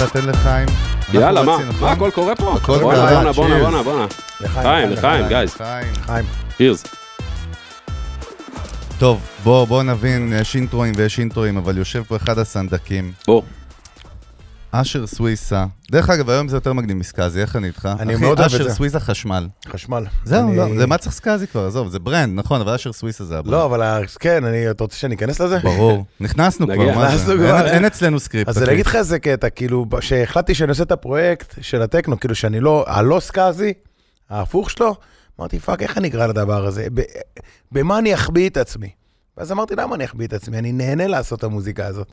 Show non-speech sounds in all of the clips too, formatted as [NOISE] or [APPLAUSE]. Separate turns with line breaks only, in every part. נותן לחיים.
יאללה,
אנחנו
מה?
רצינו,
מה,
נכון?
הכל קורה פה?
הכל
בואנה,
קרה,
בואנה, בואנה,
cheers.
בואנה, בואנה.
לחיים.
חיים, לחיים, גייז.
חיים.
לחיים.
הירס.
טוב, בוא, בוא נבין, יש אינטרואים ויש אינטרואים, אבל יושב פה אחד הסנדקים,
בוא.
אשר סוויסה. דרך אגב, היום זה יותר מגניב מסקאזי, איך אני איתך?
אני
אחי,
מאוד אוהב את
אשר
זה.
סוויסה חשמל.
חשמל.
זהו,
אני-
לא, למה צריך סקאזי כבר? עזוב, זה ברנד, נכון, אבל אשר סוויסה זה הברנד.
לא, אבל ה- כן, אני- אתה רוצה שאני אכנס לזה?
ברור. נכנסנו
נגיע,
כבר, מה
נכנסנו
זה?
כבר.
אין- אין אצלנו סקריפט.
אז אני
אחי.
אגיד לך איזה קטע, כאילו, כשהחלטתי שאני עושה את הפרויקט של הטכנו, כאילו שאני לא, הלא סקאזי, ההפוך שלו, אמרתי, פאק, איך אני אקרא לדבר הזה? ב- במה אני אחביא את עצמי? ואז אמרתי, למה אני אחביא את עצמי? אני נהנה לעשות את המוזיקה הזאת.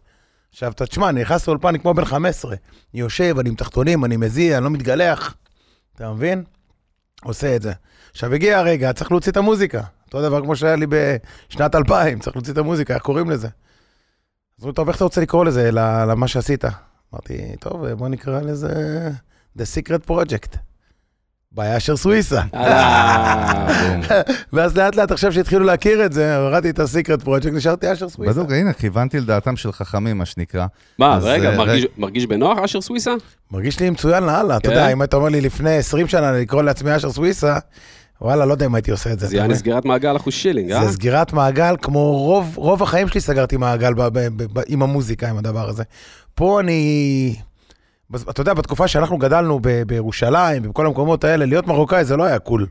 עכשיו, אתה תשמע, אני נכנס לאולפן כמו בן 15. אני יושב, אני עם תחתונים, אני מזיע, אני לא מתגלח. אתה מבין? עושה את זה. עכשיו, הגיע הרגע, צריך להוציא את המוזיקה. אותו דבר כמו שהיה לי בשנת 2000, צריך להוציא את המוזיקה, איך קוראים לזה? אז הוא טוב, איך אתה רוצה לקרוא לזה, ל- למה שעשית? אמרתי, טוב, בוא נקרא לזה The Secret Project. בעיה של סוויסה.
יאללה.
[LAUGHS] ואז לאט לאט עכשיו שהתחילו להכיר את זה, הורדתי את ה-Secret Project, נשארתי אשר סוויסה.
בדיוק, הנה, כיוונתי לדעתם של חכמים, מה שנקרא.
מה,
אז,
רגע,
אה,
מרגיש- מרגיש בנוח אשר סוויסה?
מרגיש לי מצוין לאללה, אתה
כן?
יודע, אם היית אומר לי לפני 20 שנה לקרוא לעצמי אשר סוויסה, וואלה, לא יודע אם הייתי עושה את זה.
זה
אתה
יעני
מבין?
סגירת מעגל אחוז שילינג, אה?
זה סגירת מעגל, כמו רוב, רוב החיים שלי סגרתי מעגל ב, ב, ב, ב, עם המוזיקה, עם הדבר הזה. פה אני... בז- אתה יודע, בתקופה שאנחנו גדלנו ב, בירושלים, בכל המקומות האלה, להיות מרוקאי זה לא היה קול.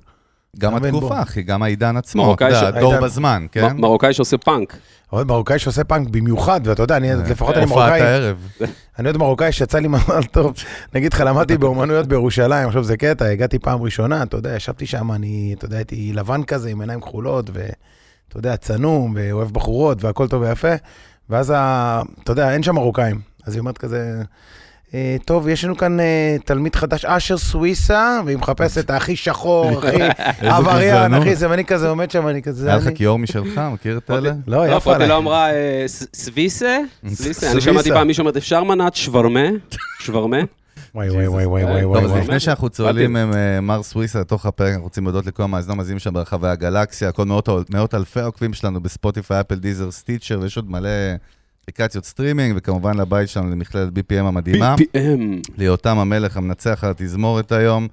גם
מאמן בו.
התקופה, אחי, גם העידן עצמו. אתה
מרוקאי
יודע,
ש-
הדור
העידן.
בזמן, כן?
מ- מרוקאי שעושה פאנק.
אבל מרוקאי שעושה פאנק במיוחד, ואתה יודע, אני, לפחות אני
הופעת
מרוקאי,
הערב.
אני עוד מרוקאי שיצא לי מזל טוב. נגיד לך, למדתי באומנויות בירושלים, עכשיו זה קטע, הגעתי פעם ראשונה, אתה יודע, ישבתי שם, אני, אתה יודע, הייתי לבן כזה עם עיניים כחולות, ואתה יודע, צנום, ואוהב בחורות, והכל טוב ויפה, ואז, ה, אתה יודע, אין שם מרוקאים. אז היא אומרת כזה, "אה, טוב, יש לנו כאן אה, תלמיד חדש, אשר סוויסה, והיא מחפשת הכי
[LAUGHS]
שחור, הכי עבריין,
גזענות.
הכי זה, ואני כזה עומד שם, אני כזה...
היה לך כאילו-
אני-
כיאור משלך, מכיר את אלה?
לא,
לא,
יפה
פרוטי
עליי.
לא אמרה אה, ס- סוויסה? סוויסה? אני
סוויסה.
שמעתי פעם מישהו אומר, אפשר מנת
[LAUGHS]
שוורמה? שוורמה?
וואי, וואי, וואי, וואי, וואי,
טוב,
וואי,
אז
וואי.
לפני שאנחנו צוללים עם אה, מר סוויסה לתוך הפרק, אנחנו רוצים להודות לכל המאזינים המאזינים שם ברחבי הגלקסיה, כל מאות ה- מאות אלפי העוקבים שלנו בספוטיפיי, אפל, דיזר, סטיצ'ר, ויש עוד מלא אפליקציות סטרימינג, וכמובן לבית שלנו, למכללת BPM המדהימה,
BPM.
ליותם המלך המנצח על התזמורת היום,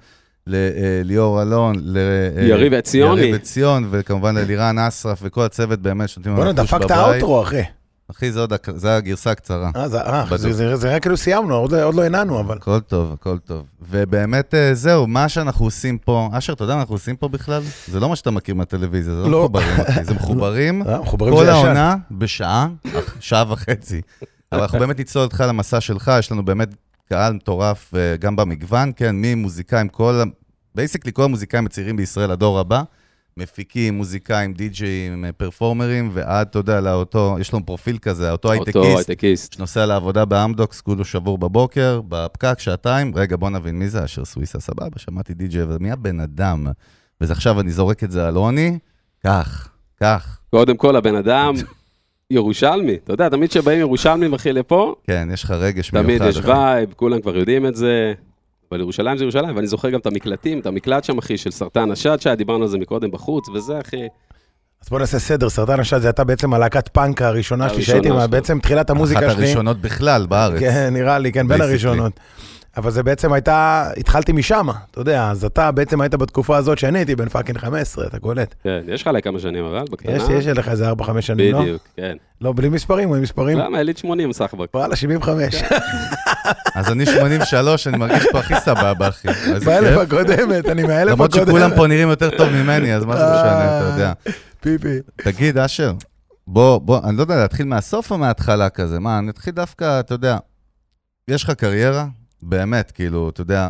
לליאור אלון, ל- אה,
יריב עציוני.
יריב עציון, וכמובן ללירן אסרף וכל הצוות באמת שנותנים
בואנה,
לנו פוש
דפקת
בבית.
האוטרו, אחי.
אחי, זה עוד הק- זה הגרסה הקצרה.
אה, זה- אה,
בדיוק.
זה- זה זה רק כאילו סיימנו, עוד לא- עוד לא הנענו, אבל.
הכל טוב, הכל טוב. ובאמת, אה, זהו, מה שאנחנו עושים פה, אשר, אתה יודע מה אנחנו עושים פה בכלל? זה לא מה שאתה מכיר מהטלוויזיה, זה לא,
לא.
מחוברים אותי, זה מחוברים
[LAUGHS] אה, מחוברים
כל
זה ישן.
העונה בשעה, אך- שעה וחצי. אבל אנחנו באמת נצלול איתך למסע שלך, יש לנו באמת קהל מטורף, אה, גם במגוון, כן, ממוזיקאים, כל, בייסיקלי כל המוזיקאים הצעירים בישראל, הדור הבא. מפיקים, מוזיקאים, די-ג'אים, אה, פרפורמרים, ועד, אתה יודע, לאותו, יש לנו פרופיל כזה, אותו
אותו
הייטקיסט,
הייטקיסט.
שנוסע לעבודה באמדוקס, כולו שבור בבוקר, בפקק, שעתיים. רגע, בוא נבין מי זה אשר סוויסה, סבבה, שמעתי די-ג'יי, אבל מי הבן אדם? וזה עכשיו אני זורק את זה על רוני, כך, כך.
קודם כל, הבן אדם ירושלמי. אתה יודע, תמיד כשבאים ירושלמים, אחי, לפה,
כן, יש לך רגש מיוחד.
תמיד יש
אחי.
וייב, כולם כבר יודעים את זה. אבל ירושלים זה ירושלים, ואני זוכר גם את המקלטים, את המקלט שם, אחי, של סרטן השד, שהיה, דיברנו על זה מקודם בחוץ, וזה, אחי.
אז בוא נעשה סדר, סרטן השד זה הייתה בעצם הלהקת פאנק הראשונה שלי,
הראשונה
שהייתי, מה-
שלך.
בעצם תחילת המוזיקה שלי.
אחת הראשונות בכלל בארץ.
כן, נראה לי, כן, בין
Basically.
הראשונות. אבל זה בעצם הייתה, התחלתי משם, אתה יודע, אז אתה בעצם היית בתקופה הזאת שאני הייתי בן פאקינג 15, אתה קולט.
כן, יש לך עליי כמה שנים, אבל, בקטנה.
יש, יש לך איזה 4-5 שנים, לא?
בדיוק, כן.
לא, בלי מספרים, הוא עם מספרים.
לא.
למה? יליד 80 סחבק.
וואלה,
כן.
75,
אז אני 83, אני מרגיש פה הכי סבבה, אחי. איזה
באלף
כיף.
הקודמת, אני מהאלף
למרות
הקודמת.
שכולם פה נראים יותר טוב ממני, אז מה זה משנה, אתה יודע.
פיפי.
תגיד, אשר, בוא, בוא, אני לא יודע, להתחיל מהסוף או מההתחלה כזה? מה, נתחיל דווקא, אתה יודע, יש לך קריירה? באמת, כאילו, אתה יודע,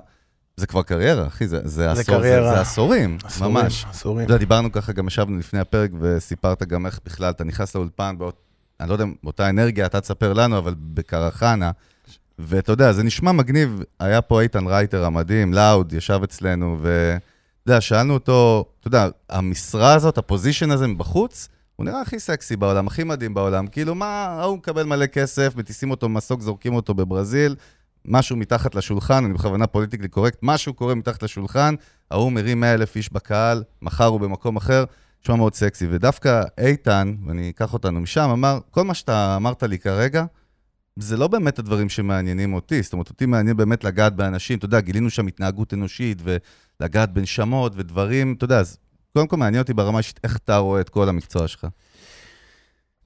זה כבר קריירה, אחי, זה, זה, עשור,
קריירה.
זה, זה עשורים,
אסורים,
ממש.
אסורים.
אתה יודע, לא, דיברנו ככה, גם ישבנו לפני הפרק וסיפרת גם איך בכלל אתה נכנס לאולפן, באות, אני לא יודע, באותה אנרגיה, אתה תספר לנו, אבל בקרחנה. ואתה יודע, זה נשמע מגניב, היה פה איתן רייטר המדהים, לאוד, ישב אצלנו, ואתה יודע, שאלנו אותו, אתה יודע, המשרה הזאת, הפוזיישן הזה מבחוץ, הוא נראה הכי סקסי בעולם, הכי מדהים בעולם. כאילו, מה, ההוא מקבל מלא כסף, מטיסים אותו במסוק, זורקים אותו בברזיל, משהו מתחת לשולחן, אני בכוונה פוליטיקלי קורקט, משהו קורה מתחת לשולחן, ההוא מרים 100 אלף איש בקהל, מחר הוא במקום אחר, נשמע מאוד סקסי. ודווקא איתן, ואני אקח אותנו משם, אמר, כל מה שאתה אמרת לי כרגע, זה לא באמת הדברים שמעניינים אותי, זאת אומרת, אותי מעניין באמת לגעת באנשים, אתה יודע, גילינו שם התנהגות אנושית ולגעת בנשמות ודברים, אתה יודע, אז קודם כל מעניין אותי ברמה האישית איך אתה רואה את כל המקצוע שלך.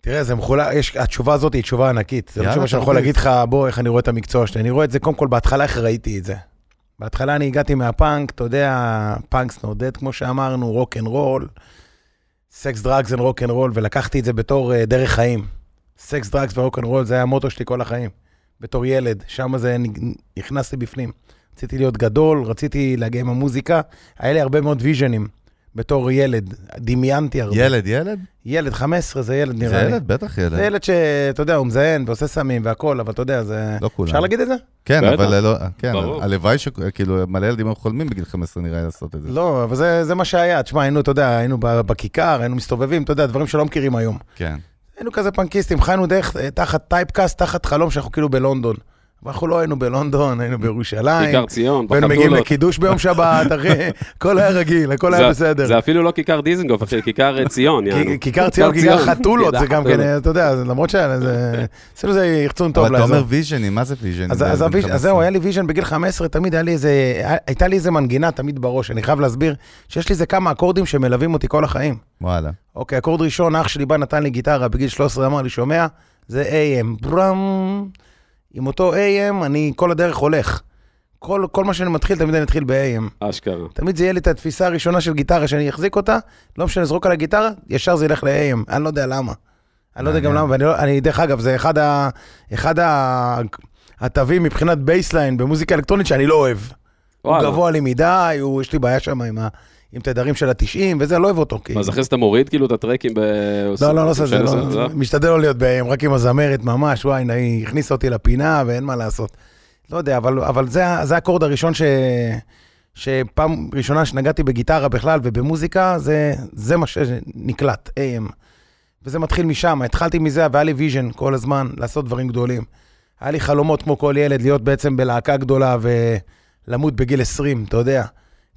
תראה, זה מחולק, יש, התשובה הזאת היא תשובה ענקית. זה לא
יאללה,
תשובה שאני יכול
תרביץ.
להגיד לך, בוא, איך אני רואה את המקצוע שלי. אני רואה את זה, קודם כל, בהתחלה איך ראיתי את זה. בהתחלה אני הגעתי מהפאנק, אתה יודע, פאנקס נודד, כמו שאמרנו, רוק אנד רול, סקס דרגס אנד רוק אנד רול, ולקחתי את זה בתור אה, דרך חיים. סקס דרגס ורוק אנד רול, זה היה המוטו שלי כל החיים. בתור ילד, שם זה נג- נכנסתי בפנים. רציתי להיות גדול, רציתי להגיע עם המוזיקה, היה לי הרבה מאוד ויז'נים בתור ילד, דמיינתי הרבה.
ילד, ילד?
ילד, 15 זה ילד נראה
זה
לי.
ילד, בטח ילד.
זה ילד שאתה יודע, הוא מזיין ועושה סמים והכל, אבל אתה יודע, זה...
לא כולם.
אפשר להגיד את זה?
כן,
בטח.
אבל לא, כן,
ברור.
הלוואי שכאילו, מלא ילדים היו חולמים בגיל 15 נראה לי לעשות את זה.
לא, אבל זה, זה מה שהיה. תשמע, היינו, אתה יודע, היינו ב- בכיכר, היינו מסתובבים, אתה יודע, דברים שלא מכירים היום.
כן.
היינו כזה פנקיסטים, חיינו דרך, אה, תחת טייפקאסט, תחת חלום שאנחנו כאילו בלונדון. אבל אנחנו לא היינו בלונדון, היינו בירושלים.
כיכר ציון,
והיינו מגיעים
בחתולות.
לקידוש ביום שבת, אחי,
[LAUGHS]
הכל היה רגיל, הכל
זה-
היה בסדר.
זה אפילו לא כיכר דיזנגוף, אחי, כיכר אה, ציון, יענו.
כי- כיכר ציון, כיכר חתולות, זה גם
חתולות.
כן, אתה יודע, זה- למרות שהיה לזה, עשינו איזה יחצון טוב
אבל אתה
לאזור.
אומר ויז'ני, מה כן, זה ויז'ני?
אז, אז, הוויז... אז זהו, היה לי ויז'ן בגיל 15, תמיד היה לי איזה, הייתה לי איזה מנגינה תמיד בראש, אני חייב להסביר שיש לי איזה כמה אקורדים שמלווים אותי כל החיים.
וואלה.
אוקיי, אקורד ראשון, אח שלי בא נתן לי גיטרה בגיל 13, אמר לי, שומע? זה AM, ברם. עם אותו AM אני כל הדרך הולך. כל, כל מה שאני מתחיל, תמיד אני אתחיל ב-AM.
אשכרה.
תמיד זה יהיה לי את התפיסה הראשונה של גיטרה, שאני אחזיק אותה, לא משנה, אזרוק על הגיטרה, ישר זה ילך ל-AM. אני לא יודע למה. אני לא יודע גם
מעניין.
למה, ואני לא, אני, דרך אגב, זה אחד, ה, אחד ה, התווים מבחינת בייסליין במוזיקה אלקטרונית שאני לא אוהב. הוא
וואלה.
גבוה לי מדי, הוא, יש לי בעיה שם עם, ה, עם תדרים של ה-90 וזה, לא אוהב אותו. כי...
אז אחרי זה אתה מוריד כאילו את הטרקים ב...
לא, לא, לא עושה את זה,
של-
לא. משתדל לא להיות בהם, רק עם הזמרת ממש, וואי, הנה, היא הכניסה אותי לפינה ואין מה לעשות. לא יודע, אבל, אבל זה, ה- זה האקורד הראשון ש... שפעם ראשונה שנגעתי בגיטרה בכלל ובמוזיקה, זה, זה מה שנקלט, AM. וזה מתחיל משם, התחלתי מזה, והיה לי ויז'ן כל הזמן לעשות דברים גדולים. היה לי חלומות כמו כל ילד, להיות בעצם בלהקה גדולה ולמות בגיל 20, אתה יודע.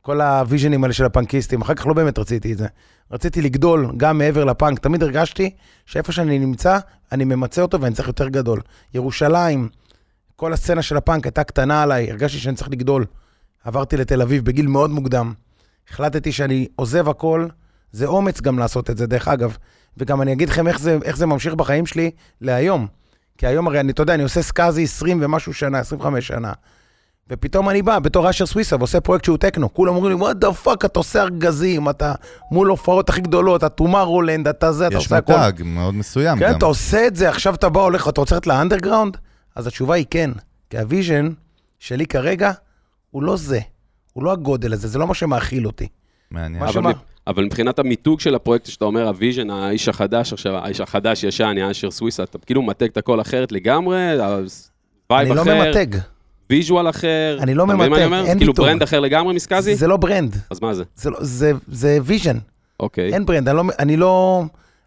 כל הוויז'נים האלה של הפאנקיסטים, אחר כך לא באמת רציתי את זה. רציתי לגדול גם מעבר לפאנק, תמיד הרגשתי שאיפה שאני נמצא, אני ממצה אותו ואני צריך יותר גדול. ירושלים, כל הסצנה של הפאנק הייתה קטנה עליי, הרגשתי שאני צריך לגדול. עברתי לתל אביב בגיל מאוד מוקדם. החלטתי שאני עוזב הכל, זה אומץ גם לעשות את זה, דרך אגב. וגם אני אגיד לכם איך זה, איך זה ממשיך בחיים שלי להיום. כי היום הרי, אני, אתה יודע, אני עושה סקאזי 20 ומשהו שנה, 25 שנה. ופתאום אני בא בתור אשר סוויסה ועושה פרויקט שהוא טכנו. כולם אומרים לי, what the fuck, אתה עושה ארגזים, אתה מול הופעות הכי גדולות, אתה טומארולנד, אתה זה, אתה
יש
עושה הכל.
מותג מאוד מסוים
כן,
גם.
אתה עושה את זה, עכשיו אתה בא, הולך, אתה רוצה ללכת לאנדרגראונד? אז התשובה היא כן, כי הוויז'ן שלי כרגע הוא לא זה, הוא לא הגודל הזה, זה לא מה שמאכיל אותי.
מעניין.
מה
אבל
שמה?
מב- אבל מבחינת המיתוג של הפרויקט, שאתה אומר, הוויז'ן, האיש החדש עכשיו, האיש החדש ישן, יא אשר סוויסה, אתה כאילו ממתג את הכל אחרת לגמרי, אז
אני
וייב
לא
אחר,
ממתג,
ויז'ואל אחר.
אני לא
אתה מבין מה
ממתג,
אני אומר?
אין
כאילו
מיתוג.
ברנד אחר לגמרי מסקאזי?
זה לא ברנד,
אז מה זה?
זה לא- זה- זה ויז'ן,
אוקיי.
אין ברנד, אני לא- אני לא...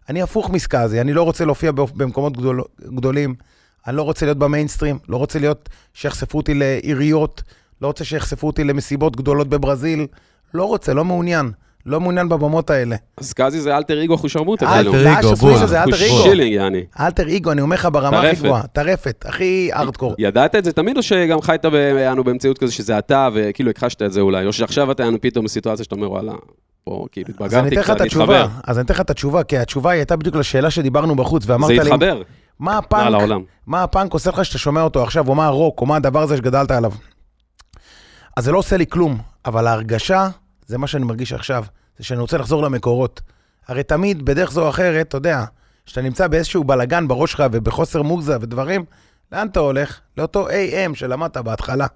אני הפוך מסקאזי, אני לא רוצה להופיע באופ- במקומות גדול- גדולים, אני לא רוצה להיות במיינסטרים, לא רוצה להיות שיחשפו אותי לעיריות, לא רוצה שיחשפו אותי למסיבות גדולות בברזיל, לא רוצה, לא מעוניין, לא מעוניין בבמות האלה.
סקאזי זה אלטר אגו אחושרמוטה.
אל-
כאילו.
אלטר
לאשר
אגו,
סוויסה
בול.
זה אלטר אגו.
שילינג, יעני.
אלטר איגו, אני אומר לך ברמה הכי
טרפת.
גבוהה, טרפת, הכי ארדקור.
ידעת את זה תמיד, או שגם חיית ב- יענו במציאות כזה שזה אתה, וכאילו הכחשת את זה אולי, או שעכשיו אתה יענו פתאום בסיטואציה שאתה אומר, וואלה, פה כאילו
אז אני
התבגרתי
אתן לך
קצת,
את
התחבר.
התשובה, אז אני אתן לך את התשובה, כי התשובה היא הייתה בדיוק לשאלה שדיברנו בחוץ, ואמרת
זה
לי,
התחבר,
מה
על
הפאנק,
העולם.
מה הפאנק עושה לך שאתה שומע אותו עכשיו, או מה הרוק, או מה הדבר הזה שגדלת עליו. אז זה לא עושה לי כלום, אבל ההרגשה, זה מה שאני מרגיש עכשיו, זה שאני רוצה לחזור למקורות. הרי תמיד, בדרך זו או אחרת, אתה יודע, כשאתה נמצא באיזשהו בלגן בראש שלך ובחוסר מוגזה ודברים, לאן אתה הולך? לאותו AM שלמדת בהתחלה.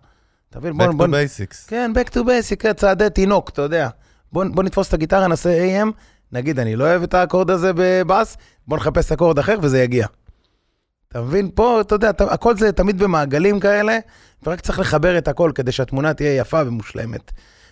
אתה מבין? בוא-
Back
בוא-
to basics.
כן, back to basic, כן, צעדי תינוק, אתה יודע. בוא, בוא נתפוס את הגיטרה, נעשה AM, נגיד, אני לא אוהב את האקורד הזה בבאס, בוא נחפש אקורד אחר וזה יגיע. אתה מבין? פה, אתה יודע, אתה, הכל זה תמיד במעגלים כאלה, ורק צריך לחבר את הכל כדי שהתמונה תהיה יפה ומושלמת.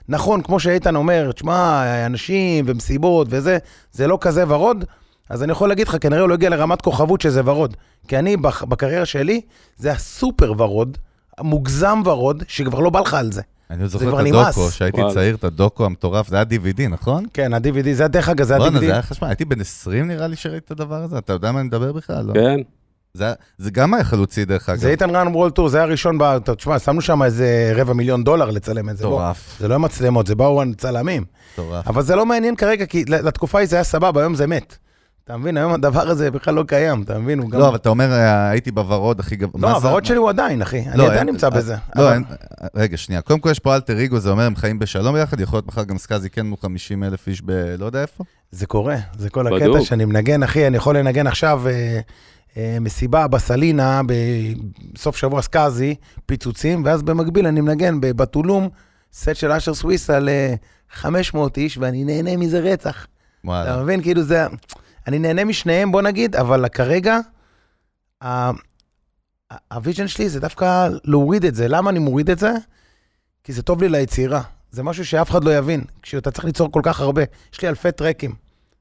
נכון, כמו שאיתן אומר, תשמע, אנשים ומסיבות וזה, זה לא כזה ורוד, אז אני יכול להגיד לך, כנראה הוא לא הגיע לרמת כוכבות שזה ורוד. כי אני, בח- בקריירה שלי, זה הסופר ורוד, המוגזם ורוד, שכבר לא בא לך על זה.
אני עוד
כבר
זוכר את
נמאס.
הדוקו, שהייתי
וואלה.
צעיר, את הדוקו המטורף, זה היה DVD, נכון?
כן, ה-DVD, זה דרך אגב, זה
בואנה, זה
ה-DVD.
היה חשמל, הייתי בן 20 נראה לי שראיתי את הדבר הזה, אתה יודע מה אני מדבר בכלל? לא.
כן.
זה היה- זה גם היה חלוצי, דרך אגב.
זה איתן רן וורל טור, זה היה הראשון, ב- אתה- תשמע, שמנו שם איזה רבע מיליון דולר לצלם את זה. בוא.
מטורף,
זה לא עם מצלמות, זה באו צלמים.
מטורף.
אבל זה לא מעניין כרגע, כי לתקופה ההיא זה היה סבבה, היום זה מת. אתה מבין? היום הדבר הזה בכלל לא קיים, אתה מבין? הוא גם...
לא, אבל אתה אומר, אה, הייתי בוורוד הכי גבוה.
לא, הוורוד שלי הוא עדיין, אחי. אני עדיין נמצא בזה.
לא,
אבל-
אין- רגע, שנייה. קודם כל יש פה אלטר איגו, זה אומר הם חיים בשלום יחד, יכול להיות מחר גם סקאזי כן מול 50 אלף איש בלא יודע איפה.
זה קורה, זה כל
בדוק.
הקטע שאני מנגן, אחי, אני יכול לנגן עכשיו אה, אה, מסיבה בסלינה, בסוף שבוע סקאזי, פיצוצים, ואז במקביל אני מנגן בבתולום, סט של אשר סוויסה ל-500 איש, ואני נהנה מזה רצח.
וואלה.
אתה מבין? כאילו זה... אני נהנה משניהם, בוא נגיד, אבל כרגע, ה- ה- הוויז'ן שלי זה דווקא להוריד את זה. למה אני מוריד את זה? כי זה טוב לי ליצירה. זה משהו שאף אחד לא יבין. כשאתה צריך ליצור כל כך הרבה, יש לי אלפי טרקים.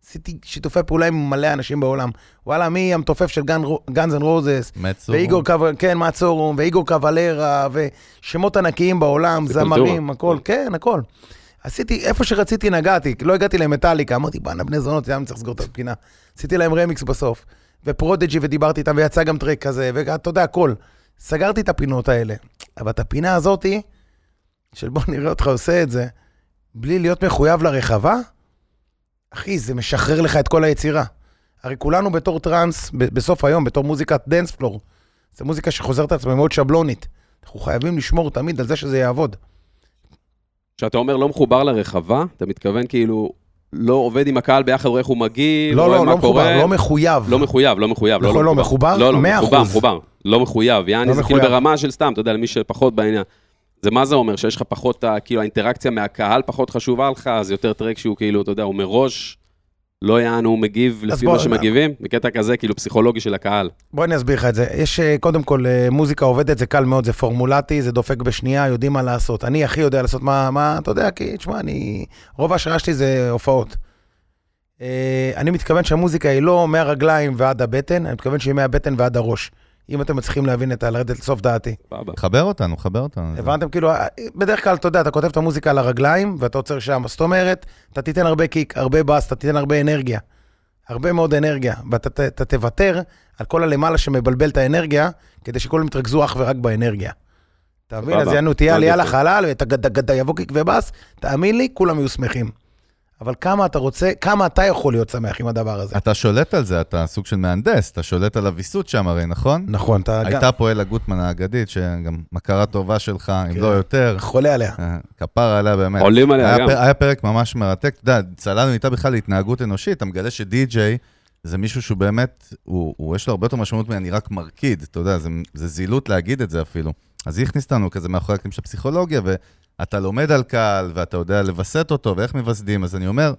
עשיתי שיתופי פעולה עם מלא אנשים בעולם. וואלה, מי המתופף של גאנז אנד רוזס,
מצור.
ואיגור קו... כן, מעצורום, ואיגור קבלרה, ושמות ענקיים בעולם,
זה
זמרים,
קולטורה.
הכל, כן, הכל. עשיתי, איפה שרציתי נגעתי, לא הגעתי למטאליקה, אמרתי, בואנה, בני זונות, למה אני צריך לסגור את הפינה? עשיתי להם רמיקס בסוף, ופרודג'י, ודיברתי איתם, ויצא גם טרק כזה, ואתה יודע, הכל. סגרתי את הפינות האלה. אבל את הפינה הזאתי, של בוא נראה אותך עושה את זה, בלי להיות מחויב לרחבה, אחי, זה משחרר לך את כל היצירה. הרי כולנו בתור טראנס, ב- בסוף היום, בתור מוזיקת דנס פלור, זו מוזיקה שחוזרת על עצמה מאוד שבלונית. אנחנו חייבים לשמור תמיד על זה שזה יעבוד.
כשאתה אומר לא מחובר לרחבה, אתה מתכוון כאילו לא עובד עם הקהל ביחד, רואה איך הוא מגיב,
לא,
רואה
לא,
מה
לא מחובר,
קורה.
לא מחויב.
לא מחויב, לא מחויב.
נכון, לא מחובר?
לא, לא,
מאה
מחובר,
אחוז.
מחובר. לא מחויב, יעני
לא
זה כאילו
מחויב.
ברמה של סתם, אתה יודע, למי שפחות בעניין. זה מה זה אומר? שיש לך פחות, ה- כאילו האינטראקציה מהקהל פחות חשובה לך, אז יותר טרק שהוא כאילו, אתה יודע, הוא מראש לא יענו, הוא מגיב לפי
בוא-
מה שמגיבים, בקטע כזה כאילו פסיכולוגי של הקהל.
בוא אני אסביר לך את זה. יש, אה, קודם כל, אה, מוזיקה עובדת, זה קל מאוד, זה פורמולטי, זה דופק בשנייה, יודעים מה לעשות. אני הכי יודע לעשות מה, מה אתה יודע, כי, תשמע, אני... רוב ההשראה שלי זה הופעות. אה, אני מתכוון שהמוזיקה היא לא מהרגליים ועד הבטן, אני מתכוון שהיא מהבטן ועד הראש. אם אתם מצליחים להבין את ה... לרדת לסוף דעתי.
סבבה.
חבר אותנו, חבר אותנו.
הבנתם? כאילו, בדרך כלל, אתה יודע, אתה כותב את המוזיקה על הרגליים, ואתה עוצר שם. זאת אומרת, אתה תיתן הרבה קיק, הרבה בס, אתה תיתן הרבה אנרגיה. הרבה מאוד אנרגיה. ואתה ת- אתה תוותר על כל הלמעלה שמבלבל את האנרגיה, כדי שכולם יתרכזו אך ורק באנרגיה. אתה מבין?
סבבה.
אז יענו,
לא
תהיה עלייה
הבנתי.
לחלל, ואתה גדה גדה יבוא קיק ובס, תאמין לי, כולם יהיו שמחים. אבל כמה אתה רוצה, כמה אתה יכול להיות שמח עם הדבר הזה.
אתה שולט על זה, אתה סוג של מהנדס, אתה שולט על הוויסות שם הרי, נכון?
נכון, אתה גם
הייתה פה אלה גוטמן האגדית, שגם מכרה טובה שלך, אם
כן.
לא יותר.
חולה עליה.
אה, כפרה עליה באמת.
עולים עליה
היה
גם.
פר- היה פרק ממש מרתק, אתה יודע, צללנו איתה בכלל להתנהגות אנושית, אתה מגלה שדי-ג'יי זה מישהו שהוא באמת, הוא, הוא יש לו הרבה יותר משמעות מ"אני רק מרקיד", אתה יודע, זה, זה זילות להגיד את זה אפילו. אז היא הכניסה אותנו כזה מאחורי הקטעים של הפסיכולוגיה, ואתה לומד על קהל, ואתה יודע לווסת אותו, ואיך מווסדים, אז אני אומר,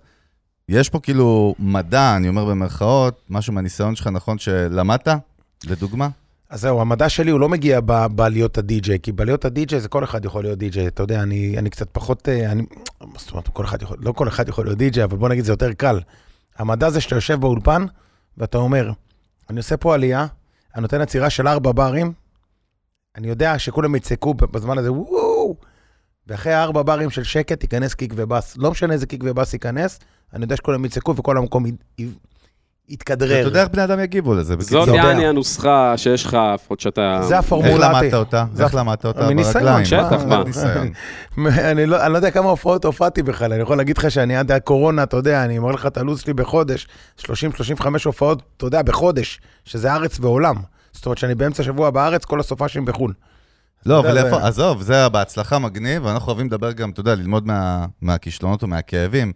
יש פה כאילו מדע, אני אומר במרכאות, משהו מהניסיון שלך נכון שלמדת, לדוגמה?
אז זהו, המדע שלי הוא לא מגיע ב- בלהיות הדי-ג'יי, כי בלהיות הדי-ג'יי זה כל אחד יכול להיות די-ג'יי. אתה יודע, אני, אני קצת פחות, אה, אני, מה זאת אומרת, כל אחד יכול, לא כל אחד יכול להיות די-ג'יי, אבל בוא נגיד זה יותר קל. המדע זה שאתה יושב באולפן ואתה אומר, אני עושה פה עלייה, אני נותן עצירה של ארבע ברים, אני יודע שכולם יצעקו בזמן הזה, וואו, ואחרי ארבע ברים של שקט ייכנס קיק ובאס. לא משנה איזה קיק ובאס ייכנס, אני יודע שכולם יצעקו וכל המקום י- י- יתכדרר.
אתה יודע איך בני אדם יגיבו לזה,
זאת
בקיצור.
יודע.
יעני הנוסחה שיש לך, לפחות שאתה...
זה
איך
הפורמולטי.
למדת אותה?
זה
איך למדת אותה?
מניסיון,
ברגליים,
שטח,
אחלה
מה?
ניסיון.
[LAUGHS] אני לא, אני לא יודע כמה הופעות הופעתי בכלל, אני יכול להגיד לך שאני עד הקורונה, אתה יודע, אני מראה לך את הלו"ז שלי בחודש, 30-35 הופעות, אתה יודע, בחודש, שזה ארץ ועולם. זאת אומרת שאני באמצע שבוע בארץ, כל הסופ"שים בחו"ל.
לא,
אתה
אבל
יודע,
איפה,
זה-
עזוב, זה בהצלחה מגניב, ואנחנו אוהבים לדבר גם, אתה יודע, ללמוד מה- מהכישלונות ומהכאבים.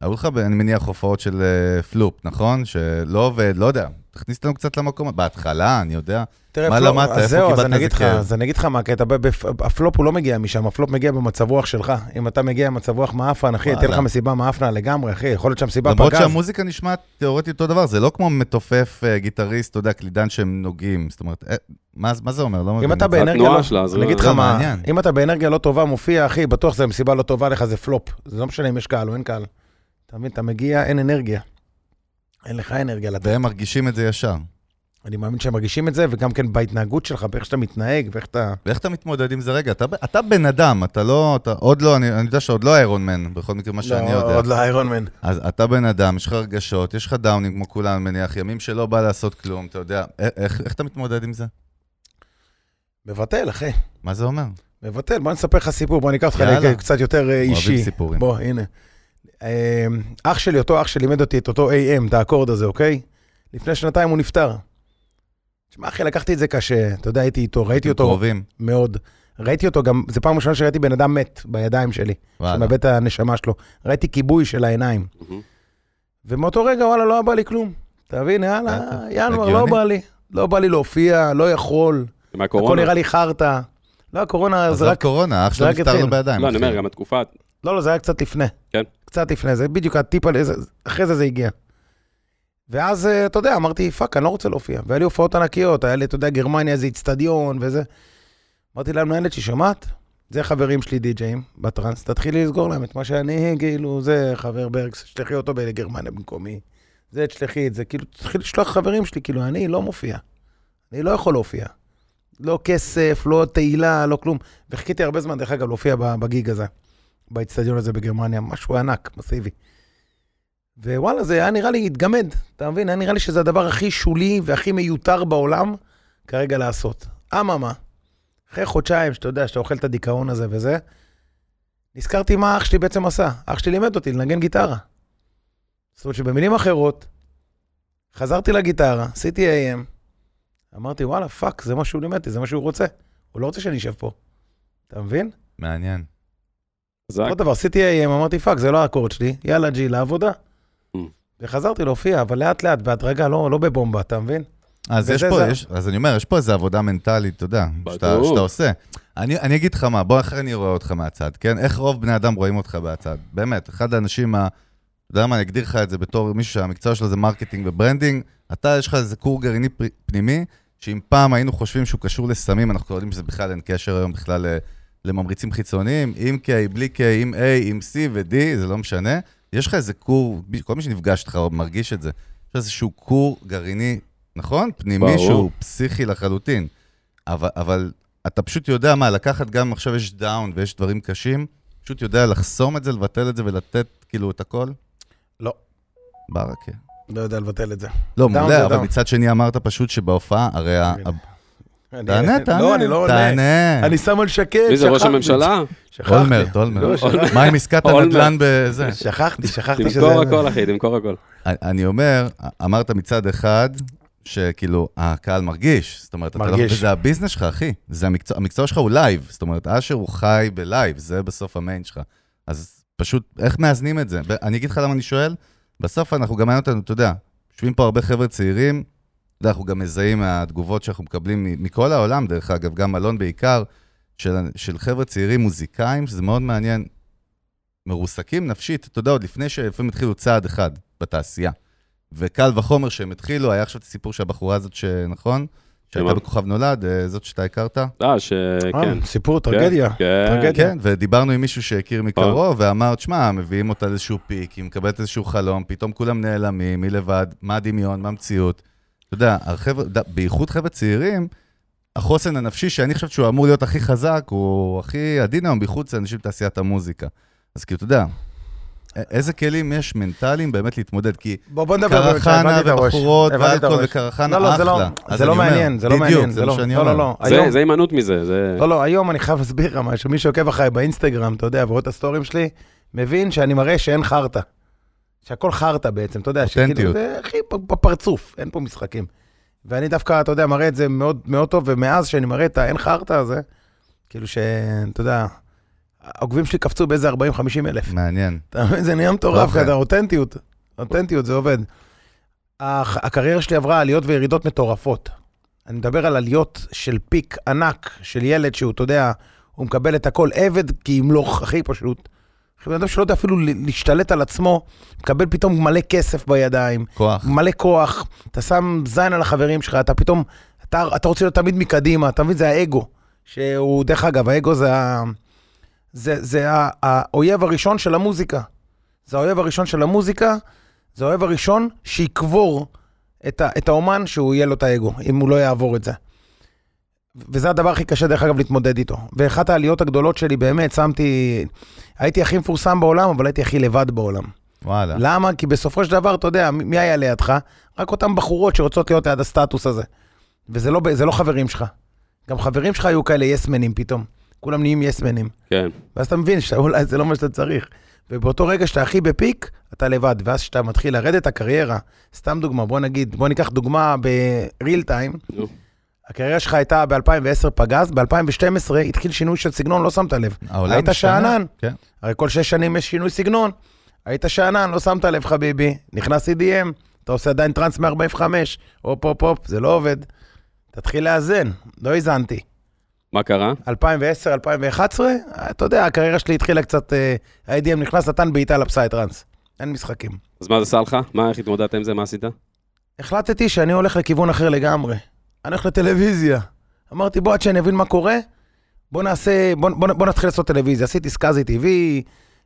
היו לך, אני מניח, הופעות של אה, פלופ, נכון? שלא עובד, לא יודע. תכניס אותנו קצת למקום, בהתחלה, אני יודע.
תראה,
מה
פלופ-
למדת?
אז
איפה
זהו, אז
קיבלת
אני אגיד
איזה
לך,
כאב?
אז אני אגיד לך מה הקטע, ב- בפ- הפלופ הוא לא מגיע משם, הפלופ מגיע במצב רוח שלך. אם אתה מגיע במצב רוח מאפן, אחי, תהיה לך
וואלה.
מסיבה מאפנה לגמרי, אחי, יכול להיות שם סיבה
למרות
פגז.
שהמוזיקה נשמעת תיאורטית אותו דבר, זה לא כמו מתופף, אה, גיטריסט, אתה יודע, קלידן שהם נוגעים. זאת אומרת, אה, מה מה זה אומר? לא מבין.
אם
את
אתה
זה.
באנרגיה
התנועה
לא-
שלה, אז
אני
לא-
אגיד לך
זה
מה,
מעניין.
אם אתה באנרגיה לא טובה, מופיע, אחי, בטוח זו מסיבה לא טובה לך, זה פלופ. זה לא משנה אם יש קהל או אין קהל. אתה מבין, אתה מגיע, אין אנרגיה. אין לך אנרגיה לתת.
והם מרגישים את זה ישר.
אני מאמין שהם מרגישים את זה, וגם כן בהתנהגות שלך, באיך שאתה מתנהג, ואיך אתה...
ואיך אתה מתמודד עם זה? רגע, אתה, אתה בן אדם, אתה לא, אתה עוד לא, אני, אני יודע שעוד לא איירון מן, בכל מקרה, מה שאני יודע.
עוד לא איירון מן.
אז אתה בן אדם, יש לך רגשות, יש לך דאונים כמו כולם, אני מניח, ימים שלא בא לעשות כלום, אתה יודע. א- איך, איך אתה מתמודד עם זה?
מבטל, אחי.
מה זה
אה,
אומר?
מבטל. בוא נספר לך סיפור, בוא ניקח אותך
יאללה.
ל- קצת יותר אה, אישי.
אוהבים סיפורים.
בוא, הנה. אה, אח שלי, אותו אח שלימד אותי את אותו AM, את האקורד הזה, אוקיי? לפני שנתיים הוא נפטר. תשמע, אחי, לקחתי את זה קשה. אתה יודע, הייתי איתו,
אתם
ראיתי אותו
קרובים.
מאוד. ראיתי אותו גם, זו פעם ראשונה שראיתי בן אדם מת בידיים שלי,
וואלה.
שמאבד את הנשמה שלו. ראיתי כיבוי של העיניים. ומאותו רגע, וואלה, לא בא לי כלום. אתה מבין, יאללה,
בטח,
ינואר, לא
הגיוני.
בא לי. לא בא לי להופיע, לא יכול. הכל
מהקורונה.
נראה לי חרטא. לא, הקורונה זה
עזוב
רק
קורונה, אח
זה
שלו
רק
נפטר
התחיל.
לו בידיים.
לא, אני אומר,
אחי.
גם התקופה...
לא, לא, זה היה קצת לפני.
כן.
קצת לפני, זה בדיוק הטיפ, על- זה- אחרי זה זה הגיע. ואז, אה, אתה יודע, אמרתי, פאק, אני לא רוצה להופיע. והיה לי הופעות ענקיות, היה לי, אתה יודע, גרמניה, איזה איצטדיון וזה. אמרתי לה, מנהלת שלי, שמעת? זה חברים שלי די-ג'אים בטראנס, תתחילי לסגור להם את מה שאני, כאילו, זה חבר ברקס, תשלחי אותו לגרמניה במקומי. זה, תשלחי את זה, כאילו, תתחילי לשלוח חברים שלי, כאילו, אני לא מופיע. אני לא יכול להופיע. לא כסף, לא תהילה, לא כלום. וחיכיתי הרבה זמן, דרך אגב, להופיע ב- בגיג הזה. באצטדיון הזה בגרמניה, משהו ענק, מסיבי. ווואלה, זה היה נראה לי התגמד, אתה מבין? היה נראה לי שזה הדבר הכי שולי והכי מיותר בעולם כרגע לעשות. אממה, אחרי חודשיים, שאתה יודע, שאתה אוכל את הדיכאון הזה וזה, נזכרתי מה אח שלי בעצם עשה. אח שלי לימד אותי לנגן גיטרה. זאת אומרת שבמילים אחרות, חזרתי לגיטרה, עשיתי AM, אמרתי, וואלה, פאק, זה מה שהוא לימד אותי, זה מה שהוא רוצה. הוא לא רוצה שאני אשב פה. אתה מבין?
מעניין.
חזק.
עוד דבר, עשיתי AM, אמרתי, פאק, זה לא האקורד שלי, יאללה ג'י, לעבודה.
Mm.
וחזרתי להופיע, אבל לאט לאט, בהדרגה, לא לא בבומבה, אתה מבין?
אז
וזה
יש פה,
זה.
יש, אז אני אומר, יש פה איזו עבודה מנטלית, אתה יודע, שאתה,
ברור.
שאתה עושה. אני, אני אגיד לך מה, בוא, איך אני רואה אותך מהצד, כן? איך רוב בני אדם רואים אותך מהצד? באמת, אחד האנשים ה... אתה יודע מה, אני אגדיר לך את זה בתור מישהו שהמקצוע שלו זה מרקטינג וברנדינג. אתה, יש לך איזה כור גרעיני פר- פנימי, שאם פעם היינו חושבים שהוא קשור לסמים, אנחנו לא יודעים שזה בכלל אין קשר היום בכלל ל- לממריצים חיצוניים, עם K, בלי K, עם A, עם C ו-D, זה לא משנה. יש לך איזה כור, כל מי שנפגש איתך מרגיש את זה. יש איזשהו כור גרעיני, נכון? פנימי
ברור.
שהוא פסיכי לחלוטין. אבל, אבל אתה פשוט יודע מה, לקחת גם עכשיו יש דאון ויש דברים קשים, פשוט יודע לחסום את זה, לבטל את זה ולתת כאילו את הכל?
לא.
ברכה.
לא יודע לבטל את זה.
לא,
דאון
מעולה,
זה
אבל
דאון.
מצד שני אמרת פשוט שבהופעה, הרי... ה-
אני-
תענה,
אני-
תענה.
לא, אני לא עונה.
תענה.
אני שם על שקט,
מי זה, ראש
שכחתי.
הממשלה?
שכחתי.
אולמרט,
לא,
אולמרט.
שכחתי,
מה עם עסקת
אולמרט.
הנדל"ן בזה?
שכחתי, שכחתי שזה...
תמכור הכל, אחי, תמכור הכל.
אני- אני אומר, אמרת מצד אחד, שכאילו, הקהל מרגיש. זאת אומרת, אתה לא...
מרגיש.
וזה הביזנס שלך, אחי. זה המקצוע, המקצוע שלך הוא לייב. זאת אומרת, אשר הוא חי בלייב, זה בסוף המיין שלך. אז פשוט, איך מאזנים את זה? ב- אני אגיד לך למה אני שואל. בסוף אנחנו גם מעניין אותנו, אתה יודע, יושבים פה הרבה חבר'ה צעירים, אתה יודע, אנחנו גם מזהים מהתגובות שאנחנו מקבלים מ- מכל העולם, דרך אגב, גם אלון בעיקר, של, של חבר'ה צעירים מוזיקאים, שזה מאוד מעניין, מרוסקים נפשית, אתה יודע, עוד לפני שלפעמים התחילו צעד אחד בתעשייה. וקל וחומר שהם התחילו, היה עכשיו את הסיפור של הבחורה הזאת, שנכון? שהייתה
שמה?
בכוכב נולד, אה, זאת שאתה הכרת.
אה, ש...
אה,
כן.
סיפור, טרגדיה.
כן.
טרגדיה.
כן, ודיברנו עם מישהו שהכיר מקרוב,
אוקיי.
ואמר, תשמע, מביאים אותה לאיזשהו פיק, היא מקבלת איזשהו חלום, פתאום כולם נעלמים, היא לבד, מה הדמיון, מה המציאות. אתה יודע, החבר'ה- ד- בייחוד חבר'ה צעירים, החוסן הנפשי, שאני חושב שהוא אמור להיות הכי חזק, הוא הכי עדין היום, בייחוד אצל אנשים בתעשיית המוזיקה. אז כאילו, אתה יודע, א- איזה כלים יש מנטליים באמת להתמודד? כי
בוא בוא נדבר באמת,
קרחנה
לא, הבנתי את הראש.
ובחורות
הבנתי את
ואלכוהול
הראש.
וקרחנה
לא, לא, זה לא-
אחלה. אז
זה לא
אני אומר,
מעניין, זה לא מעניין,
בדיוק, זה
זה
מה
לא,
שאני
לא,
אומר.
לא, לא,
זה-
היום-
זה הימנעות מזה, זה...
לא, לא, היום אני חייב להסביר לך משהו. מי שעוקב אחריי באינסטגרם, אתה יודע, ורואה את הסטורים שלי, מבין שאני מראה שאין חרטא. שהכל חרטא בעצם, אתה יודע,
אותנטיות.
זה הכי פ- בפרצוף, אין פה משחקים. ואני דווקא, אתה יודע, מראה את זה מאוד, מאוד טוב, ומאז שאני מראה את האין חרטא הזה, כאילו ש... אתה יודע, העוקבים שלי קפצו באיזה 40-50 אלף.
מעניין.
אתה מבין? זה נהיה מטורף,
אוקיי.
כזה אותנטיות. אותנטיות, זה עובד. הח- הקריירה שלי עברה עליות וירידות מטורפות. אני מדבר על עליות של פיק ענק, של ילד שהוא, אתה יודע, הוא מקבל את הכל עבד כי ימלוך, הכי פשוט. אחי, בן אדם שלא יודע אפילו ל- להשתלט על עצמו, מקבל פתאום מלא כסף בידיים,
כוח.
מלא כוח, אתה שם זין על החברים שלך, אתה פתאום, אתה, אתה רוצה להיות תמיד מקדימה, אתה מבין? זה האגו, שהוא, דרך אגב, האגו זה, ה, זה, זה ה, האויב הראשון של המוזיקה. זה האויב הראשון של המוזיקה, זה האויב הראשון שיקבור את, ה, את האומן שהוא יהיה לו את האגו, אם הוא לא יעבור את זה. וזה הדבר הכי קשה, דרך אגב, להתמודד איתו. ואחת העליות הגדולות שלי, באמת, שמתי... הייתי הכי מפורסם בעולם, אבל הייתי הכי לבד בעולם.
וואלה.
למה? כי בסופו של דבר, אתה יודע, מ- מי היה לידך? רק אותן בחורות שרוצות להיות ליד הסטטוס הזה. וזה לא, ב- זה לא חברים שלך. גם חברים שלך היו כאלה יסמנים פתאום. כולם נהיים יסמנים.
כן.
ואז אתה מבין שאולי זה לא מה שאתה צריך. ובאותו רגע שאתה הכי בפיק, אתה לבד. ואז כשאתה מתחיל לרדת הקריירה, סתם דוגמה, בוא נגיד, בוא ניקח דוגמה ב-real time.
נו.
הקריירה שלך הייתה ב-2010 פגז, ב-2012 התחיל שינוי של סגנון, לא שמת לב.
העולם
היית
השתנה.
שאנן.
כן.
הרי כל שש שנים יש שינוי סגנון. היית שאנן, לא שמת לב חביבי, נכנס EDM, אתה עושה עדיין טראנס מ-45, הופ הופ הופ, זה לא עובד. תתחיל לאזן, לא האזנתי.
מה קרה?
2010, 2011, אתה יודע, הקריירה שלי התחילה קצת, אה, ה-IDM נכנס, נתן בעיטה לפסייטרנס. אין משחקים.
אז מה זה עשה לך? מה, איך התמודדת עם זה? מה עשית?
החלטתי שאני הולך לכיוון אחר לגמרי. אני הולך לטלוויזיה. אמרתי, בוא, עד שאני אבין מה קורה, בוא נעשה, בוא, בוא, בוא נתחיל לעשות טלוויזיה. עשיתי סקאזי TV,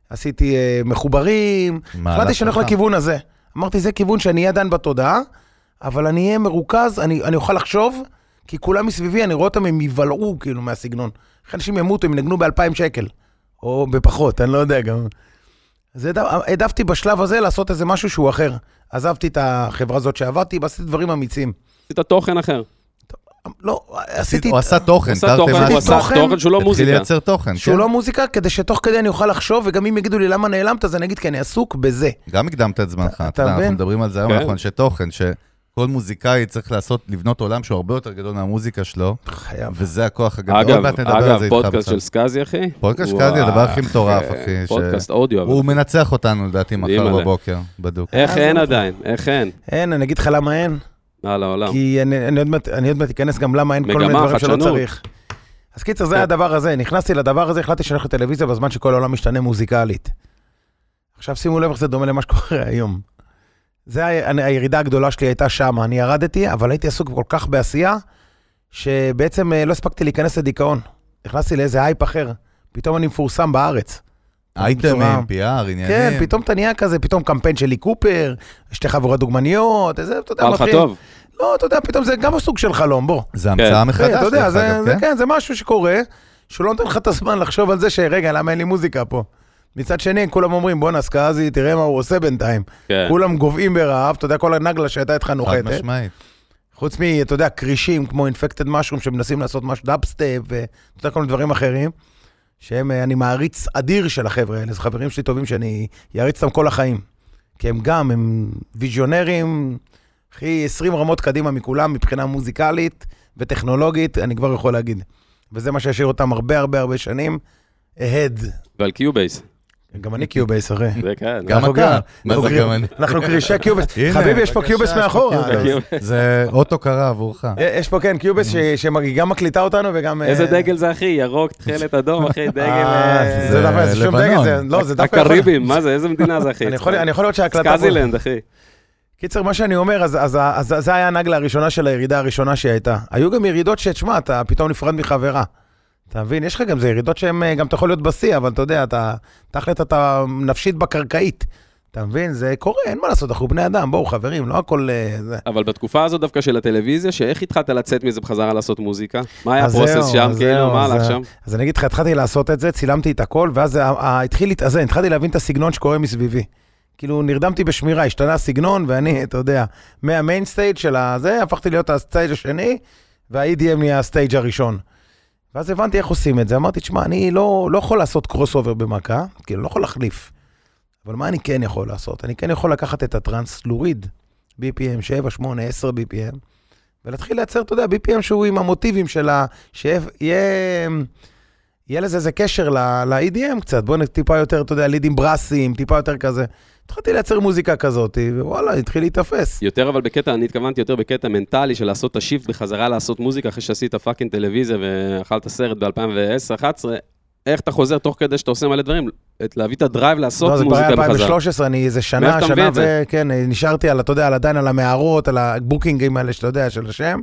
עשיתי אה, מחוברים,
מהלך
החלטתי שאני הולך
חכם.
לכיוון הזה. אמרתי, זה כיוון שאני אהיה עדיין בתודעה, אבל אני אהיה מרוכז, אני, אני אוכל לחשוב, כי כולם מסביבי, אני רואה אותם, הם יבלעו כאילו מהסגנון. איך אנשים ימותו, הם ינגנו ב-2,000 שקל, או בפחות, אני לא יודע גם. אז העדפ- העדפתי בשלב הזה לעשות איזה משהו שהוא אחר. עזבתי את החברה הזאת שעבדתי, ועשיתי דברים אמיצים.
עשית תוכן אחר.
לא, עשיתי...
הוא עשה תוכן,
עשה
כן, תרתי
תוכן, הוא
משמע.
עשה
תוכן?
תוכן שהוא לא
התחיל
מוזיקה.
לייצר תוכן, כן.
שהוא לא מוזיקה, כדי שתוך כדי אני אוכל לחשוב, וגם אם יגידו לי למה נעלמת, אז אני אגיד כי אני עסוק בזה.
גם הקדמת את זמנך,
אתה
אתה יודע, אנחנו
מבין?
מדברים על זה היום,
כן.
אנחנו אנשי תוכן, שכל מוזיקאי צריך לעשות, לבנות עולם שהוא הרבה יותר גדול מהמוזיקה שלו,
חייב.
וזה הכוח הגדול. עוד
אגב,
מעט נדבר על זה
אגב,
איתך
פודקאסט
בכלל.
של סקאזי, אחי.
פודקאסט
הוא
קאדי, הדבר הכי
אה,
מטורף,
אה,
אחי, ש-
פודקאסט אודיו. אבל-
הוא מנצח אותנו לדעתי מחר
אימא'לה.
בבוקר, בדוק.
איך
אה,
אין
זה-
עדיין? איך אין? לא,
אין, אני אגיד לך למה אין.
על העולם.
כי אני, אני עוד מעט- אני עוד מעט אכנס גם למה אין כל מיני
מגמה,
דברים שלא
חדשנות. כן.
צריך. אז קיצר, זה הדבר הזה. נכנסתי לדבר הזה, החלטתי שאני הולך לטלוויזיה בזמן שכל העולם משתנה מוזיקלית. עכשיו שימו לב איך זה דומה למה שקורה [LAUGHS] היום. זה ה- אני- הירידה הגדולה שלי הייתה שמה. אני ירדתי, אבל הייתי עסוק כל כך בעשייה, שבעצם אה, לא הספקתי להיכנס לדיכאון. נכנסתי לאיזה הייפ אחר. פתאום אני מפורסם בארץ. בצורה-
אייטמים, PR, עניינים.
כן, פתאום אתה נהיה כזה, פתאום קמפיין שלי קופר, שתי חבורות דוגמניות, איזה, אתה יודע,
בא לך
מתחיל-
טוב?
לא, אתה יודע, פתאום זה גם סוג של חלום, בוא.
זה המצאה
כן.
מחדש,
כן, אתה יודע,
דרך
זה,
אגב,
זה,
כן?
כן, זה משהו שקורה, שהוא לא נותן לך את הזמן לחשוב על זה שרגע, למה אין לי מוזיקה פה? מצד שני, כולם אומרים, בואנה, סקאזי, תראה מה הוא עושה בינתיים.
כן.
כולם גוועים ברעב, אתה יודע, כל הנגלה שהייתה איתך
חד
נוחתת.
משמעית.
חוץ מ, אתה יודע, כרישים כמו אינפקטד משרום, שמנסים לעשות משהו דאפסטפ, ואתה יודע, כל מיני דברים אחרים, שהם, אה, אני מעריץ אדיר של החבר'ה האלה, זה חברים שלי טובים שאני אעריץ אותם כל החיים. כי הם גם, הם ויז'ונרים, הכי 20 רמות קדימה מכולם מבחינה מוזיקלית וטכנולוגית, אני כבר יכול להגיד. וזה מה שישאיר אותם הרבה הרבה הרבה שנים, אהד.
ועל קיובייס.
גם אני קיובייס, אחי.
זה כן.
גם
אנחנו
אתה.
גם-
מה זה גם אני?
אנחנו
[LAUGHS]
קרישי קיובייס.
הנה,
חביבי, יש פה
בבקשה,
קיובייס
יש פה
מאחורה.
קיובייס.
אז-
זה אות הוקרה עבורך.
יש פה כן קיובס שגם מקליטה אותנו וגם...
איזה
אה,
דגל זה, אחי? ירוק, תכלת, אדום,
[LAUGHS]
אחי, דגל...
אה,
אה,
זה
זה
דווקא, זה שום
לבנון.
דגל, זה- לא, זה דווקא... יכול-
הקריבים, מה זה? איזה מדינה זה, אחי?
אני יכול אני יכול להיות שההקלטה... פה-
סקאזילנד, אחי.
קיצר, מה שאני אומר, אז- אז ה- אז זה היה הנגלה הראשונה של הירידה הראשונה שהייתה. היו גם ירידות שתשמע, אתה פתאום נפרד מחברה. אתה מבין? יש לך גם, זה ירידות שהן, אה, גם אתה יכול להיות בשיא, אבל אתה יודע, אתה תכלת אתה נפשית בקרקעית. אתה מבין? זה קורה, אין מה לעשות, אנחנו בני אדם, בואו חברים, לא הכל... אה, זה.
אבל בתקופה הזאת דווקא של הטלוויזיה, שאיך התחלת לצאת מזה בחזרה לעשות מוזיקה? מה היה
אז זהו,
הפרוסס שם,
אז
כאילו,
זהו,
מה
אז
הלך
זה-
שם?
אז אני אגיד לך, התחלתי לעשות את זה, צילמתי את הכל, ואז זה, ה- ה- התחיל להתאזן, התחלתי להבין את הסגנון שקורה מסביבי. כאילו, נרדמתי בשמירה, השתנה הסגנון, ואני, אתה יודע, מהמיין סטייג' של הזה, הפכתי להיות הסטייג' השני, וה-EDM נהיה הסטייג' הראשון. ואז הבנתי איך עושים את זה, אמרתי, תשמע, אני לא, לא יכול לעשות קרוס אובר במכה, כאילו, לא יכול להחליף. אבל מה אני כן יכול לעשות? אני כן יכול לקחת את הטרנס, להוריד BPM 7, 8, 10 BPM, ולהתחיל לייצר, אתה יודע, BPM שהוא עם המוטיבים של ה... שיהיה... יהיה לזה איזה קשר ל- ל-EDM קצת, בוא נ- טיפה יותר, אתה יודע, לידים ברסים, טיפה יותר כזה. התחלתי לייצר מוזיקה כזאת, ווואלה, התחיל להיתפס.
יותר אבל בקטע, אני התכוונתי יותר בקטע מנטלי של לעשות את השיפט בחזרה לעשות מוזיקה אחרי שעשית פאקינג טלוויזיה ואכלת סרט ב-2010-2011, איך אתה חוזר תוך כדי שאתה עושה מלא דברים, את- להביא את הדרייב לעשות
לא, זה כבר היה
מוזיקה בחזרה.
2013, אני איזה
מאיפה
שנה,
אתה
שנה
מביא את זה?
ו... כן, נשארתי על, אתה יודע, על עדיין על המערות, על הבוקינגים האלה, שאתה יודע, של השם.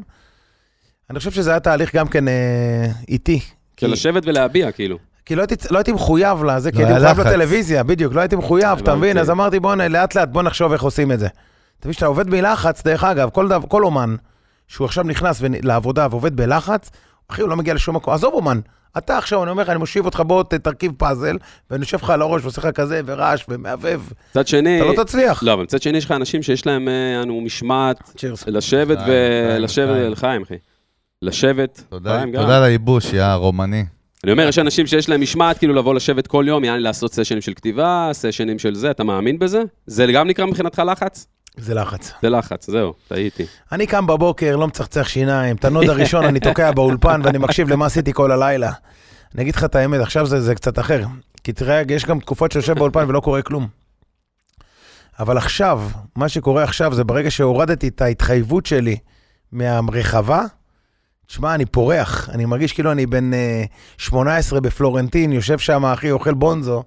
אני חושב שזה היה תהליך גם כן אה, איטי.
של
כי-
לשבת ולהביע, כאילו.
כי לא הייתי, לא הייתי מחויב לזה, כי
לא
הייתי
היה
מחויב
לחץ.
לטלוויזיה, בדיוק, לא הייתי מחויב, אתה
הבנתי.
מבין? אז אמרתי, בוא'נה, לאט לאט, בוא נחשוב איך עושים את זה. אתה מבין שאתה עובד בלחץ, דרך אגב, כל, דו, כל אומן שהוא עכשיו נכנס ונ- לעבודה ועובד בלחץ, אחי, הוא לא מגיע לשום מקום. עזוב אומן, אתה עכשיו, אני אומר לך, אני מושיב אותך, בוא ת- תרכיב פאזל, ואני יושב לך על הראש ועושה לך כזה, ורעש, ומעבב,
מצד שני...
אתה לא תצליח.
לא, אבל מצד שני יש לך אנשים שיש להם, אה, אנו, משמעת,
צ'ירס.
לשבת ו...
חיים,
לשבת,
חיים.
לחיים, אחי. לשבת,
תודה,
חיים גם.
תודה לייבוש, יא רומני.
אני אומר, יש אנשים שיש להם משמעת, כאילו לבוא לשבת כל יום, יעני לעשות סשנים של כתיבה, סשנים של זה, אתה מאמין בזה? זה גם נקרא מבחינתך לחץ?
זה לחץ.
זה לחץ, זהו, טעיתי.
אני קם בבוקר, לא מצחצח שיניים, את הנוד הראשון אני תוקע באולפן ואני מקשיב למה עשיתי כל הלילה. אני אגיד לך את האמת, עכשיו זה, זה קצת אחר. כי תראה, יש גם תקופות שיושב באולפן ולא קורה כלום. אבל עכשיו, מה שקורה עכשיו זה ברגע שהורדתי את ההתחייבות שלי מהרחבה, תשמע, אני פורח, אני מרגיש כאילו אני בן אה, 18 בפלורנטין, יושב שם, אחי, אוכל בונזו,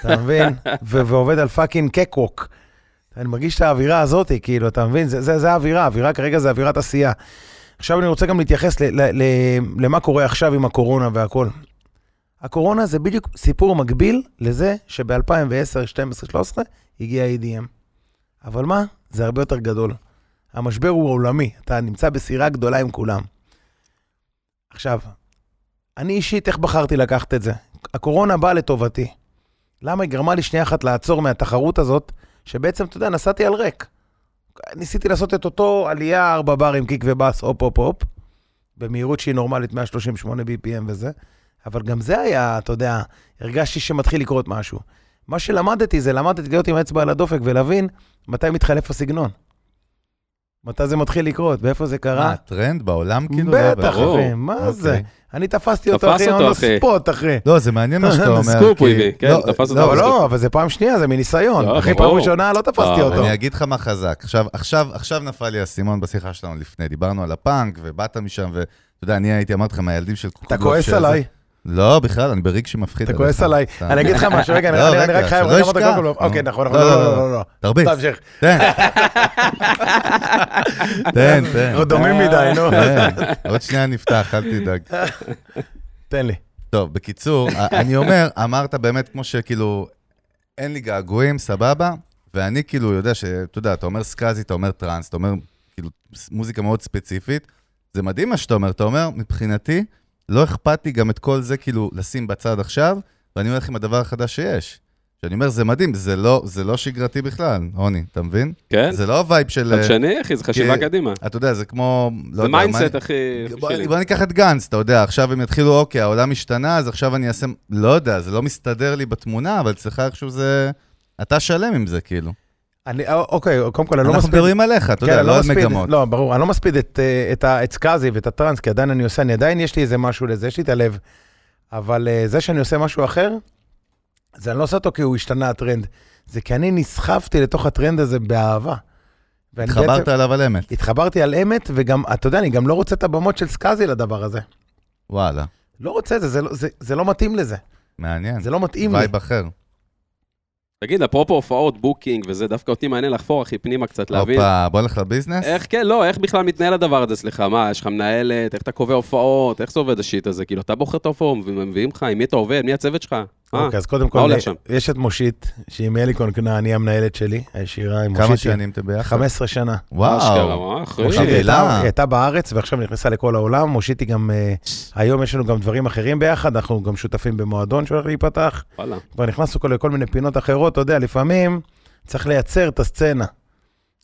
אתה מבין? ו- ועובד על פאקינג קקווק. אני מרגיש את האווירה הזאת, כאילו, אתה מבין? זה, זה, זה האווירה, האווירה כרגע זה אווירת עשייה. עכשיו אני רוצה גם להתייחס ל, ל, ל, למה קורה עכשיו עם הקורונה והכל. הקורונה זה בדיוק סיפור מקביל לזה שב-2010, 2012, 2013 הגיע EDM. אבל מה? זה הרבה יותר גדול. המשבר הוא עולמי, אתה נמצא בסירה גדולה עם כולם. עכשיו, אני אישית, איך בחרתי לקחת את זה? הקורונה באה לטובתי. למה היא גרמה לי שנייה אחת לעצור מהתחרות הזאת, שבעצם, אתה יודע, נסעתי על ריק. ניסיתי לעשות את אותו עלייה, ארבע ברים, קיק ובאס, הופ, הופ, הופ, במהירות שהיא נורמלית, 138 BPM וזה, אבל גם זה היה, אתה יודע, הרגשתי שמתחיל לקרות משהו. מה שלמדתי זה, למדתי להיות עם האצבע על הדופק ולהבין מתי מתחלף הסגנון. מתי זה מתחיל לקרות, ואיפה זה
מה,
קרה.
הטרנד בעולם כאילו? לא,
בטח,
ברור.
אחי, מה זה?
אוקיי.
אני תפסתי אותו,
תפס
אחי,
אותו,
on the
אחי.
spot, אחי.
לא, זה מעניין
אה,
מה שאתה אומר.
סקופ הוא
כי-
הביא, כן,
לא,
תפס אותו
לא,
אבל
בסקופ.
לא, אבל זה פעם שנייה, זה מניסיון.
לא,
אחי, פעם
ברור.
ראשונה לא תפסתי
אה,
אותו.
אני אגיד לך מה חזק. עכשיו, עכשיו, עכשיו נפל לי האסימון בשיחה שלנו לפני. דיברנו על הפאנק, ובאת משם, ואתה יודע, אני הייתי, אמרתי לך, מהילדים של
אתה
קוקודוב
כועס
שזה-
עליי,
לא, בכלל, אני בריג שמפחיד.
אתה כועס עליי. אני אגיד לך משהו, רגע,
לא,
אני- אני
רגע,
רק חייב
שלא
רגע אמרת
ישכח.
קוקולוב.
נו.
אוקיי, נכון,
לא,
נכון, לא,
לא,
לא, לא, לא.
תרביץ.
תמשיך. [LAUGHS]
תן, תן, תן.
עוד דומים מדי, נו.
כן, עוד שנייה נפתח, אל תדאג.
תן לי.
טוב,
[LAUGHS]
בקיצור, אני אומר, אמרת באמת כמו שכאילו, אין לי געגועים, סבבה, ואני כאילו יודע שאתה יודע, אתה אומר סקאזי, אתה אומר טראנס, אתה אומר כאילו ס- מוזיקה מאוד ספציפית, זה מדהים מה שאתה אומר, אתה אומר, מבחינתי, לא אכפת לי גם את כל זה כאילו לשים בצד עכשיו, ואני הולך עם הדבר החדש שיש. שאני אומר, זה מדהים, זה לא, זה לא שגרתי בכלל, רוני, אתה מבין?
כן?
זה לא הווייב של... אה,
חדשני, אחי, זה חשיבה
כי-
קדימה.
אתה יודע, זה כמו... לא
זה
יודע, מה
מיינדסט,
אני-
אחי. אה, שלי.
בוא, בוא ניקח את גנץ, אתה יודע, עכשיו הם יתחילו, אוקיי, העולם השתנה, אז עכשיו אני אעשה... לא יודע, זה לא מסתדר לי בתמונה, אבל אצלך איכשהו זה... אתה שלם עם זה, כאילו.
אני- אה, אוקיי, קודם כל, אני לא
אנחנו
מספיד.
מדברים עליך, אתה
כן,
יודע,
אני
לא על
מספיד-
מגמות.
לא, ברור, אני לא מספיד את, אה, את ה- את סקאזי ואת הטראנס, כי עדיין אני עושה, אני עדיין יש לי איזה משהו לזה, יש לי את הלב. אבל אה, זה שאני עושה משהו אחר, זה אני לא עושה אותו כי הוא השתנה הטרנד, זה כי אני נסחפתי לתוך הטרנד הזה באהבה. ואני
התחברת
בעצם-
אליו על אמת.
התחברתי על אמת, וגם, אתה יודע, אני גם לא רוצה את הבמות של סקאזי לדבר הזה.
וואלה,
לא רוצה את זה, זה לא, זה, זה לא מתאים לזה.
מעניין.
זה לא מתאים לי.
כן. וייב אחר.
תגיד, אפרופו הופעות, בוקינג וזה, דווקא אותי מעניין לחפור, אחי, פנימה קצת, להבין.
הופה, בוא נלך לביזנס?
איך כן, לא, איך בכלל מתנהל הדבר הזה, סליחה, מה, יש לך מנהלת, איך אתה קובע הופעות, איך זה עובד השיט הזה, כאילו, אתה בוחר את ההופעות, מביאים לך, עם מי אתה עובד, מי הצוות שלך? אה,
אוקיי, אז קודם
מה
כל,
הולך שם?
יש את מושית, שהיא מאליקון כנען, היא המנהלת שלי, הישירה עם מושית.
כמה שנים אתם ביחד?
15 שנה.
אשכרה,
וואו.
מה, אחי.
משה,
מושית היא הייתה-
פעילה.
היא הייתה בארץ ועכשיו נכנסה לכל העולם. מושית היא גם, אה, היום יש לנו גם דברים אחרים ביחד, אנחנו גם שותפים במועדון שהולך להיפתח.
וואלה.
כבר נכנסנו כל- לכל מיני פינות אחרות, אתה יודע, לפעמים צריך לייצר את הסצנה.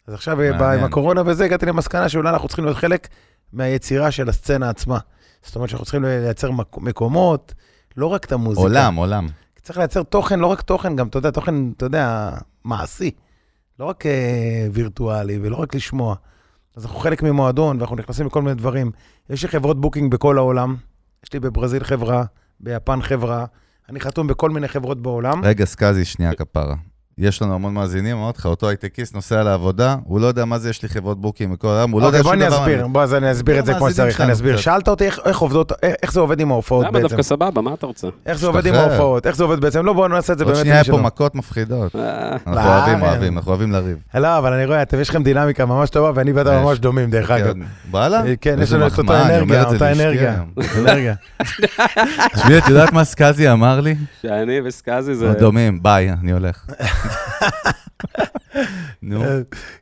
אז עכשיו אה, בא
מעניין.
עם הקורונה וזה, הגעתי למסקנה שאולי אנחנו צריכים להיות חלק מהיצירה של הסצנה עצמה. זאת אומרת שאנחנו צריכים לייצר מק- מקומות, לא רק את המוזיקה.
עולם, עולם.
צריך לייצר תוכן, לא רק תוכן, גם, אתה יודע, תוכן, אתה יודע, מעשי. לא רק אה, וירטואלי ולא רק לשמוע. אז אנחנו חלק ממועדון ואנחנו נכנסים לכל מיני דברים. יש לי חברות בוקינג בכל העולם. יש לי בברזיל חברה, ביפן חברה. אני חתום בכל מיני חברות בעולם.
רגע, סקאזי, שנייה כפרה. יש לנו המון מאזינים, אמרתי לך, אותו הייטקיסט נוסע לעבודה, הוא לא יודע מה זה, יש לי חברות בוקים וכל העולם, הוא לא יודע
אוקיי, בוא
שום
אני
דבר. לא,
אסביר, בוא אז אני אסביר את זה כמו
המאזינים
שצריך, אני
שלנו
אסביר.
קצת.
שאלת אותי איך- איך עובדות, איך- איך זה עובד עם ההופעות
למה
בעצם.
דווקא סבבה, מה אתה רוצה?
איך זה עובד עם
משתחרר.
ההופעות, איך זה עובד בעצם. לא, בואו נעשה את זה
עוד
באמת.
שנייה
למי
יהיה פה
שלא.
מכות מפחידות.
אה,
אנחנו
לא,
אוהבים,
אה,
אוהבים, אנחנו אוהבים לריב.
לא, אבל אני רואה, אתם, יש לכם דינמיקה ממש טובה, ואני ואתה
יש.
ממש דומים, דרך
[LAUGHS]
אגב.
כן, וואלה?
אה, כן, יש
איזה
לנו את
מחמאה,
אותה
אני אומר
אנרגיה,
את זה
אותה
לאשתי
אנרגיה.
היום.
אנרגיה. [LAUGHS]
תשמעי, את יודעת מה סקאזי אמר לי?
שאני וסקאזי זה...
[LAUGHS]
דומים, ביי, אני הולך. נו,
אה,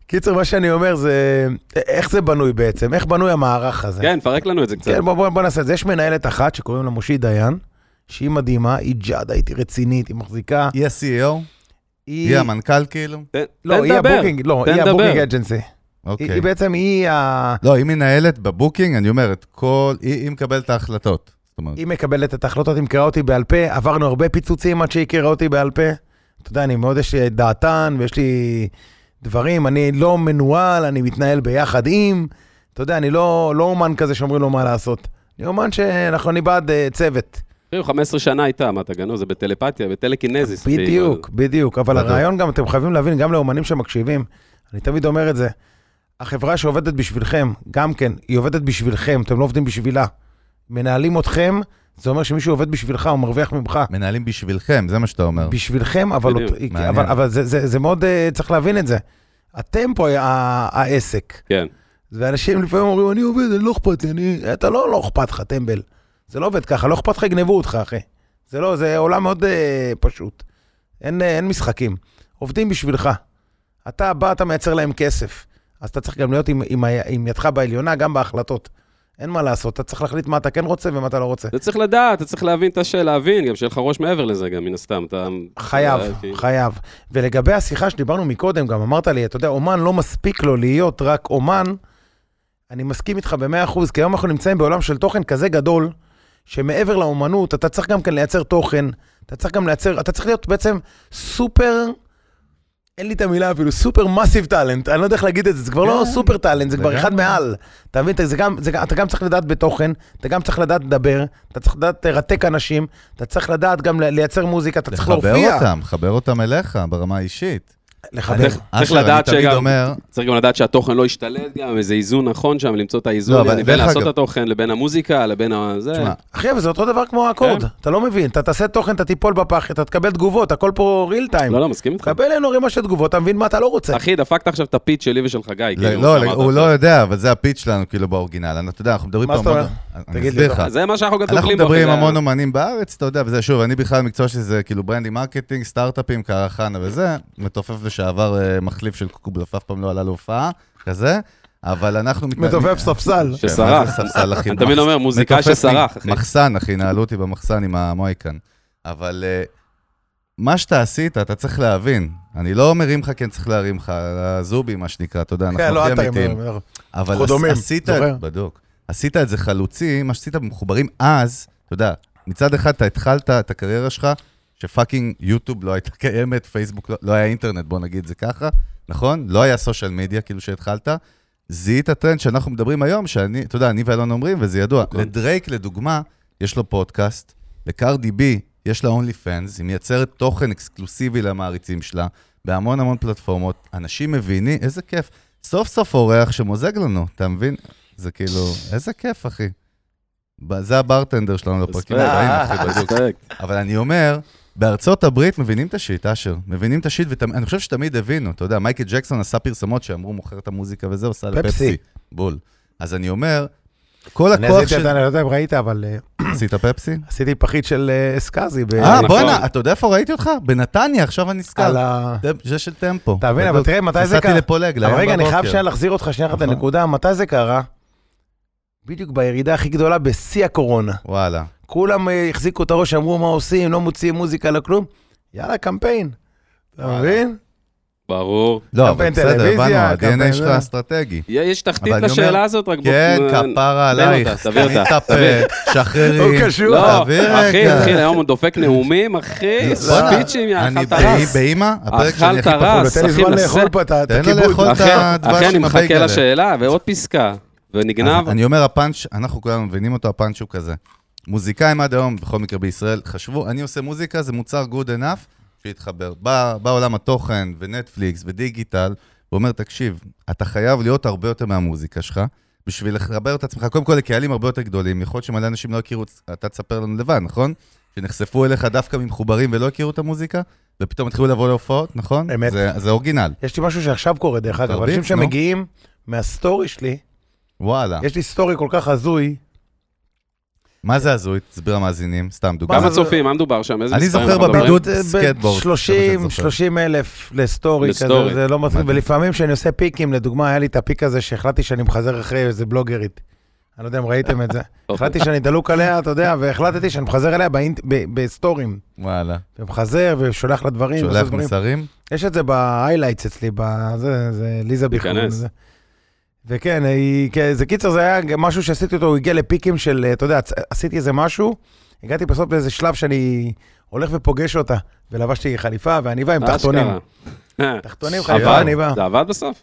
קיצר, מה שאני אומר זה, איך זה בנוי בעצם? איך בנוי המערך הזה?
כן, פרק לנו את זה קצת.
כן, בוא, בוא, בוא נעשה את זה. יש מנהלת אחת שקוראים לה מושי דיין, שהיא מדהימה, היא ג'אדה, היא רצינית, היא מחזיקה.
היא ה-CEO? היא המנכ"ל כאילו?
תן
לא,
תן
היא
לדבר.
הבוקינג, לא,
תן
היא
לדבר.
הבוקינג אג'נסי. היא
אוקיי.
היא בעצם, היא ה...
לא, היא מנהלת בבוקינג, אני אומר, את כל... היא היא מקבלת את ההחלטות. זאת אומרת,
היא מקבלת את ההחלטות, היא מכירה אותי בעל פה, עברנו הרבה פיצוצים עד שהיא הכירה אותי בעל פה. אתה יודע, אני מאוד, יש לי דעתן ויש לי דברים, אני לא מנוהל, אני מתנהל ביחד עם. אתה יודע, אני לא, לא אומן כזה שאומרים לו מה לעשות. אני אומן שאנחנו, אני בעד אה, צוות.
תראו, 15 שנה איתה, מה אתה גנוז? זה בטלפתיה, בטלקינזיס. כאילו,
בדיוק, בדיוק. אבל
בדיוק.
הרעיון גם, אתם חייבים להבין, גם לאומנים שמקשיבים, אני תמיד אומר את זה, החברה שעובדת בשבילכם, גם כן, היא עובדת בשבילכם, אתם לא עובדים בשבילה. מנהלים אתכם, זה אומר שמישהו עובד בשבילך, הוא מרוויח ממך.
מנהלים בשבילכם, זה מה שאתה אומר.
בשבילכם, אבל,
בדיוק,
אותו-
מעניין.
אבל, אבל זה, זה, זה מאוד, אה, צריך להבין את זה. אתם פה ה- העסק,
כן.
ואנשים לפעמים אומרים, אני עובד, אני לא אכפת לי, אני... אתה לא, לא אכפת לך, טמבל. זה לא עובד ככה, לא אכפת לך, יגנבו אותך, אחי. זה לא, זה עולם מאוד אה, פשוט. אין, אה, אין משחקים. עובדים בשבילך. אתה בא, אתה מייצר להם כסף. אז אתה צריך גם להיות עם, עם, ה- עם ידך בעליונה, גם בהחלטות. אין מה לעשות, אתה צריך להחליט מה אתה כן רוצה ומה אתה לא רוצה.
אתה צריך לדעת, אתה צריך להבין את השאלה, להבין, גם שיהיה לך ראש מעבר לזה, גם מן הסתם. אתה...
חייב,
אה,
אוקיי.
כי-
חייב. ולגבי השיחה שדיברנו מקודם, גם אמרת לי, אתה יודע, אומן לא מספיק לו להיות רק אומן, אני מסכים איתך במאה אחוז, כי היום אנחנו נמצאים בעולם של תוכן כזה גדול, שמעבר לאומנות, אתה צריך גם כן לייצר תוכן, אתה צריך גם לייצר, אתה צריך להיות בעצם סופר, אין לי את המילה אפילו, סופר מסיב טאלנט, אני לא יודע איך להגיד את זה, זה כבר לא
כן.
סופר טאלנט, זה כבר
לגמרי.
אחד מעל. אתה מבין, אתה- זה גם- זה גם- אתה גם צריך לדעת בתוכן, אתה גם צריך לדעת לדבר, אתה צריך לדעת לרתק אנשים, אתה צריך לדעת גם לייצר מוזיקה, אתה צריך להופיע.
לחבר אותם, חבר אותם אליך ברמה האישית.
לחבר.
צריך
אשר,
לדעת
אני תמיד
שגם-
אומר,
אה.
צריך גם לדעת שהתוכן לא ישתלט גם, איזה איזון נכון שם, למצוא את האיזון,
לא, אבל
יעני, בין
דרך
לעשות
אגב-
את התוכן לבין המוזיקה, לבין ה... זה... לא,
תשמע,
אחי, אבל זה אותו דבר כמו האקורד.
כן.
אתה לא מבין, אתה תעשה תוכן, אתה תיפול בפח, אתה תקבל תגובות, הכל פה real time.
לא, לא, מסכים איתך.
תקבל אין הורים של תגובות, אתה מבין מה אתה לא רוצה.
אחי, דפקת עכשיו את הפיץ שלי ושל חגי. כאילו,
לא,
אמרת.
הוא לא יודע, אבל זה הפיץ שלנו כאילו באורגינל. אני- אתה יודע, אנחנו מדברים
מה
פה
זאת
המון...
אומרת?
אני
תגיד לי
אסביר לך.
אתה.
זה מה שאנחנו גם
אנחנו
דוגלים בו,
מדברים
אחי,
עם
זה-
המון אומנים בארץ, אתה יודע, וזה שוב, אני בכלל מקצוע שזה כאילו ברנדי מרקטינג, סטארט-אפים, קרחנה וזה, מתופף לשעבר אה, מחליף של קוקובלוף, אף פעם לא עלה להופעה, כזה, אבל אנחנו... מת-
מדובב ספסל.
כן, מה זה
שסרח.
ספסל, אחי?
אני תמיד אומר, מוזיקאי
מתופף
שסרח, אחי.
מחסן, אחי, נעלו אותי במחסן עם המויקן. אבל אה, מה שאתה עשית, אתה צריך להבין. אני לא מרים לך כי אני צריך להרים לך, הזובי, מה שנקרא, אתה אה, יודע, אנחנו
כן, לא
הכי
אתה
אמיתיים.
אומר.
אבל עש,
חודומים,
עשית,
זוכר?
בדיוק, עשית את זה חלוצי, מה שעשית במחוברים אז, אתה יודע, מצד אחד אתה התחלת את הקריירה שלך, שפאקינג יוטיוב לא הייתה קיימת, פייסבוק לא, לא היה אינטרנט, בוא נגיד את זה ככה, נכון? לא היה סושיאל מדיה כאילו שהתחלת. זיהית טרנד שאנחנו מדברים היום, שאני, אתה יודע, אני ואלון אומרים, וזה ידוע.
אוקיי.
לדרייק, לדוגמה, יש לו פודקאסט, לקרדי בי יש לה אונלי פאנס, היא מייצרת תוכן אקסקלוסיבי למעריצים שלה, בהמון המון פלטפורמות. אנשים מבינים, איזה כיף. סוף סוף אורח שמוזג לנו, אתה מבין? זה כאילו, איזה כיף, אחי. ב- זה הברטנדר שלנו לפרקים
רספקט.
הבאים, אחי, בדיוק.
רספקט.
אבל אני אומר, בארצות הברית מבינים את השיט, אשר. מבינים את השיט, ואני חושב שתמיד הבינו. אתה יודע, מייקל ג'קסון עשה פרסומות שאמרו, מוכר את המוזיקה וזה, עושה לפפסי.
פפסי.
בול. אז אני אומר, כל
אני
הכוח
עשיתי את
של...
זה, אני לא יודע אם ראית, אבל אה,
עשית פפסי?
עשיתי פחית של אה, סקאזי. ב-
אה,
נכון.
בואנה, אתה יודע איפה ראיתי אותך? בנתניה, עכשיו אני נזכר.
על ה...
טמפ- זה של טמפו.
אתה מבין, אבל תראה, מתי זה
נסעתי
קרה?
לפולג,
אבל
להיום
רגע, אני חייב
בבוקר.
שנייה להחזיר אותך שנייה אחת
נכון.
לנקודה, מתי זה קרה? בדיוק בירידה הכי גדולה בשיא הקורונה.
וואלה.
כולם אה, החזיקו את הראש, אמרו מה עושים, לא מוציאים מוזיקה, לא כלום. יאללה, קמפיין. אתה
וואלה.
מבין?
ברור.
לא, אבל
קמפיין
בסדר, הבנו,
טלוויזיה,
ה-DNA
קמפיין
שלך
זה.
אסטרטגי.
יש תחתית
אבל אני אומר-
לשאלה הזאת, רק בוא... לא,
כן,
נ-
כפרה
תן אותה,
עלייך.
תביא אותה,
תמיד את הפה, שחררי.
הוא קשור.
לא,
תביא
אחי,
רגע.
אחי, היום הוא דופק נאומים, אחי,
בואנה,
ספיצ'ים, יא
אני
אכלת
באי-
רס.
באימא, הפרק שאני
אכלת
הכי פחות...
רס.
אבל תן לי
אחי,
זמן
מנסה-
לאכול פה את ה- את
אה, תן לו
הכיבוד.
לאכול את
אחי,
הדבש
אחי, אני
עם
מחכה
הבייגלה.
לשאלה, ועוד פסקה, ונגנב.
אז אני אומר, הפאנץ', אנחנו כולנו מבינים אותו, הפאנץ' הוא כזה. מוזיקאים עד היום, בכל מקרה בישראל, חשבו, אני עושה מוזיקה, זה מוצר good enough שיתחבר. בא בא עולם התוכן ונטפליקס ודיגיטל, ואומר, תקשיב, אתה חייב להיות הרבה יותר מהמוזיקה שלך, בשביל לחבר את עצמך, קודם כל לקהלים הרבה יותר גדולים, יכול להיות שמלא אנשים לא הכירו, אתה תספר לנו לבד, נכון? שנחשפו אליך דווקא ממחוברים ולא הכירו את המוזיקה, ופתאום התחילו לבוא להופעות, נכון?
אמת.
זה, זה אורגינל.
יש לי משהו שעכשיו קורה, דרך אגב.
תרביץ,
אנשים
נו. אה.
שמגיעים מהסטורי שלי,
וואלה.
יש לי סטורי כל כך הזוי,
מה זה הזוי? תסביר למאזינים, סתם דוגמא.
כמה
זה-
צופים, מה מדובר שם? איזה
אני
מספרים
זוכר
אנחנו מדברים?
בבידוד
אה,
סקייטבורד, זה מה
30,
שאני זוכר.
30 אלף לסטורי
לסטורי.
כזה, זה לא מצחיק.
מדהים.
ולפעמים כשאני עושה פיקים, לדוגמה, היה לי את הפיק הזה שהחלטתי שאני מחזר אחרי איזה בלוגרית. אני לא יודע אם ראיתם את זה. החלטתי שאני דלוק עליה, אתה יודע, והחלטתי שאני מחזר אליה באינט- ב- בסטורים.
וואלה.
ומחזר ושולח לה דברים.
שולח
ועושה דברים.
מסרים?
יש את זה בהיילייטס אצלי, בזה, זה ליזה ביכון.
תיכנס.
זה. וכן, היא, כ- זה קיצר, זה היה גם משהו שעשיתי אותו, הוא הגיע לפיקים של, אה, אתה יודע, צ- עשיתי איזה משהו, הגעתי בסוף לאיזה שלב שאני הולך ופוגש אותה, ולבשתי חליפה ועניבה עם תחתונים.
[LAUGHS]
אשכרה.
תחתונים, חליפה,
עבד?
עניבה.
זה עבד בסוף?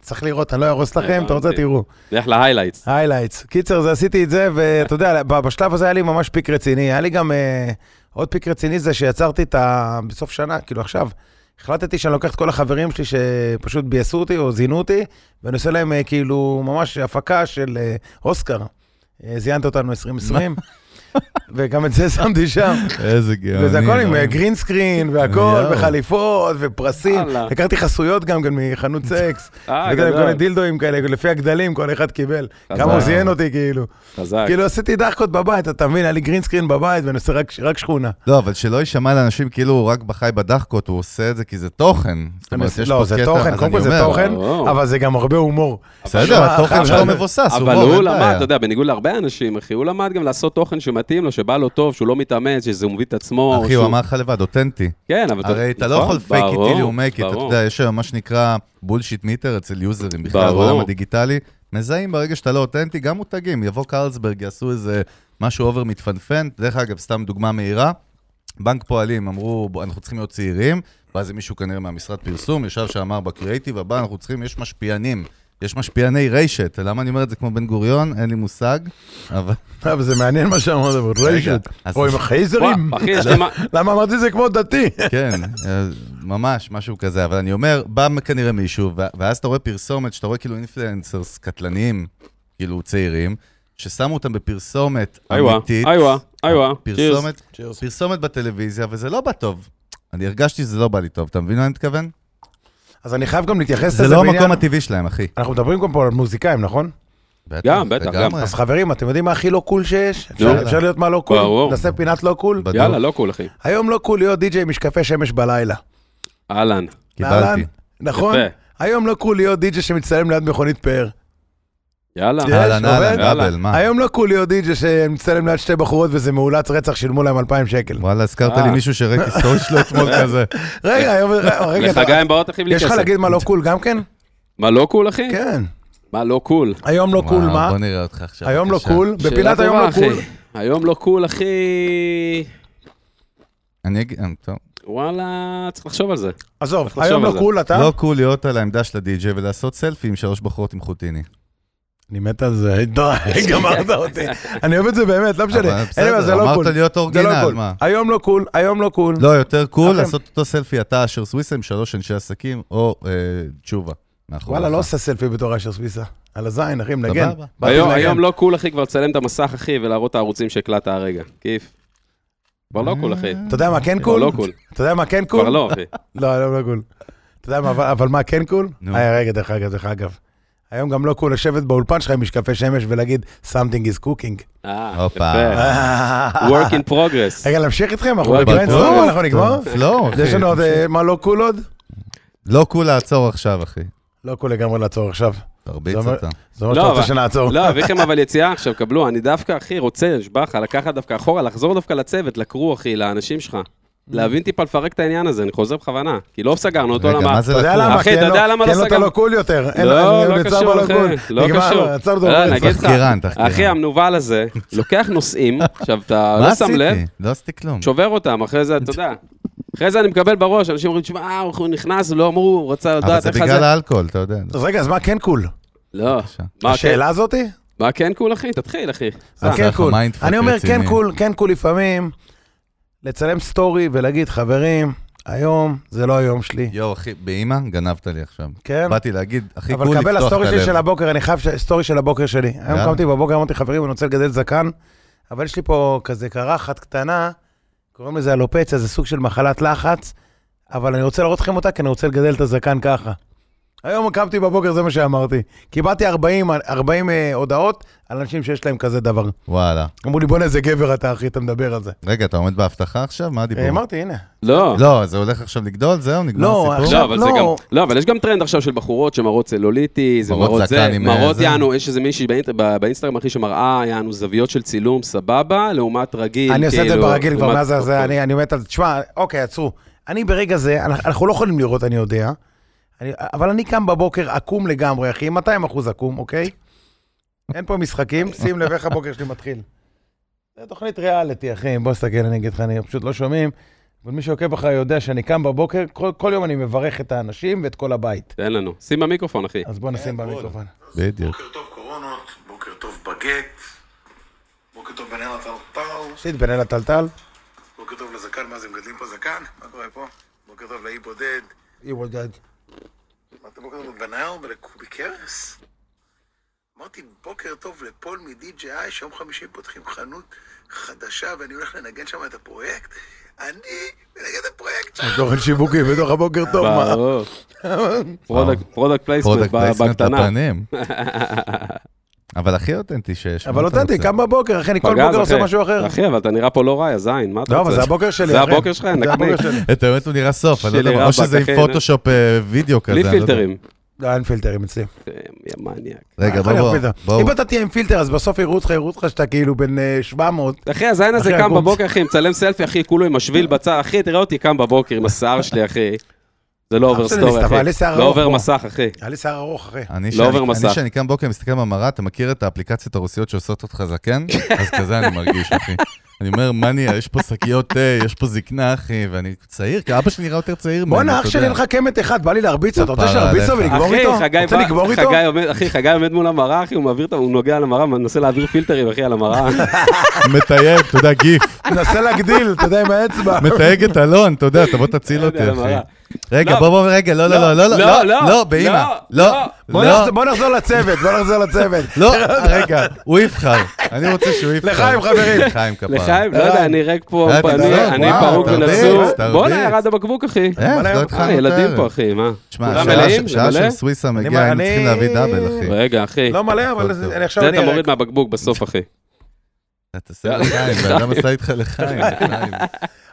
צריך לראות, אני לא ארוס לכם,
הבנתי.
אתה רוצה, תראו.
נלך להיילייטס.
היילייטס. קיצר, זה עשיתי את זה, ואתה יודע, ב- בשלב הזה היה לי ממש פיק רציני. היה לי גם אה, עוד פיק רציני זה שיצרתי את ה... בסוף שנה, כאילו עכשיו, החלטתי שאני לוקח את כל החברים שלי שפשוט ביאסו אותי או זינו אותי, ואני עושה להם אה, כאילו ממש הפקה של אה, אוסקר. אה, זיינת אותנו 2020, וגם את זה [LAUGHS] שמתי שם.
איזה גאוני.
וזה הכל עם
אלוהים.
אה, גרינסקרין והכל,
כן, יואו.
וחליפות ופרסים.
וואלה.
לקחתי חסויות גם כן
[LAUGHS]
מחנות סקס.
אה,
וכאלה, כל מיני
גדול.
דילדואים כאלה, לפי הגדלים כל אחד קיבל.
חזק.
כמה הוא זיין אותי, כאילו.
חזק.
כן,
כאילו עשיתי דחקות בבית, אתה מבין? היה לי גרינסקרין בבית ואני עושה רק- רק שכונה.
לא, אבל שלא יישמע לאנשים כאילו הוא רק בחי בדחקות, הוא עושה את זה כי זה תוכן. זאת אומרת, יש
לא,
פה
זה
קטע,
תוכן,
אז
קודם כל
אני
זה
אומר,
תוכן,
וואו.
אבל זה גם הרבה הומור.
בסדר,
שמע,
התוכן
אבל-
שלו מבוסס, הוא
אבל
רוב, אה, אין
הוא למד,
בעיה.
אתה יודע, בניגוד להרבה אנשים, אחי, הוא למד גם לעשות תוכן שמתאים לו, שבא לו טוב, שהוא לא מתאמץ, שזה מביא את עצמו.
אחי, הוא
שהוא-
אמר לך לבד, אותנטי.
כן, אבל...
הרי אתה לא
נכון,
יכול fake it till
ברור,
you make it, אתה
ברור.
יודע, יש היום מה שנקרא בולשיט מיטר אצל יוזרים בכלל
ברור.
בעולם הדיגיטלי. מזהים ברגע שאתה לא אותנטי, גם מותגים, יבוא קרלסברג, יעשו איזה משהו אובר מתפנפן. דרך אגב, סתם דוגמה מהירה, בנק פועלים אמרו, "בוא, אנחנו צריכים להיות צעירים, ואז מישהו כנראה מהמשרד פרסום, ישב שאמר בקריאיטיב הבא, אנחנו צריכים, יש משפיענים, יש משפיעני רשת. למה אני אומר את זה כמו בן גוריון? אין לי מושג, אבל...
אה, אבל זה מעניין מה שאמרת, אבל
רגע,
רשת.
אז-
או עם החייזרים.
וואו, אחי, יש לי מה...
למה אמרתי זה כמו דתי? [LAUGHS]
כן, אה, ממש, משהו כזה. אבל אני אומר, בא כנראה מישהו, ו- ואז אתה רואה פרסומת, שאתה רואה כאילו אינפלנסרס קטלניים, כאילו צעירים, ששמו אותם בפרסומת
איווה,
אמיתית.
איווה, איווה. צ'ירס.
פרסומת, פרסומת בטלוויזיה, וזה לא בא טוב. אני הרגשתי שזה לא בא לי טוב, אתה מבין מה אני מתכוון?
אז אני חייב גם להתייחס לזה
זה לא המקום הטבעי שלהם, אחי.
אנחנו מדברים גם פה על מוזיקאים, נכון?
בטח,
גם, בטח, גם.
לגמרי.
אז חברים, אתם יודעים מה הכי לא קול שיש? אפשר-
נו.
אפשר להיות מה לא קול?
ברור.
נעשה פינת לא קול?
בדיוק.
יאללה, לא קול, אחי.
היום לא קול להיות די-ג'יי משקפי שמש בלילה.
אהלן.
קיבלתי.
נעלן, נכון?
יפה.
היום לא קול להיות די-ג'יי שמצטלם ליד מכונית פאר.
יאללה.
יש,
אהלן, אהלן,
עובד?
דאבל, מה?
היום לא קול להיות די-ג'יי שמצטלם ליד שתי בחורות וזה מאולץ רצח, שילמו להם 2,000 שקל.
וואלה, הזכרת
אה.
לי מישהו [LAUGHS] שראיתי סטורי שלו
[LAUGHS]
אתמול כזה.
רגע, היום... רגע, אתה-
לחגי הם באות, אחי, בלי
יש לך
כסף.
להגיד מה לא קול גם כן?
מה, לא קול, אחי?
כן.
מה, לא קול?
היום לא קול
וואו,
מה?
בוא נראה אותך עכשיו.
היום לא
בבקשה.
קול?
שאלה
בפינת היום
טובה,
לא קול.
אחי. היום לא קול, אחי.
אני אגיד, אה, טוב.
וואלה, צריך לחשוב על זה.
עזוב,
לחשוב
היום
על
לא
זה.
קול אתה?
לא קול להיות על העמדה של הדי-ג'יי ולעשות סלפי עם שלוש בחורות עם חוטיני.
אני מת על זה, [LAUGHS] די, גמרת אותי. אני אוהב את זה באמת, לא משנה.
אבל
אין לי
בסדר,
בעיה, זה לא קול.
אמרת להיות
זה לא
אורגינל,
קול.
מה?
היום לא קול, היום לא קול.
לא, יותר קול
אוקיי.
לעשות אותו סלפי, אתה אשר סוויסה עם שלוש אנשי עסקים, או אה, תשובה. מאחוריך.
וואלה, לא עושה סלפי בתור אשר סוויסה. על הזין, אחי, מנגן.
סבבה.
באתי
היום-
לנגן.
היום לא קול, אחי, כבר לצלם את המסך, אחי, ולהראות את הערוצים שהקלטת הרגע. כיף. כבר לא קול, אחי.
אתה יודע מה כן
כבר
קול?
לא קול.
אתה יודע מה כן קול?
כבר
[LAUGHS]
לא, אחי.
לא, היום לא קול. אתה יודע מה, אבל- אבל מה כן קול?
נו.
אה, רגע, דרך אגב, דרך אגב. היום גם לא קול לשבת באולפן שלך עם משקפי שמש ולהגיד, something is cooking.
[LAUGHS] אה,
הופה.
יפה. work in
[LAUGHS]
progress.
רגע, נמשיך איתכם, אנחנו
וואי,
בבריינסטורם,
בטוח.
אנחנו נגמור?
לא,
יש לנו עוד,
אחי.
אה, מה לא קול עוד?
לא קול לעצור עכשיו, אחי.
לא קול לגמרי לעצור עכשיו.
תרביץ
זה אומר-
אותה.
זה אומר שאתה
לא,
רוצה
אבל-
שנעצור.
לא, אביא לכם אבל יציאה עכשיו, קבלו, אני דווקא, אחי, רוצה, נשבע לך, לקחת דווקא אחורה, לחזור דווקא לצוות, לקרו, אחי, לאנשים שלך. להבין טיפה לפרק את העניין הזה, אני חוזר בכוונה. כי לא סגרנו אותו,
רגע,
למה?
מה זה
אתה יודע
לקום?
למה?
אחי,
כי אין
אתה
לו-
יודע למה
כי
לא
אין לו את
סגרנו?
הלא קול יותר. אין-
לא,
אני
לא
נעצר
קשור,
בלא קול.
אחי, לא
נגמר,
קשור.
עצרנו.
אה,
ברצף.
נגיד לך,
תחקירן, תחקירן.
אחי, המנוול הזה, לוקח
[LAUGHS]
נושאים, עכשיו, אתה
מה
לא שם לב,
עשיתי? לא עשיתי כלום.
שובר אותם, אחרי זה, אתה יודע. אחרי זה אני מקבל בראש, אנשים אומרים, תשמע, אה, הוא נכנס, לא אמרו, הוא רצה
אבל
לדעת
זה
איך זה...
בגלל האלכוהול, אתה יודע.
אז רגע, אז מה כן קול?
לא.
בבקשה.
מה כן-
השאלה הזאתי?
מה כן קול, אחי? תתחיל, אחי.
אז
אה,
כן
אנחנו
קול.
מיינדפוק
אני אומר, כן
רציני.
קול, כן קול לפעמים, לצלם סטורי ולהגיד, חברים, היום זה לא היום שלי.
יואו, אחי, באימא, גנבת לי עכשיו.
כן?
באתי להגיד, הכי קול
אבל
לפתוח את הלב.
קבל הסטורי שלי של הבוקר, אני חייב ש- סטורי של הבוקר שלי. היום
יאללה.
קמתי בבוקר, אמרתי, חברים, אני רוצה לגדל זקן, אבל יש לי פה כזה קרחת קטנה, קוראים לזה אלופציה, זה סוג של מחלת לחץ, אבל אני רוצה להראות לכם אותה, כי אני רוצה לגדל את הזקן ככה. היום קמתי בבוקר, זה מה שאמרתי. קיבלתי 40, 40 אה, הודעות על אנשים שיש להם כזה דבר.
וואלה.
אמרו לי, בוא'נה, איזה גבר אתה, אחי, אתה מדבר על זה.
רגע, אתה עומד בהבטחה עכשיו? מה הדיבור?
אה, אמרתי, הנה.
לא.
לא, זה הולך עכשיו לגדול? זהו, נגמר
לא,
הסיפור?
עכשיו-
לא, אבל זה גם,
לא.
לא, אבל יש גם טרנד עכשיו של בחורות שמראות צלוליטיס,
מראות
ומראות זה,
זקן עם, אה,
מראות
זה.
יענו, יש איזה מישהי באינט- ב- באינסטגרם, אחי, שמראה יענו זוויות של צילום, סבבה, לעומת רגיל,
אני עושה את זה
כאילו,
ברגיל כבר
לעומת-
מאז הזה, אני אני מת על זה. תשמע, אוקיי, עצרו. אני ברגע זה, אנחנו אנחנו לא יכולים לראות, אני יודע, אני- אבל אני קם בבוקר עקום לגמרי, אחי, 200 אחוז עקום, אוקיי? אין פה משחקים, שים לב איך הבוקר שלי מתחיל. זה תוכנית ריאליטי, אחי, בוא תסתכל, אני אגיד לך, אני פשוט לא שומעים. אבל מי שעוקב אחריי יודע שאני קם בבוקר, כל, כל יום אני מברך את האנשים ואת כל הבית.
תן לנו, שים במיקרופון, אחי.
אז כן, בוא נשים במיקרופון.
בדיוק.
בוקר טוב קורונות, בוקר טוב בגט, בוקר טוב בן יונתן טאו,
עשית בן אלה טלטל,
בוקר טוב לזקן, מה זה, מגדלים פה זקן? מה קורה פה? בוקר טוב לאי בודד, אמרתי בוקר טוב לבנייר ולקובי קרס? אמרתי בוקר טוב לפול מדי.ג'יי, שיום חמישי פותחים חנות חדשה ואני הולך לנגן שם את הפרויקט? אני מנגן את הפרויקט שם!
תוכן שיווקי בתוך הבוקר טוב, לא, מה? [LAUGHS]
ברור. פרודקט- פרודקט פלייסמנט
פרודקט
ב-
פלייסמנט
בקטנה. [LAUGHS]
לפנים. אבל הכי אותנטי שיש.
אבל
מה אתה
אותנטי,
רוצה?
קם בבוקר, אחי, אני כל
פגז,
בוקר עושה
אחי.
משהו אחר.
אחי, אבל אתה נראה פה לא רע, יא זין, מה אתה
לא,
רוצה?
אבל זה הבוקר שלי,
זה
אחי.
הבוקר שלך,
זה הבוקר
נקניק.
שלי.
את האמת, הוא נראה סוף, אני לא
שלי
יודע,
רבאק,
או שזה עם
אחי,
פוטושופ אה, וידאו כזה.
בלי
אני לא יודע.
פילטרים.
כן,
אה,
לא, אין פילטרים אצלי.
יא מניאק.
רגע, בוא,
יכול להיות
בוא,
פילטר. אם
בואו.
אתה תהיה עם פילטר, אז בסוף יראו אותך, יראו אותך שאתה כאילו בן אה, 700.
אחי, הזין הזה
אחי,
קם
הגומץ.
בבוקר, אחי, מצלם סלפי, אחי, כולו עם השביל בצד, אחי, תראה אותי קם בבוקר עם השיער שלי, אחי. זה לא
אח
עובר
שלי
סטורי,
מסתפר, לי שיער
אחי. לא
ארוך,
עובר
בוא.
מסך, אחי.
היה לי שיער ארוך, אחי.
אני
לא עובר
שאני-
מסך.
אני, כשאני קם בוקר, מסתכל במראה, אתה מכיר את האפליקציות הרוסיות שעושות אותך זקן? אז כזה אני מרגיש, אחי. אני אומר, מה נהיה, יש פה שקיות תה, יש פה זקנה, אחי, ואני צעיר, כי אבא שלי נראה יותר צעיר ממני,
בואנה,
אתה
אח שלי אין
יודע.
לך קמת אחד, בא לי להרביץ לו, אתה רוצה
כפרה
שנרביץ לו
עליך.
ונגמור איתו?
חגי
רוצה
בא-
לגמור איתו?
חגי עומד- אחי, חגי עומד מול המראה, אחי, הוא מעביר את ה... הוא נוגע למראה, מנסה להעביר פילטרים, אחי, על
[LAUGHS]
המראה.
מתייג, אתה יודע, גיף.
מנסה להגדיל, אתה יודע, עם האצבע.
מתייג את אלון, אתה יודע, תבוא תציל
לא
אותי,
יודע, למראה.
אחי. רגע,
לא.
בוא, בוא, רגע, לא, לא, לא, לא, לא, לא, לא, באמא. לא,
בוא
לא,
נחזור- בוא נחזור לצוות, בוא נחזור
[LAUGHS]
לצוות.
לא, רגע, הוא יבחר. אני רוצה שהוא יבחר.
לחיים, חברים.
לחיים כפרה.
לחיים, לא יודע, אני ריק פה,
אה, תחזור,
אני-
לא-
אני
וואו,
פרוק
תרביץ,
ונצור.
תרביץ.
בואנה, ירד הבקבוק, אחי.
אה, אז לא
אה,
התחלנו את
ילדים
הערב.
פה, אחי, מה?
תשמע,
כולם
שעה-
מלאים? זה
שעה
מלא?
של סוויסה
אני-
מגיעה, הם
אני-
צריכים להביא דאבל, אחי.
[LAUGHS] רגע, אחי.
לא מלא,
הכל
אבל
טוב.
זה- אני עכשיו
זה אתה
נהיה ריק.
מוריד מהבקבוק בסוף, אחי.
אתה עושה לחיים, בן אדם עשה איתך לחיים. לחיים.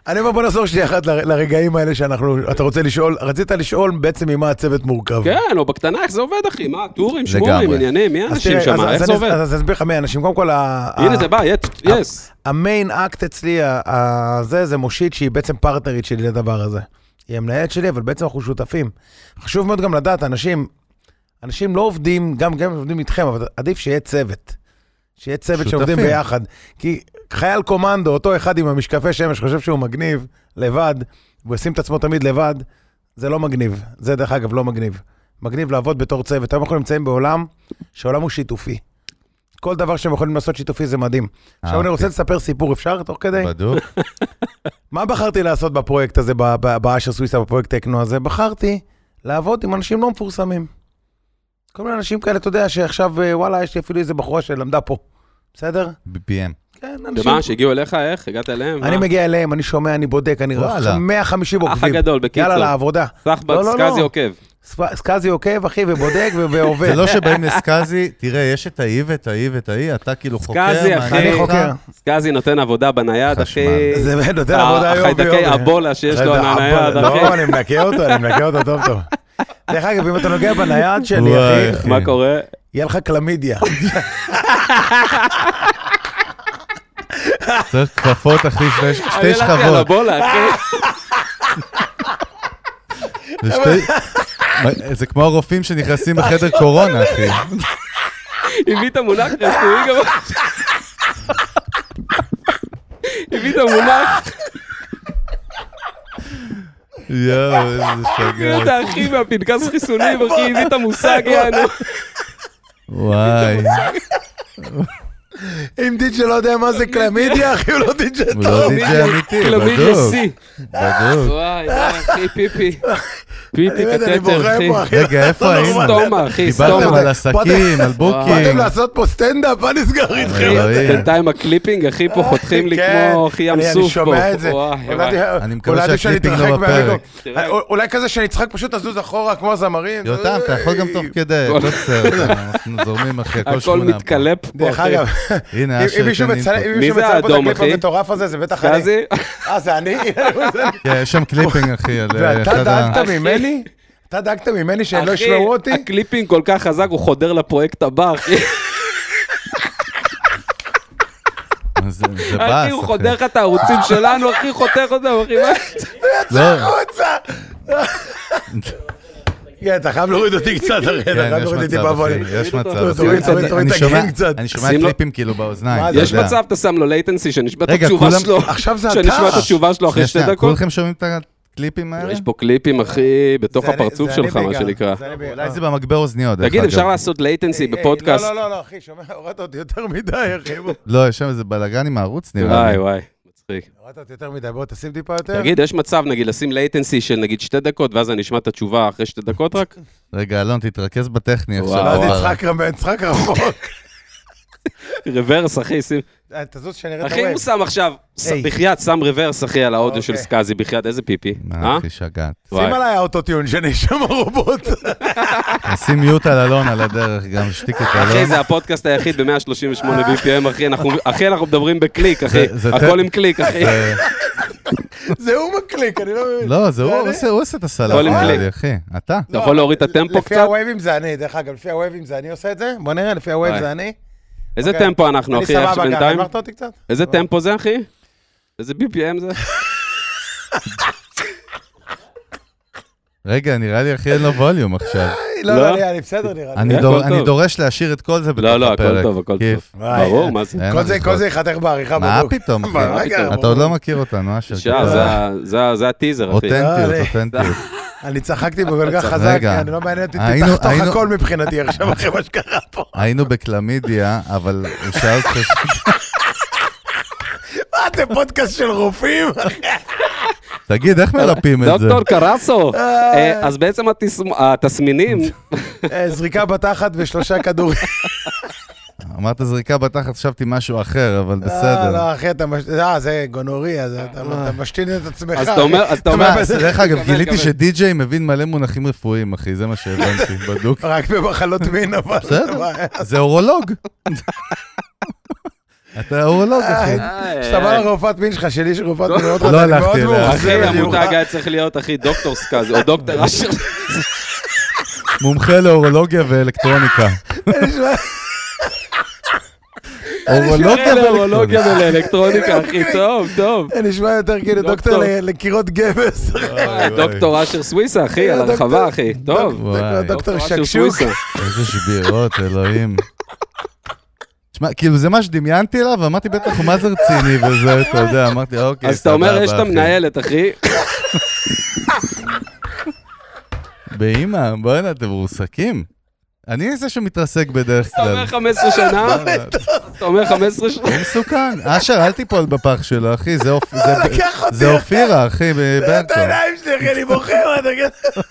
אני אומר, בוא נחזור שנייה אחת ל- לרגעים האלה שאנחנו, אתה רוצה לשאול, רצית לשאול בעצם ממה הצוות מורכב.
כן, או בקטנה, איך זה עובד, אחי? מה, טורים, שמורים,
לגמרי.
עניינים, מי
אז
האנשים
תראה,
שם?
אז-
איך
אז
זה
אני- אה,
עובד?
אז אסביר לך מי האנשים. קודם כל, ה-
הנה
ה-
זה בא, יס.
המיין אקט אצלי, ה- ה- זה, זה מושיט שהיא בעצם פרטנרית שלי לדבר הזה. היא המנהלת שלי, אבל בעצם אנחנו שותפים. חשוב מאוד גם לדעת, אנשים, אנשים לא עובדים, גם גם אם עובדים איתכם, אבל עדיף שיהיה צוות. שיהיה צוות
שותפים.
שעובדים ביחד. כי חייל קומנדו, אותו אחד עם המשקפי שמש, חושב שהוא מגניב, לבד, והוא ישים את עצמו תמיד לבד, זה לא מגניב. זה דרך אגב לא מגניב. מגניב לעבוד בתור צוות. היום אנחנו נמצאים בעולם שהעולם הוא שיתופי. כל דבר שהם יכולים לעשות שיתופי זה מדהים. עכשיו אני
אוקיי.
רוצה לספר סיפור, אפשר תוך כדי?
בדוק.
מה בחרתי לעשות בפרויקט הזה, ב- ב- באשר סוויסה, בפרויקט טכנו הזה? בחרתי לעבוד עם אנשים לא מפורסמים. כל מיני אנשים כאלה, אתה יודע, שעכשיו, אה, וואלה, יש לי אפילו איזה בחורה שלמדה פה, בסדר?
BPM.
כן,
ומה,
אנשים.
שהגיעו אליך, איך? הגעת אליהם?
אני
מה?
מגיע אליהם, אני שומע, אני בודק, אני
וואלה.
150
אח
עוקבים.
הגדול, בקיצור.
יאללה, לעבודה.
סחבק,
לא, לא, לא.
סקאזי עוקב.
ספ- סקאזי עוקב, אחי, ובודק ו- ועובד.
זה לא שבאים לסקאזי, תראה, יש את ההיא ואת ההיא ואת ההיא, אתה כאילו חוקר,
סקאזי, אחי.
מעניין
אני
אותך.
חוקר.
סקאזי נותן עבודה בנייד, אחי.
חשמל.
זה נותן
אה,
ה-
עבודה יום ביום.
החיידקי הבולה שיש לו על הנייד,
לא,
אחי.
אני מנקה אותו, אני מנקה אותו טוב טוב. דרך אגב, אם אתה נוגע בנייד שלי,
וואי,
אחי,
אחי.
מה קורה?
יהיה לך קלמידיה.
צריך כפפות, אחי, שתי- שתי
אני הלכתי אה, על
שכבות.
הבולה, אחי. [LAUGHS]
זה שתי- מה, זה כמו הרופאים שנכנסים בחדר קורונה, אחי.
הביא את המונח רפואי גם. [LAUGHS] הביא את
[LAUGHS]
המונח,
יואו, איזה
הביא את
שגר.
האחי מהפנקס חיסונים, אחי,
[LAUGHS]
הביא את המושג, יענו.
וואי,
אם דיג'ה לא יודע מה זה
[LAUGHS]
קלמידיה, אחי, הוא לא דיג'ה
הוא
טוב.
לא דיג'י אמיתי,
כלבים
בדוק.
לשיא.
בדוק.
[LAUGHS]
וואי, וואי, אחי, פיפי. פיטי,
אני מת, אני
קטטר,
בוכה
אחי.
פה, אחי.
רגע, איפה
לא
היינו?
נורמל.
סתומה, אחי,
דיברתם
סתומה.
על עסקים, על
באתם
בוקים.
לעשות פה סטנדאפ, מה נסגר איתכם?
אלוהים.
בינתיים הקליפינג, אחי,
[LAUGHS]
פה חותכים לא- לי
כן.
כמו אחי ים
אני-
סוף פה.
אני שומע את זה.
וואי,
אולי-
וואי.
אני מקווה
אולי עדיף שאני
שהקליפינג לא
אתרחק מהרקורד.
בפרק.
אה, אולי כזה שאני אצחק פשוט לזוז אחורה כמו הזמרים.
יותם, אתה יכול גם תוך כדי, הכל בסדר, אנחנו זורמים אחרי כל
הכל
שמונה. פה.
מתקלף פה,
דרך
אחי. [LAUGHS]
אגב,
הנה,
אם
אשר,
אם מישהו
תן לי
מצלם
אינפוט.
אם
אוקיי. מי זה
מישהו מצלם פה את
האדום,
הקליפ
אחי?
המטורף הזה, זה בטח אני.
חזי,
אה,
[LAUGHS]
זה אני?
כן, יש שם קליפינג, אחי, על אה,
ואתה
אחד ה...
דאגת ממני? אתה דאגת ממני שהם לא
אחי,
ישמעו אותי?
הקליפינג כל כך חזק, הוא חודר לפרויקט הבא,
[LAUGHS]
אחי.
זה זה באס,
אחי, הוא חודר לך את הערוצים שלנו, אחי, חותך אותם, אחי,
[LAUGHS]
מה?
לא, [LAUGHS]
החוצה! כן, אתה חייב להוריד אותי קצת, אחי, אתה
כן,
חייב
יש
להוריד אותי
מצב,
בבונים.
אחי, יש מצב.
תוריד, תוריד, תוריד, תוריד
אני
את הגרין
שומע-
קצת.
אני שומע
שים לו-
קליפים כאילו באוזניים,
מה
אתה
זה?
יודע.
יש מצב, אתה שם לו לייטנסי, שנשמע את
רגע,
התשובה
כולם-
שלו.
עכשיו זה אתה.
שנשמע את התשובה שלו אחרי
שנייה,
שתי
שנייה,
דקות.
כולכם שומעים את הקליפים האלה?
יש פה קליפים, אחי, בתוך
זה אני-
הפרצוף
זה אני
שלך, מה
בעיקר,
שנקרא.
זה אני בעיקר.
אולי זה במגבה אוזניות, דרך
תגיד,
אגב.
אפשר לעשות לייטנסי
היי, היי,
בפודקאסט?
לא, לא, לא, אחי, שומע, הורדת אותי יותר מדי, אחי. בוא.
לא, יש שם איזה בלאגן עם הערוץ, נראה לי.
וואי, וואי, מצחיק.
הורדת אותי יותר מדי, בוא תשים טיפה יותר.
תגיד, יש מצב, נגיד, לשים לייטנסי של נגיד שתי דקות, ואז אני אשמע את התשובה אחרי שתי דקות
[LAUGHS]
רק?
רגע, אלון, תתרכז בטכני
וואו.
עכשיו.
ואז
וואו.
לא, יצחק רמ- יצחק רחוק.
רוורס, אחי, שים...
אה, תזוז שנראה את
אחי,
הווי.
הוא שם עכשיו, ס-
היי.
בחייאת, שם רוורס, אחי, על האודיו של
אוקיי.
סקאזי, בחייאת, איזה פיפי? אה?
מה, אחי, שגעת.
וואי.
שים עליי האוטוטיון [LAUGHS] שאני שם הרובוט.
נשים מיוט על אלון על הדרך, גם שתיק את
אחי,
אלון.
זה הפודקאסט היחיד ב-138
אה.
BPM, אחי, אנחנו- אחי, אנחנו מדברים בקליק, אחי.
זה- זה
הכל
טכ-
עם קליק, אחי.
זה-
זה הוא מקליק, אני לא מבין.
לא, זה הוא
אני-
עושה- הוא עושה את הסלט,
הכל עם
נראה
קליק.
לי, אחי. אתה?
אתה יכול להוריד את הטמפו
לא, לפי
קצת?
הווייבים זה אני, דרך אגב, לפי הווייבים זה אני עושה את זה? בוא נראה, לפי
וואי.
הווייב זה אני.
איזה
אוקיי.
טמפו אנחנו,
אני
אחי, עכשיו
סבבה, גם
בינתיים?
אמרת אותי קצת?
איזה טמפו זה, אחי? איזה BPM
[LAUGHS]
זה?
רגע, נראה לי, אחי, אין לו ווליום עכשיו.
לא,
לא.
לא, אני- אני בסדר נראה לי.
אני
הכל
דור-
טוב.
אני דורש להשאיר את כל זה בתוך
לא,
הפרק.
לא, הכל טוב, הכל
כיף.
טוב.
וואי,
ברור,
אה.
מה זה?
אין
כל
מה
זה-
לעשות.
כל זה ייחתך בעריכה,
מה
ברור.
פתאום, אחי?
מה, רגע,
אתה עוד
ברור.
לא מכיר אותנו, אשר.
שעה, זה- זה- זה הטיזר, אחי.
אותנטיות,
[LAUGHS]
אה,
אותנטיות.
אני צחקתי בו כל כך חזק,
רגע.
אני לא מעניין אותי,
היינו-
תחתוך
היינו-
הכל מבחינתי עכשיו, אחרי מה שקרה
[LAUGHS]
פה.
היינו בקלמידיה, אבל הוא שאל אותך... ש-
מה, זה פודקאסט של רופאים?
תגיד, איך מרפאים את זה?
דוקטור קרסו, [LAUGHS] אה, אז בעצם התסמ- התסמינים,
אה, זריקה בתחת ושלושה כדורים. [LAUGHS]
אמרת זריקה בתחת, חשבתי משהו אחר, אבל
אה,
בסדר. אה.
לא, אחי, אתה מש... אה, זה גונוריה, זה- אתה אתה משתין את עצמך.
אז אתה אומר, אז אתה אומר,
תשמע, אה, דרך אגב,
קבל,
גיליתי
קבל.
שדי-ג'יי מבין מלא מונחים רפואיים, אחי, זה מה
[LAUGHS]
שהבנתי, בדוק.
רק במחלות מין, אבל...
בסדר. זה
[LAUGHS]
אורולוג. אתה אורולוג, אחי.
אה,
אה,
כשאתה בא לרופאת מין שלך, שלי יש רופאת מין מאוד
לא
רזה, אני
הלכתי
מאוד
אליה.
אחי,
מאוכזב. אני
המותג
מוכן-
היה צריך להיות, אחי, דוקטור סקאזי, או [LAUGHS] דוקטור אשר.
מומחה לאורולוגיה
[LAUGHS]
ואלקטרוניקה. אורולוגיה
[LAUGHS] לאורולוגיה
ואלקטרוניקה.
ולאלקטרוניקה, אחי, טוב, טוב.
זה נשמע יותר כאילו
דוקטור.
דוקטור ל- לקירות גבס.
אה, דוקטור אשר סוויסה, אחי, על
דוקטור-
הרחבה, אחי, טוב.
וואי.
דוקטור
אשר
שקשוק.
[LAUGHS] סוויסה.
איזה שבירות, אלוהים. תשמע, כאילו זה מה שדמיינתי אליו, ואמרתי בטח, הוא מה זה רציני וזה, אתה יודע, אמרתי, אוקיי,
אז אתה אומר,
סבבה,
יש את
אחי."
המנהלת, אחי. [LAUGHS]
באמא, בוא'נה, אתם מרוסקים. אני זה שמתרסק בדרך
אתה אומר
כלל.
15 שנה, אתה אומר 15 שנה.
הוא מסוכן. אשר, אל תיפול בפח שלו, אחי, זה אופ- זה-
לקח אותי.
זה אופירה, אחי,
את
בברקו.
העיניים שלי, אחי, אני בוכה, מה אתה גאה?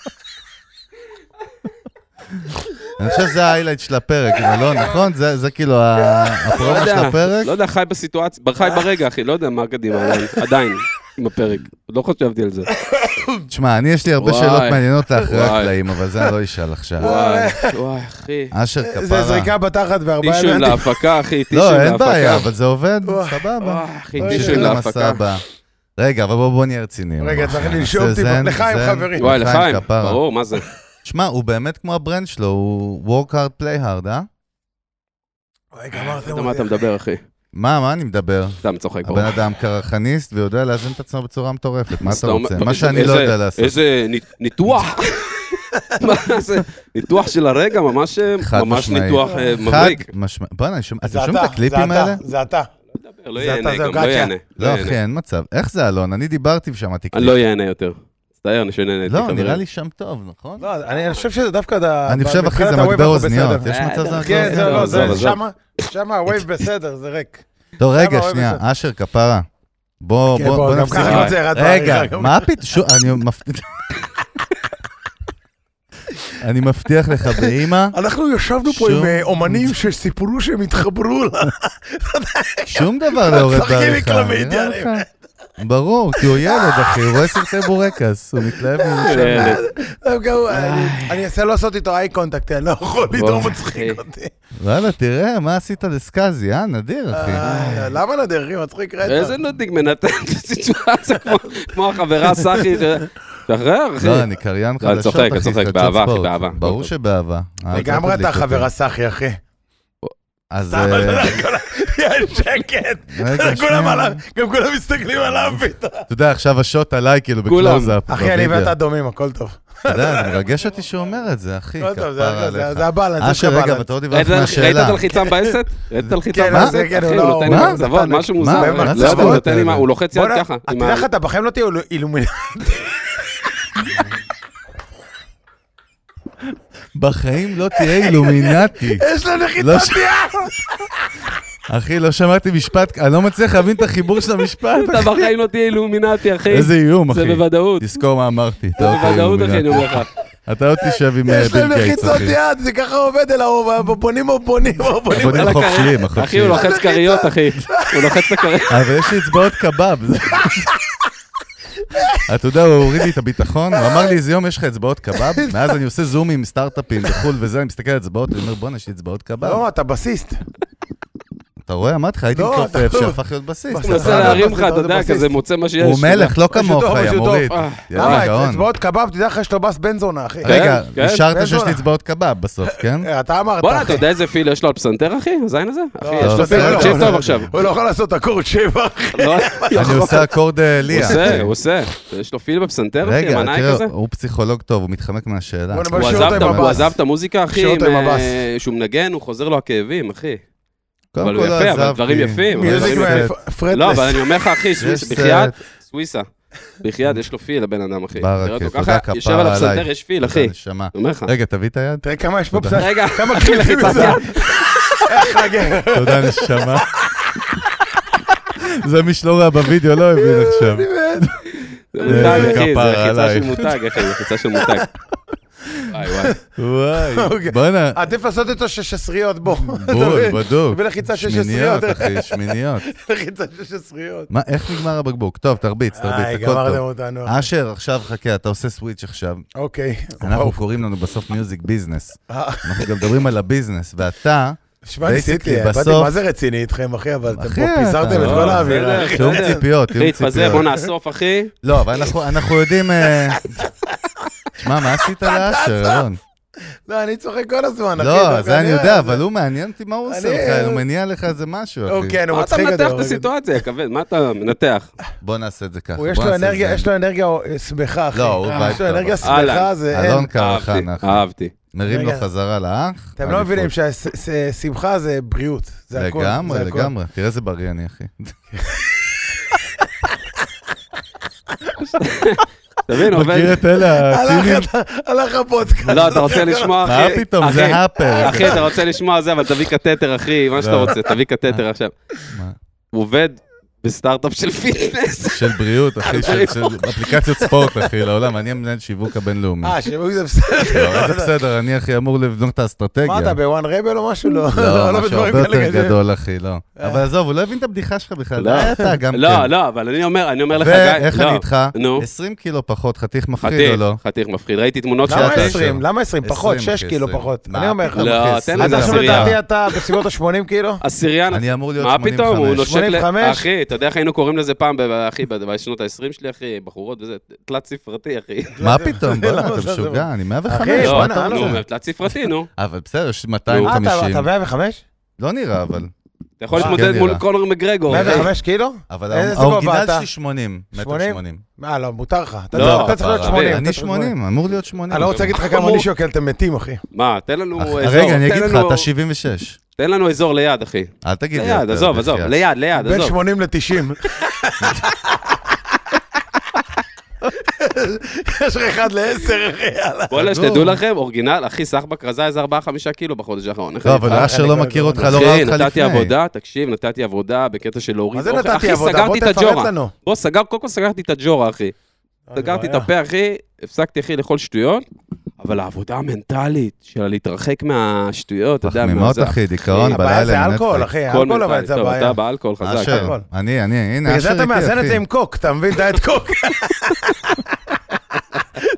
אני חושב שזה ההיילייט של הפרק, אבל לא, נכון? זה זה כאילו ה-
לא
הפרומו של
יודע,
הפרק?
לא יודע, חי בסיטואציה, חי ברגע, אחי, לא יודע מה קדימה, עדיין, עדיין, עם הפרק. עוד לא חשבתי על זה.
תשמע, אני יש לי הרבה
וואי.
שאלות מעניינות לאחרי
וואי.
הקלעים, אבל זה אני לא אשאל עכשיו.
וואי, וואי, אחי.
אשר,
זה
כפרה.
זריקה בתחת וארבעה
טישו
אלמנטים.
להפקה, אחי, טישו
לא, אין
להפקה.
בעיה, אבל זה עובד,
וואי. לא
סבבה.
אה, אחי,
אוי,
טישו
נמשיך
של
למסע
להפקה.
הבא. רגע, אבל בואו בוא נהיה רציניים.
רגע, צריך
נעשה
לנשום טיפה.
זן,
לחיים,
זן,
חברים.
וואי, לחיים,
כפרה.
ברור, מה זה?
שמע, הוא באמת כמו הברנד שלו, הוא work hard, play hard, אה?
וואי, גמרתם
אתה יודע מה אתה
אותי.
מדבר, אחי?
מה, מה אני מדבר?
סתם צוחק, ברור.
הבן אדם קרחניסט ויודע לאזן את עצמו בצורה מטורפת, מה
אז
אתה
אומר-
רוצה? מה
איזה-
שאני לא יודע
איזה-
לעשות.
איזה נית-
[LAUGHS]
ניתוח. מה זה? ניתוח של הרגע, ממש
חד
ממש
משמעית.
ניתוח אה, מבריק.
חד משמעית. בוא'נה, שומע-
זה
אתה שומע
אתה,
את הקליפים
זה אתה,
האלה?
זה אתה.
לא
זה אתה,
ייהנה
זה
גם, לא
גאצ'ה.
ייהנה.
לא,
ייהנה.
אחי, אין מצב. איך זה, אלון? אני דיברתי ושמעתי
אני
קליפים.
לא ייהנה יותר. מצטער, אני שנהניתי.
לא, נראה
חברים.
לי שם טוב, נכון?
לא, אני אני חושב שזה דווקא... ד-
אני חושב, אחי,
מבחינת
זה
הווייב
מגבר
אנחנו
אוזניות.
בסדר.
יש מצב
אה,
זה מגבר
כן, זה
אוזניות?
לא,
עזוב,
זה
עזוב.
שמה, שמה הווייב בסדר, זה ריק.
טוב, לא, רגע,
אוהב את
שנייה,
זה?
אשר, כפרה. בוא,
כן,
בוא,
בוא,
בוא
גם
נפסיק.
ככה
עם-
לא צריך, את
רגע,
מעריכה גם.
מה פתאום? אני מפתיע. אני מבטיח לך באימא,
אנחנו ישבנו פה
שום-
עם אה, אומנים שסיפרו שהם התחברו ל...
שום דבר לא יורד
משחקים עם
בעריכה.
כלבים,
נראה
יאללה.
לך? ברור, כי הוא ילד, אחי, הוא רואה סרטי בורקס, הוא מתלהב מזה.
כן.
דווקא הוא- אני- אני אנסה לעשות איתו איי קונטקט, אני לא יכול, עידו
[LAUGHS]
מצחיק אותי.
וואלה, תראה, מה עשית לסקאזי, אה? נדיר, אחי.
אה, למה לדרך, אחי? מצחיק רצח.
איזה נודניק מנתן את הסיטואציה, כמו- כמו החברה סחי. ש- שחרר, אחי.
לא, אני קריין
לא, אני
חדשות,
צוחק,
אחי,
אני צוחק,
חדשות
באהבה, אחי,
ספורט.
באהבה.
ברור שבאהבה. אה,
לגמרי
אל תדליק
אתה
אותי.
חברה סחי, אחי. לא-
אז...
סתם,
אה,
אתה יודע, כל ה- יש
[LAUGHS]
שקט.
רגע,
[LAUGHS] כולם
שנייה.
עליו, גם כולם מסתכלים עליו פתאום.
אתה יודע, עכשיו השוט עליי, כאילו,
כולם.
בקלוזאפ.
אחי, אני
בווידאו.
ואתה דומים, הכל
[LAUGHS]
טוב.
אתה יודע, זה מרגש אותי שהוא אומר את זה, אחי,
הכל טוב, לא, זה-
כפרה
זה- זה
עליך.
זה הבאלנס, זה
אשר,
שלך
רגע,
הבאלנס.
ואתה לא דיברת
ראית ראית
מהשאלה.
את הלחיצה מבאסת? ראית את הלחיצה
כן,
מבאסת?
זה- כן,
אחי,
הוא
הוא
לא-
נותן
מה?
לי מחזבות,
נתן-
משהו
מה?
מוזר.
מה
לא
זה
יודע, הוא
השטויות
נותן לי
האלה?
מה, הוא לוחץ יד
בוא'נה,
ככה.
אתה
עם
יודע
ה-
לך, אתה בחיים לא תהיה אילו- אילומינטי.
בחיים לא תהיה
[LAUGHS]
אילומינטי.
יש לו
[LAUGHS] לא
נחיצת
ש-
יד!
אחי, לא שמעתי משפט, אני לא מצליח להבין את החיבור של המשפט.
[LAUGHS] אתה בחיים לא תהיה אילומינטי, אחי.
איזה איום, אחי.
זה בוודאות.
תזכור מה אמרתי. אתה עוד תהיה
זה בוודאות, אחי, אני
אילומינטי.
אומר לך.
אתה עוד תשב עם אה,
יש
ביל
להם
גייטס,
לחיצות
אחי.
יד, זה ככה עובד אל האור, בונים או בונים או בונים.
בונים
וואלה,
חופשיים,
קרי- אחי,
החופשיים.
הוא לוחץ כריות, אחי. הוא לוחץ את הכריות.
אבל יש לי אצבעות קבב. [LAUGHS] זה- אתה יודע, הוא הוריד לי את הביטחון, הוא אמר לי, איזה יום יש לך אצבעות
[LAUGHS]
קבב? ואז אני עושה זום עם סטארט-אפים בחו"ל וזה, אני מסתכל על אצבעות, אני אומר, בואנה, יש לי אצבעות קבב.
לא, אתה בסיסט.
אתה רואה, אמרתי לך, הייתי
לא,
מתופף
אתה-
שהפך להיות בסיס.
הוא
הוא מנסה להרים לך, אתה יודע, כזה מוצא מה שיש.
הוא מלך, לא כמוך,
טוב,
יא
משהו טוב.
מוריד.
אה,
יאללה,
למה?
גאון.
אצבעות קבב, תדע לך יש לו בס בן זונה, אחי.
רגע,
כן, כן.
נשארת
בן
שיש לי
זונה.
אצבעות קבב בסוף, כן?
אה, אתה אמרת,
בואנה,
אחי.
אתה יודע איזה פיל יש לו על פסנתר, אחי? הזין הזה? אחי,
לא,
יש
לא,
לו פיל,
בסדר,
תקשיב
לא,
טוב
לא,
עכשיו.
הוא לא יכול לעשות אקורד שבע, אחי.
לא,
אני עושה אקורד אה,
הוא
ליה.
עושה, הוא עושה. יש לו פיל בפסנתר, אחי,
רגע,
המנאי כזה?
תראה, הוא פסיכולוג טוב, הוא מתחמק מהשאלה.
בוא נבוא
הוא
משאיר
עזב
אותו
את-
עם
הוא
הבאס.
עזב את המוזיקה, אחי,
משאיר אותו עם
עם,
הבאס.
אה, שהוא מנגן, הוא חוזר לו הכאבים, אחי.
קודם
אבל הוא
כל לא
יפה, אבל
עזבתי.
דברים יפים, אבל
מיוזיק
לא
מה-
מיוזיק
פ-
לא,
פרדלס.
אבל אני אומר לך, אחי, סוויסה,
סרט.
בחייאת, סוויסה. בחייאת, יש לו פיל, לבן אדם, אחי.
ברכה,
תראה אותו
תודה,
ככה,
כפרה
יושב על הפסנתר,
עליי.
יש פיל, אחי. אני
אה, נשמה.
אומר לך.
רגע, תביא את היד.
תראה כמה יש פה
תודה.
[LAUGHS]
בסדר.
רגע, אה,
כמה
אחי,
קליפים
לחיצת
זה?
יד.
תודה, נשמה. זה מי שלא ראה בווידאו, לא הבין
אה,
עכשיו.
זה מותג,
איזה
אחי,
כפרה
זה לחיצה
עלייך.
של מותג, אחי, זה לחיצה של
[LAUGHS]
מותג. וואי וואי.
וואי,
אוקיי.
בואנה.
עדיף לעשות איתו ששסריות, בוא. אתה מבין?
בול, בדוק.
ולחיצה שש
שמיניות,
עשריות. אה,
אחי, שמיניות.
לחיצה ששסריות.
מה, איך נגמר הבקבוק? טוב, תרביץ,
איי,
תרביץ, הכל
אה, גמרתם
טוב.
אותנו.
אשר, עכשיו חכה, אתה עושה סוויץ' עכשיו.
אוקיי.
אנחנו קוראים לנו בסוף מיוזיק ביזנס.
אה,
אנחנו גם מדברים על הביזנס, ואתה,
שמע, ניסיתי,
Basically,
באתי
בסוף-
מה זה רציני איתכם, אחי, אבל אתם
אחי,
פה פיזרתם
אתה-
את כל
לא,
האווירה.
בסדר,
אחי.
תיאום
בסדר.
ציפיות,
אחי,
תיאום
תתפזר, בוא
ציפיות.
נאסוף, אחי.
לא, אבל אנחנו- אנחנו יודעים... אה, תשמע, מה עשית לאשר, אלון?
לא, אני צוחק כל הזמן, אחי.
לא,
דווקא
זה אני יודע, אבל הוא מעניין אותי מה הוא
אני-
עושה לך, הוא מניע לך איזה משהו, אחי.
אוקיי, נו,
מה אה, אתה
מצחיק.
מנתח
הדבר
את
הזה.
הסיטואציה, יא כבד? מה אתה מנתח?
בוא נעשה את זה ככה.
הוא, יש
בוא
לו
נעשה את
אנרגיה,
זה.
יש לו אנרגיה אה, שמחה, אחי.
לא, הוא וייב
יש לו
טוב.
אנרגיה
אהלן.
שמחה, זה אין.
אלון קרחן,
אהבתי,
אחי.
אהבתי.
מרים לו
רגע.
חזרה לאח.
אתם לא מבינים
אליפות.
ששמחה זה בריאות, זה הכול.
לגמרי,
זה הכל.
לגמרי. תראה איזה בריא אני, אחי.
אתה מבין,
מכיר
עובד.
את אלה הצינים?
כן, הלך אתה- הלך הפודקאסט.
לא, אתה
[LAUGHS]
רוצה לשמוע,
מה
אחי?
פתאום, זה
אחי,
האפר.
אחי, אתה רוצה לשמוע זה, אבל תביא קטטר, אחי, מה שאתה
לא.
רוצה, תביא קטטר עכשיו.
מה?
הוא עובד בסטארט-אפ של פיטנס.
של בריאות, אחי, של של אפליקציות ספורט, אחי, לעולם. אני המנהל שיווק הבינלאומי.
אה, שיווק זה בסדר.
לא, זה בסדר, אני, אחי, אמור לבנות את האסטרטגיה.
מה אתה, בוואן רבל או משהו? לא,
לא, משהו
בדברים
הרבה
כאלה כן. אה.
יותר
כזה.
גדול, אחי, לא. אבל עזוב, הוא לא הבין את הבדיחה שלך בכלל.
לא.
אה, אתה גם
לא,
כן.
לא, אבל אני אומר, אני אומר לך, גיא,
ואיך
לא.
אני איתך?
נו,
20 קילו פחות, חתיך מפחיד או
חתיך,
לא?
חתיך מפחיד. ראיתי תמונות
לא,
שלך.
אתה
למה 20?
ישר.
למה 20? כן, פחות,
20,
6 קילו
20.
פחות.
מה
אני אומר לך.
פתאום, אה,
לא,
אחי,
תן
20
לזה
זה
אתה שוב
עשירייה.
עשירייה.
לדעתי אתה בסביבות כאילו? ה-80 קילו?
עשיריין,
אני אמור להיות
מה
85.
פתאום, הוא נושק ל...
85?
אחי, אתה יודע איך היינו קוראים לזה פעם, ב- אחי, ב- בשנות ה-20 שלי, אחי, בחורות וזה, תלת ספרתי, אחי.
מה
זה-
פתאום,
זה
בוא'נה,
[LAUGHS] לא-
אתה
זה- זה-
משוגע, אני 105,
אחי,
מה
לא,
אתה
בואנה,
נו,
רוצה?
אומר, תלת ספרתי, נו.
אבל בסדר, יש
אה, אתה-
250.
אתה 105?
לא נראה, אבל.
אתה יכול
כן,
להתמודד
נראה.
מול קונור מגרגור.
אוקיי.
אחי.
105 קילו?
אבל
איזה גובה
האורגינל
אתה?
שלי 80. מטר
80?
80.
אה, לא, מותר לך. אתה
לא,
צריך- אתה צריך להיות
כפרה.
80.
אני 80, אמור להיות 80.
אני לא רוצה להגיד לך כמה אני שוקל, אתם מתים, אחי.
מה, תן לנו
אח-
אזור.
רגע, אני
תן
אגיד לך,
לנו-
אתה 76.
תן לנו אזור ליד, אחי.
אל תגיד לי.
ליד,
יותר,
עזוב, עזוב,
בחייאת.
ליד, ליד,
בין
עזוב.
80 ל-90. יש לך אחד ל-10, אחי, יאללה.
וואלה,
סגור.
לא.
שתדעו לכם, אורגינל, אחי, סחבק רזה איזה 4-5 קילו בחודש האחרון. אחי.
לא, אבל
אה,
אשר
אני
לא
כבר
מכיר
לא
אותך, לא
אחי,
ראה אותך לפני.
נתתי עבודה, תקשיב, נתתי עבודה בקטע של להוריד
מה זה
אוכל.
נתתי
אוקיי. אחי,
עבודה? בוא
סגרתי את
תפרט
הג'ורה.
לנו. אה,
בוא, סגר, קודם כל סגרתי את הג'ורה, אחי. סגרתי את
בעיה.
הפה, אחי, הפסקתי, אחי, לאכול שטויות. אבל העבודה המנטלית של להתרחק מהשטויות, אתה יודע,
תחמימות,
מהזה-
אחי, דיכאון בלילה.
הבעיה זה אלכוהול,
נטפליקס.
אחי,
הכל
אלכוהול אבל
מנטלי.
זה
טוב,
הבעיה.
אתה באלכוהול חזק.
אשר,
הכל.
אני, אני, הנה,
בגלל
אשר
זה
איתי,
אתה מאזן את
אחי.
זה עם קוק, אתה מבין? דיאט קוק.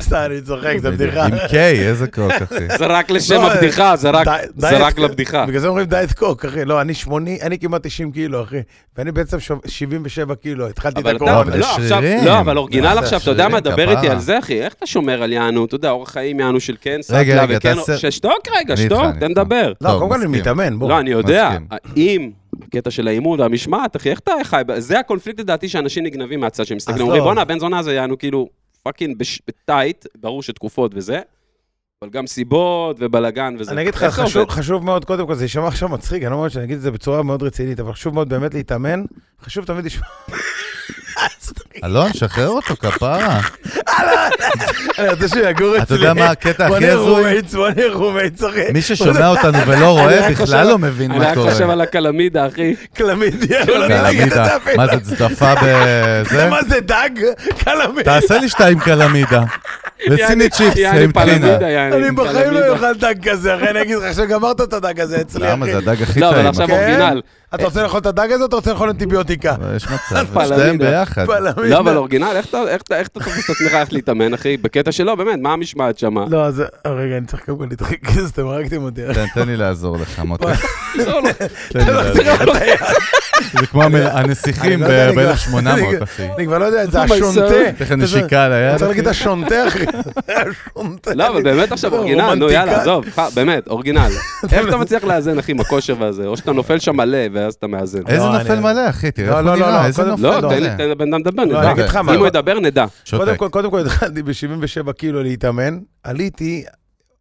סתם, אני צוחק, זה
בדיוק.
בדיחה.
עם קיי, איזה קוק, אחי.
זה רק לשם
לא,
הבדיחה, זה רק-
די-
זה
דיאט-
רק לבדיחה.
בגלל זה אומרים דיאט קוק, אחי. לא, אני 80, אני כמעט 90 קילו, אחי. ואני בעצם שו- 77 קילו, התחלתי את
אבל אתה,
לא,
הקורונה.
אבל
לא,
זה
עכשיו,
שרירים.
לא, אבל אורגינל
זה
עכשיו, אתה יודע מה,
שרירים,
דבר איתי
כפרה.
על זה, אחי, איך אתה שומר על יענו, אתה יודע, אורח חיים יענו של כן,
רגע,
סטלה
רגע,
וכן,
תעשה-
ששתוק רגע,
אני איתך,
שתוק,
אני
תן
איתך.
לדבר.
לא,
טוב,
קודם כל אני
מסכים.
מתאמן, בוא.
לא, אני יודע,
מסכים.
אם הקטע של האימון והמשמעת, אחי, איך אתה חי? ב- זה הקונפליקט לדעתי שאנשים נגנבים מהצד שהם מסתכלים,
אז
אומרים,
לא.
בואנה, הבן זונה הזה יענו כאילו פאקינג בש- בטייט, ברור שתקופות וזה, אבל גם סיבות ובלאגן וזה.
אני אגיד לך,
איך זה
חשוב,
עובד?
חשוב מאוד, קודם כל, זה יישמע עכשיו מצחיק, אני לא אומר שאני אגיד את זה בצורה מאוד רצינית, אבל חשוב מאוד באמת להתאמן, חשוב תמיד לשמוע...
אלון, שחרר אותו, כפרה.
[LAUGHS] אני רוצה שיגור אצלי.
אתה יודע מה הקטע
בוא
הכי
נהיה
הזוי?
roommates, בוא נהיה roommates, אחי.
מי ששומע אותנו ולא רואה,
אני רק
בכלל
חושב-
לא מבין
אני
מה
רק
קורה.
חושב על הקלמידה, אחי.
כן,
קלמידיה, לא יודע להגיד את
קלמידה.
זה אפילו.
מה זה, צדפה בזה?
מה זה דג? קלמידה.
תעשה לי שתיים קלמידה. וסיני
[LAUGHS] יעני-
צ'יפס
יעני
עם קרינה.
פלמידה, יעני
אני בחיים
פלמידה.
לא אוכל דג כזה, אחי, אני אגיד לך שגמרת את הדג הזה אצלי, אחי. כן?
למה זה הדג הכי
לא, אבל
טעים?
עכשיו
אחי.
הוא- אורגינל.
אתה רוצה לאכול את הדג הזה או אתה רוצה לאכול אנטיביוטיקה?
אבל
[LAUGHS]
יש מצב,
פלמידה.
שתיהם ביחד.
פלמידה.
לא, אבל אורגינל, איך אתה- איך אתה איך אתה תופס את עצמך איך להתאמן, אחי? בקטע שלא, באמת, מה המשמעת שם?
לא, אז רגע, אני צריך קודם כל להתחיל, [LAUGHS] כי אתם הרגתם אותי.
תן- תן לי לעזור לך,
[LAUGHS]
מוטי.
לא, לא.
תן לי לעזור. זה כמו המ-
אני
הנסיכים
לא יודע, אני כבר-
ב-1800, אחי.
אני כבר לא יודע, זה
my
השונטה.
soul.
תכף נשיקה על
אני
היד.
רוצה להגיד
אחי.
השונטה, אחי. [LAUGHS] השונטה.
לא, אבל באמת עכשיו
לא,
אורגינל, נו
רומנטיקה.
יאללה, עזוב, ח- באמת,
[LAUGHS]
אורגינל. איך אתה מצליח לאזן, אחי, עם הכושר והזה? או שאתה נופל שם מלא, ואז אתה מאזן.
איזה
לא,
נופל
אני-
מלא, אחי, תראה
לא,
איך
לא,
הוא
לא,
נראה,
לא,
איזה
קודם-
נופל מלא.
לא, תן לי- תן לבן אדם לדבר,
לא, אני אגיד לך
נדע.
מה.
אם הוא ידבר, נדע.
קודם
שותק.
כל, קודם כל התחלתי ב-77 קילו להתאמן, עליתי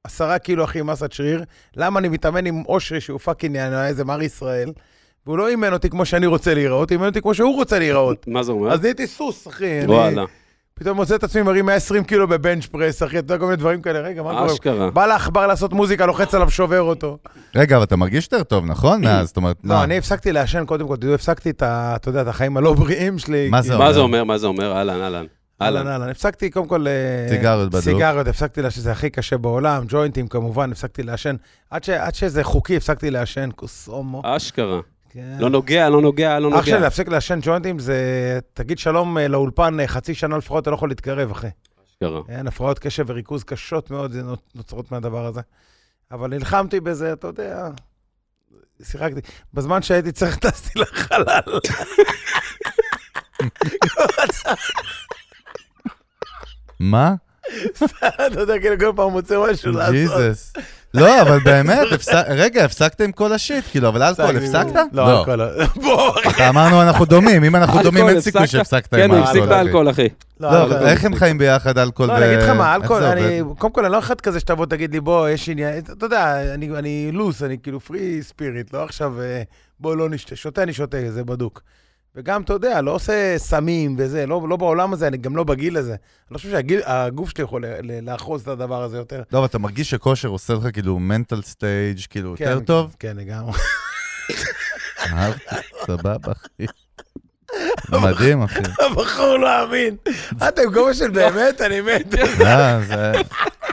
עשרה קילו אחי מסת שריר. למה אני מתאמן עם אושרי שהוא פאקינג יענה, איזה מר ישראל, והוא לא אימן אותי כמו שאני רוצה להיראות, אימן אותי כמו שהוא רוצה להיראות.
מה זה אומר?
אז נהייתי סוס, אחי. אני-
אה? וואלה.
פתאום מוצא את עצמי מרים 120 קילו בבנץ' פרס, אחי, אתה יודע, כל מיני דברים כאלה. רגע, מה קורה?
אשכרה.
בא לעכבר לעשות מוזיקה, לוחץ עליו, שובר אותו.
רגע, אבל אתה מרגיש יותר טוב, נכון? מאז, זאת אומרת, מה?
לא, אני הפסקתי לעשן קודם כל, תדעו, הפסקתי את ה... אתה יודע, את החיים הלא בריאים שלי.
מה זה
מה זה אומר? מה זה אומר? אהלן, אהלן.
אהלן,
אהלן.
אהלן. הפסקתי קודם כל... אה,
סיגריות בדוק.
סיגריות, הפסקתי לעשן, זה הכי קשה בעולם, ג'וינטים כמובן, הפסקתי לעשן. עד ש- עד שזה חוקי, הפסקתי לעשן, כוס הומו.
אשכרה.
כן.
אה, לא נוגע, לא נוגע, לא
אח שלי,
נוגע.
להפסיק לעשן ג'וינטים זה... תגיד שלום אה, לאולפן, אה, חצי שנה לפחות, אתה לא יכול להתקרב, אחי.
אשכרה.
אין, הפרעות קשב וריכוז קשות מאוד זה נות- נוצרות מהדבר הזה. אבל נלחמתי בזה, אתה יודע, שיחקתי. בזמן שהייתי צריך, [LAUGHS] טסתי לחלל.
מה?
אתה יודע, כאילו כל פעם מוצא משהו לעשות.
ג'יזוס. לא, אבל באמת, הפס- רגע, הפסקת עם כל השיט, כאילו, אבל אלכוהול הפסקת?
לא, אלכוהול. לא. [LAUGHS] בוא, אחי.
אתה אמרנו, אנחנו דומים, אם אנחנו דומים,
אלכוהול
אין סיכוי
הפסקת?
שהפסקת
כן,
עם
הוא הפסיק את
האלכוהול. אחי.
האלכוהול, אחי.
לא,
אבל-
אבל אה, איך הם חיים ביחד, אלכוהול
לא,
ו...
אני אגיד לך מה,
איך
אלכוהול,
זה
אני,
עובד?
קודם כל, אני לא אחד כזה שאתה בוא תגיד לי, בוא, יש עניין, אתה יודע, אני- אני לוס, אני כאילו פרי ספיריט, לא עכשיו, אה, בוא לא נשתה, שותה, אני שותה, זה בדוק. וגם, אתה יודע, לא עושה סמים וזה, לא לא בעולם הזה, אני גם לא בגיל הזה. אני לא חושב שהגוף שלי יכול ל- ל- לאחוז את הדבר הזה יותר.
לא, אבל אתה מרגיש שכושר עושה לך כאילו מנטל סטייג', כאילו, יותר
כן,
טוב?
כן, לגמרי. [LAUGHS]
אהבתי, סבבה,
[LAUGHS]
אחי. מדהים, אחי.
הבחור לא אמין. אתם גובה של באמת, אני מת.
לא, זה-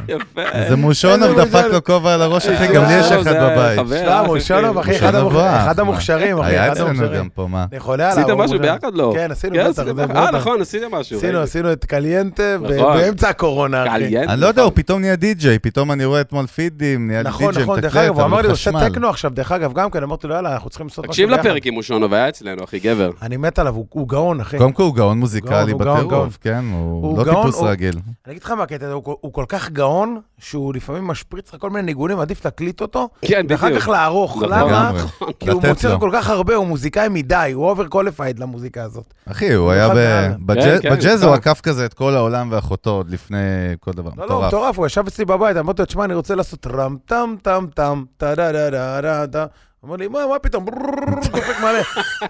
יפה.
זה מושונוב
איזה
דפק
מושונוב.
לו כובע על הראש, אחי, גם לי יש
וואו,
אחד
זה
בבית.
חבר,
שמע,
אחי.
מושונוב, לא, אחי, אחד
מושונוב
המוכ-
רע,
אחד
מה?
המוכשרים, אחי,
כאילו, היה
אחד
אצלנו
המוכשרים. נכון,
גם פה, מה?
אני חולה עליו.
עשיתם
הוא
משהו
מוזר.
ביחד? לא.
כן, עשינו,
כן,
בטח.
עשיתם-
זה-
אה,
בטח.
נכון, עשיתם משהו.
עשינו,
ראיתי.
עשינו את קליינטה ב-
נכון.
באמצע הקורונה, אחי.
קליינטה.
אני לא יודע, הוא פתאום נהיה די-ג'יי, פתאום אני רואה אתמול פידים, נהיה די-ג'יי,
נכון,
מתקלט,
נכון, דרך אגב, הוא
אבל
אמר לי, הוא עושה
חשמל.
טכנו עכשיו, דרך אגב, גם כן, אמרתי לו, יאללה, אנחנו צריכים לעשות משהו
תקשיב
ביחד.
לפרק עם מושונוב, היה אצלנו, אחי, גבר.
אני מת עליו, הוא- הוא גאון, אחי.
קודם כל הוא גאון מוזיקלי
הוא גאון, גאון.
בטירוף, כן? הוא
הוא
לא
גאון,
טיפוס
הוא-
רגיל.
אני אגיד לך מה הקטע, הוא- הוא כל כך גאון, שהוא לפעמים משפריץ לך כל מיני ניגונים, עדיף להקליט אותו,
כן,
ואחר
בדיוק.
כך לערוך.
נכון.
למה?
לגמרי.
[LAUGHS] כי הוא
לתת
מוצר
לו.
כל כך הרבה, הוא מוזיקאי מדי, הוא אובר קוליפייד למוזיקה הזאת.
אחי, הוא היה
אחד
ב-
מעל.
בג'אז,
כן, כן,
בג'אז
כן.
הוא עקף כזה את כל העולם ואחותו עוד לפני כל דבר,
לא, לא,
מטורף.
מטורף, הוא ישב אצלי בבית, אמרתי לו, תשמע, אני רוצה לעשות רם טם טם טם, טה דה דה דה דה דה. הוא אמר לי, מה, מה
[LAUGHS]
פתאום, ברררררר, דופק מלא.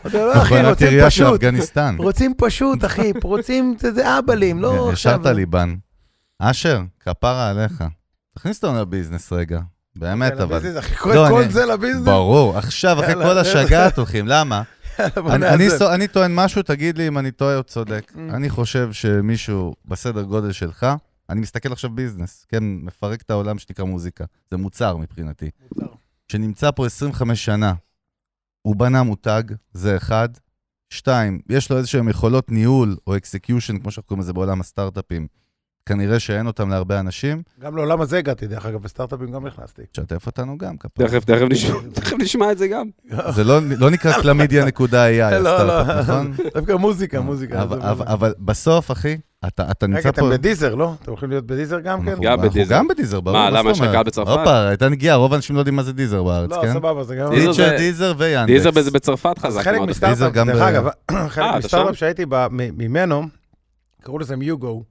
אמרתי לו, לא, אחי,
מכונת
רוצים
ירייה של
פשוט. [LAUGHS]
אפגניסטן.
רוצים
[LAUGHS]
פשוט, אחי, רוצים, זה- זה אבלים, לא
כן,
עכשיו.
ישרת ליבן. אשר, כפרה עליך. תכניס אותנו לביזנס רגע. באמת,
כן,
אבל.
לביזנס, אחי, כל
לא,
כל
אני-
זה לביזנס. [LAUGHS]
ברור, עכשיו, אחרי
יאללה,
כל
לא, זה-
השגעת הולכים, למה?
יאללה,
אני-
[LAUGHS] בוא
אני
נעזב.
סו- אני
Mm.
טוען משהו, תגיד לי אם אני טועה או צודק. אני חושב שמישהו בסדר גודל שלך אני מסתכל עכשיו ביזנס, כן, מפרק את העולם שנקרא מוזיקה. זה מוצר מבחינתי.
מוצר.
שנמצא פה 25 שנה, הוא בנה מותג, זה אחד. שתיים, יש לו איזשהם יכולות ניהול או אקסקיושן, כמו שאנחנו קוראים לזה בעולם הסטארט-אפים. כנראה שאין אותם להרבה אנשים.
גם לעולם הזה הגעתי, דרך אגב, בסטארט-אפים
[LAUGHS]
גם נכנסתי.
תשתף אותנו גם, כפר.
תכף, תכף נשמע- [LAUGHS] תכף נשמע את זה גם.
זה לא, לא נקרא קלמידיה.ai,
[LAUGHS] לא, לא,
הסטארט-אפ, נכון?
דווקא מוזיקה, מוזיקה.
אבל,
זה
אבל,
מוזיקה.
אבל בסוף, אחי, אתה, אתה
רגע,
נמצא
אתם
פה...
בדיזר, לא? אתם הולכים להיות בדיזר גם כן?
אנחנו-
גם
אנחנו
בדיזר.
גם בדיזר, ברור.
מה,
זאת
למה, יש לך
אומרת?
קהל בצרפת?
הופה, הייתה נגיעה, רוב האנשים לא יודעים מה זה דיזר בארץ,
לא,
כן?
סבבה, זה גם...
דיזר
דיזר,
זה-
דיזר ויאנדקס.
דיזר בזה בצרפת חזק
חלק
מאוד.
דיזר
מסטארט-אפ,
גם
דרך
ב- אה,
אגב, [CLEARS THROAT] חלק
אתה
מסטארט-אפ
שם?
שהייתי ב- מ- ממנו, קראו לזה מיוגו.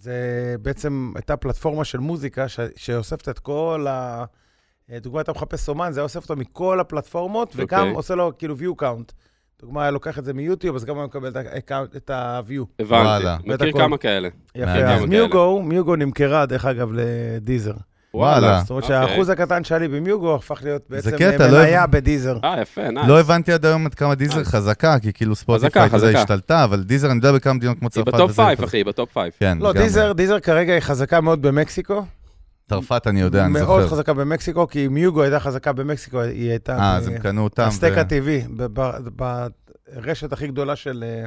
זה בעצם הייתה פלטפורמה של מוזיקה ש- שאוספת את כל ה... דוגמא, אתה מחפש אומן, זה היה אוסף אותו מכל הפלטפורמות, וגם
אוקיי.
עושה לו כאילו view count. דוגמא, היה לוקח את זה מיוטיוב, אז גם היה מקבל את ה- את ה-view.
וואלה.
הבנתי. מכיר
בטח
כמה כאלה.
מעניין.
יפה, אז
גם
מיוגו, מיוגו נמכרה, דרך אגב, לדיזר.
וואלה.
זאת אומרת
אוקיי.
שהאחוז הקטן שהיה לי במיוגו הפך להיות בעצם
אה. קטע, לא
מניה
הבנ-
בדיזר.
אה, יפה, נאי.
לא הבנתי עד היום עד כמה דיזר חזקה, כי כאילו ספוטיפיי
חזקה,
כזה
חזקה.
השתלטה, אבל דיזר, אני יודע בכמה מדינות כמו
היא
צרפת.
בטופ
וזה-
פייב, אחי, היא בטופ פייב.
כן,
לא,
לגמרי.
דיזר, דיזר כרגע היא חזקה מאוד במקסיקו.
צרפת, אני יודע, אני
מאוד
זוכר.
חזקה במקסיקו, כי מיוגו הייתה חזקה במקסיקו, היא הייתה...
אה,
ב-
אז הם קנו אותם.
הסטייק
ו-
הטבעי, ב- ב- ברשת הכי גדולה של... אה,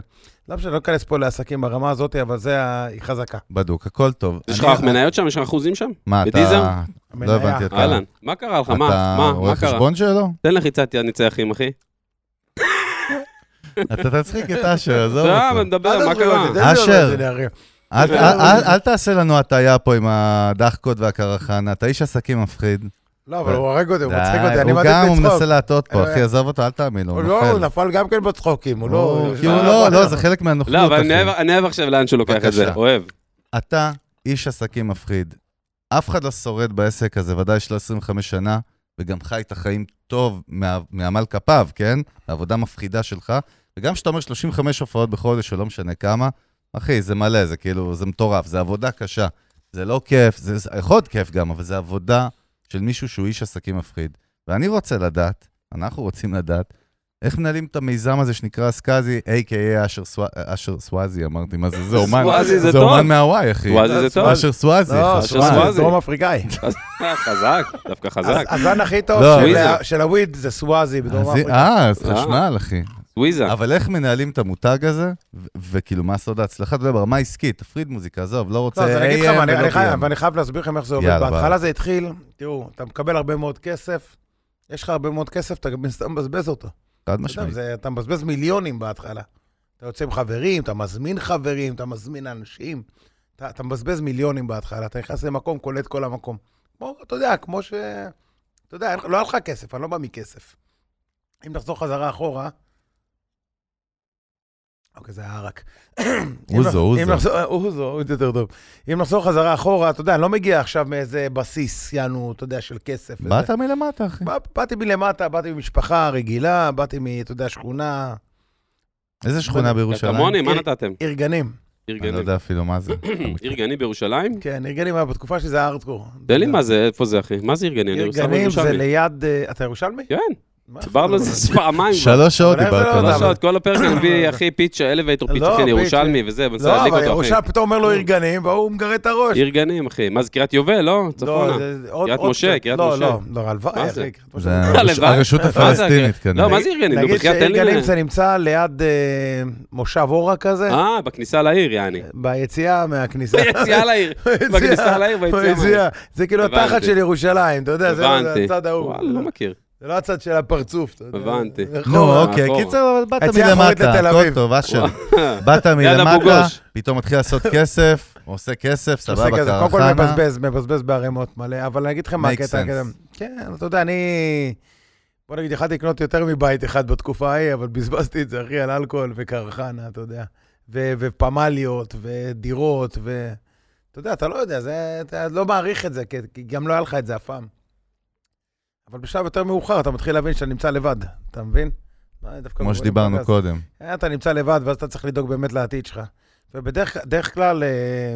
לא משנה, לא ניכנס פה לעסקים ברמה הזאת, אבל זה, ה- היא חזקה.
בדוק, הכל טוב.
יש לך
אני-
מניות שם? יש לך אחוזים שם?
מה, אתה...
בדיזר?
לא
המניה.
הבנתי את
אהלן, מה קרה לך? מה?
אתה
מה?
רואה
מה קרה?
חשבון שלו?
תן לחיצת יד נצחים, אחי.
אתה תצחיק את אשר, עזוב
אה,
לא אותו.
מדבר,
אל
מה
תעזבו
קרה?
אותי, תן לי
אשר.
עוד את זה, נערי.
אל- אל- אל- אל תעשה לנו הטעיה פה עם הדחקות והקרחנה, אתה איש עסקים מפחיד.
לא, אבל הוא הרג אותי, הוא מצחיק
אה, די,
אותי, אני
הוא
מעדיף
גם, הוא
לצחוק.
מנסה להטעות פה,
אה,
אחי, עזוב אותו, אל תאמין לו,
הוא
הוא
לא, הוא
נופל.
נפל גם כן בצחוקים, הוא לא...
כי הוא לא, לא, זה חלק
לא,
מהנוכלות,
אבל אני
אחי.
אוהב- אני אוהב עכשיו לאן שהוא לוקח את זה,
בבקשה.
אוהב.
אתה איש עסקים מפחיד. אף אחד לא שורד בעסק הזה, ודאי שלא 25 שנה, וגם חי את החיים טוב מה- מעמל כפיו, כן? העבודה מפחידה שלך. וגם כשאתה אומר 35 הופעות בחודש, או לא משנה כמה, אחי, זה מלא, זה כאילו, זה מטורף, זה עבודה קשה. זה לא כיף, זה זה יכול להיות כיף גם, אבל זה עבודה של מישהו שהוא איש עסקים מפחיד. ואני רוצה לדעת, אנחנו רוצים לדעת, איך מנהלים את המיזם הזה שנקרא סקאזי, a.k.a. אשר סווא- אשר סוואזי, אמרתי, מה זה, זה אומן,
סוואזי
זה
זה טוב.
אומן מהוואי, אחי.
וואזי זה טוב.
אשר סוואזי.
לא,
חשוב.
אשר סוואזי.
דרום אפריקאי.
[LAUGHS] אה, חזק, דווקא חזק.
הזן הכי טוב
לא,
של-
וויזר.
של הוויד זה לא סוואזי בדרום
אז-
אפריקה.
אה, אז
אה.
חשמל, אחי.
סוויזה.
אבל איך מנהלים את המותג הזה, ו- וכאילו, מה סוד ההצלחה? אתה יודע, ברמה העסקית, תפריד מוזיקה, עזוב, לא רוצה
לא, אז אני אגיד לך,
AM
מה, אני-
ולא
אני חייב-
PM.
ואני חייב להסביר לכם איך זה עובד.
יאללה, ביי.
בהתחלה זה התחיל, תראו, אתה מקבל הרבה מאוד כסף, יש לך הרבה מאוד כסף, אתה גם סתם מבזבז אותו.
חד
אתה יודע,
משמעית.
זה- אתה מבזבז מיליונים בהתחלה. אתה יוצא עם חברים, אתה מזמין חברים, אתה מזמין אנשים. אתה אתה מבזבז מיליונים בהתחלה, אתה נכנס למקום, קולט כל המקום. כמו, אתה יודע, כמו ש... אתה יודע, אין לך- לא היה לך כסף, אני לא בא מכסף. אם נחזור חזרה אחורה... אוקיי, זה היה רק.
אוזו, אוזו.
אוזו, עוד יותר טוב. אם נחזור חזרה אחורה, אתה יודע, אני לא מגיע עכשיו מאיזה בסיס, יענו, אתה יודע, של כסף. וזה.
באת מלמטה, אחי.
בא- באתי מלמטה, באתי ממשפחה רגילה, באתי מ... אתה יודע, שכונה,
איזה שכונה בירושלים?
כמוני, מה
עיר-
נתתם?
עיר גנים.
אני לא
ארגנים.
יודע אפילו
[CLEARS THROAT]
מה זה.
ארגני בירושלים?
כן, עיר גנים היה בתקופה שזה היה הארדקור.
תן
לא.
לי מה זה, איפה זה, אחי? מה זה ארגני? אני
עיר
ירושלמי,
גנים זה
ירושלמי.
ליד... אה, אתה ירושלמי?
כן,
מה?
דיברנו
[LAUGHS]
על זה פעמיים. כבר.
שלוש שעות
אבל איך זה
דיברת
לא
על
שלוש
אבל-
זה.
שעות, כל הפרק אני מביא אחי פיץ', אלווייטור פיץ',
לא,
אחי, אני
פיץ',
ירושלמי וזה, ואני רוצה
לא,
להדליק
אבל
אותו, אחי.
ירושלים פתאום אומר לו עיר גנים, והוא מגרד את הראש.
ארגנים, אחי. מה זה, קריית יובל, לא? צפונה.
לא, זה- עוד-
קריית
עוד
משה,
קצת.
קריית
לא,
משה.
לא, לא, הלוואי,
מה זה?
אחי. קריית משה.
זה
הלוואי.
הרש- הרשות הפלסטינית
לא,
כנראה.
מה זה ארגנים? נו,
נגיד
בחייאת,
שעיר
תן לי...
גנים זה נמצא ליד אה, מושב אורה כזה,
אה, בכניסה לעיר,
[LAUGHS]
יעני. [LAUGHS]
ביציאה מהכניסה. [LAUGHS]
ביציאה לעיר. בכניסה לעיר, ביציאה מהעיר.
ביציאה. זה כאילו
הבנתי.
התחת של ירושלים, אתה יודע, זה לא- זה
הבנתי.
הצד ההוא.
וואלה, לא מכיר.
זה לא הצד של הפרצוף, אתה יודע.
הבנתי. אה,
זה רחוב.
נו, אוקיי,
אחורה.
קיצר, אבל באת
היציאה האחורית
מלמטה,
לתל
הכל
אביב.
טוב,
[LAUGHS]
אשר.
וואו.
באת
אבו
מלמטה,
גוש.
פתאום מתחיל לעשות כסף, עושה כסף,
עושה
סבבה,
כזה, קודם כל
קרחנה.
מבזבז, מבזבז בערימות מלא, אבל אני אגיד לכם מה
Make
הקטע.
sense.
הקטע- כן, אתה יודע, אני... בוא נגיד, יכלתי לקנות יותר מבית אחד בתקופה ההיא, אבל בזבזתי את זה, אחי, על אלכוהול וקרחנה, אתה יודע. ו- ופמליות, ודירות, ו... אתה יודע, אתה לא יודע, זה, אתה לא מעריך את זה, כי, כי גם לא היה לך את זה אף פעם. אבל בשלב יותר מאוחר אתה מתחיל להבין שאתה נמצא לבד, אתה מבין? לא, אני דווקא
כמו
מוריד
שדיברנו
בפודקאסט.
קודם.
אה, אתה נמצא לבד, ואז אתה צריך לדאוג באמת לעתיד שלך. ובדרך דרך כלל, אה,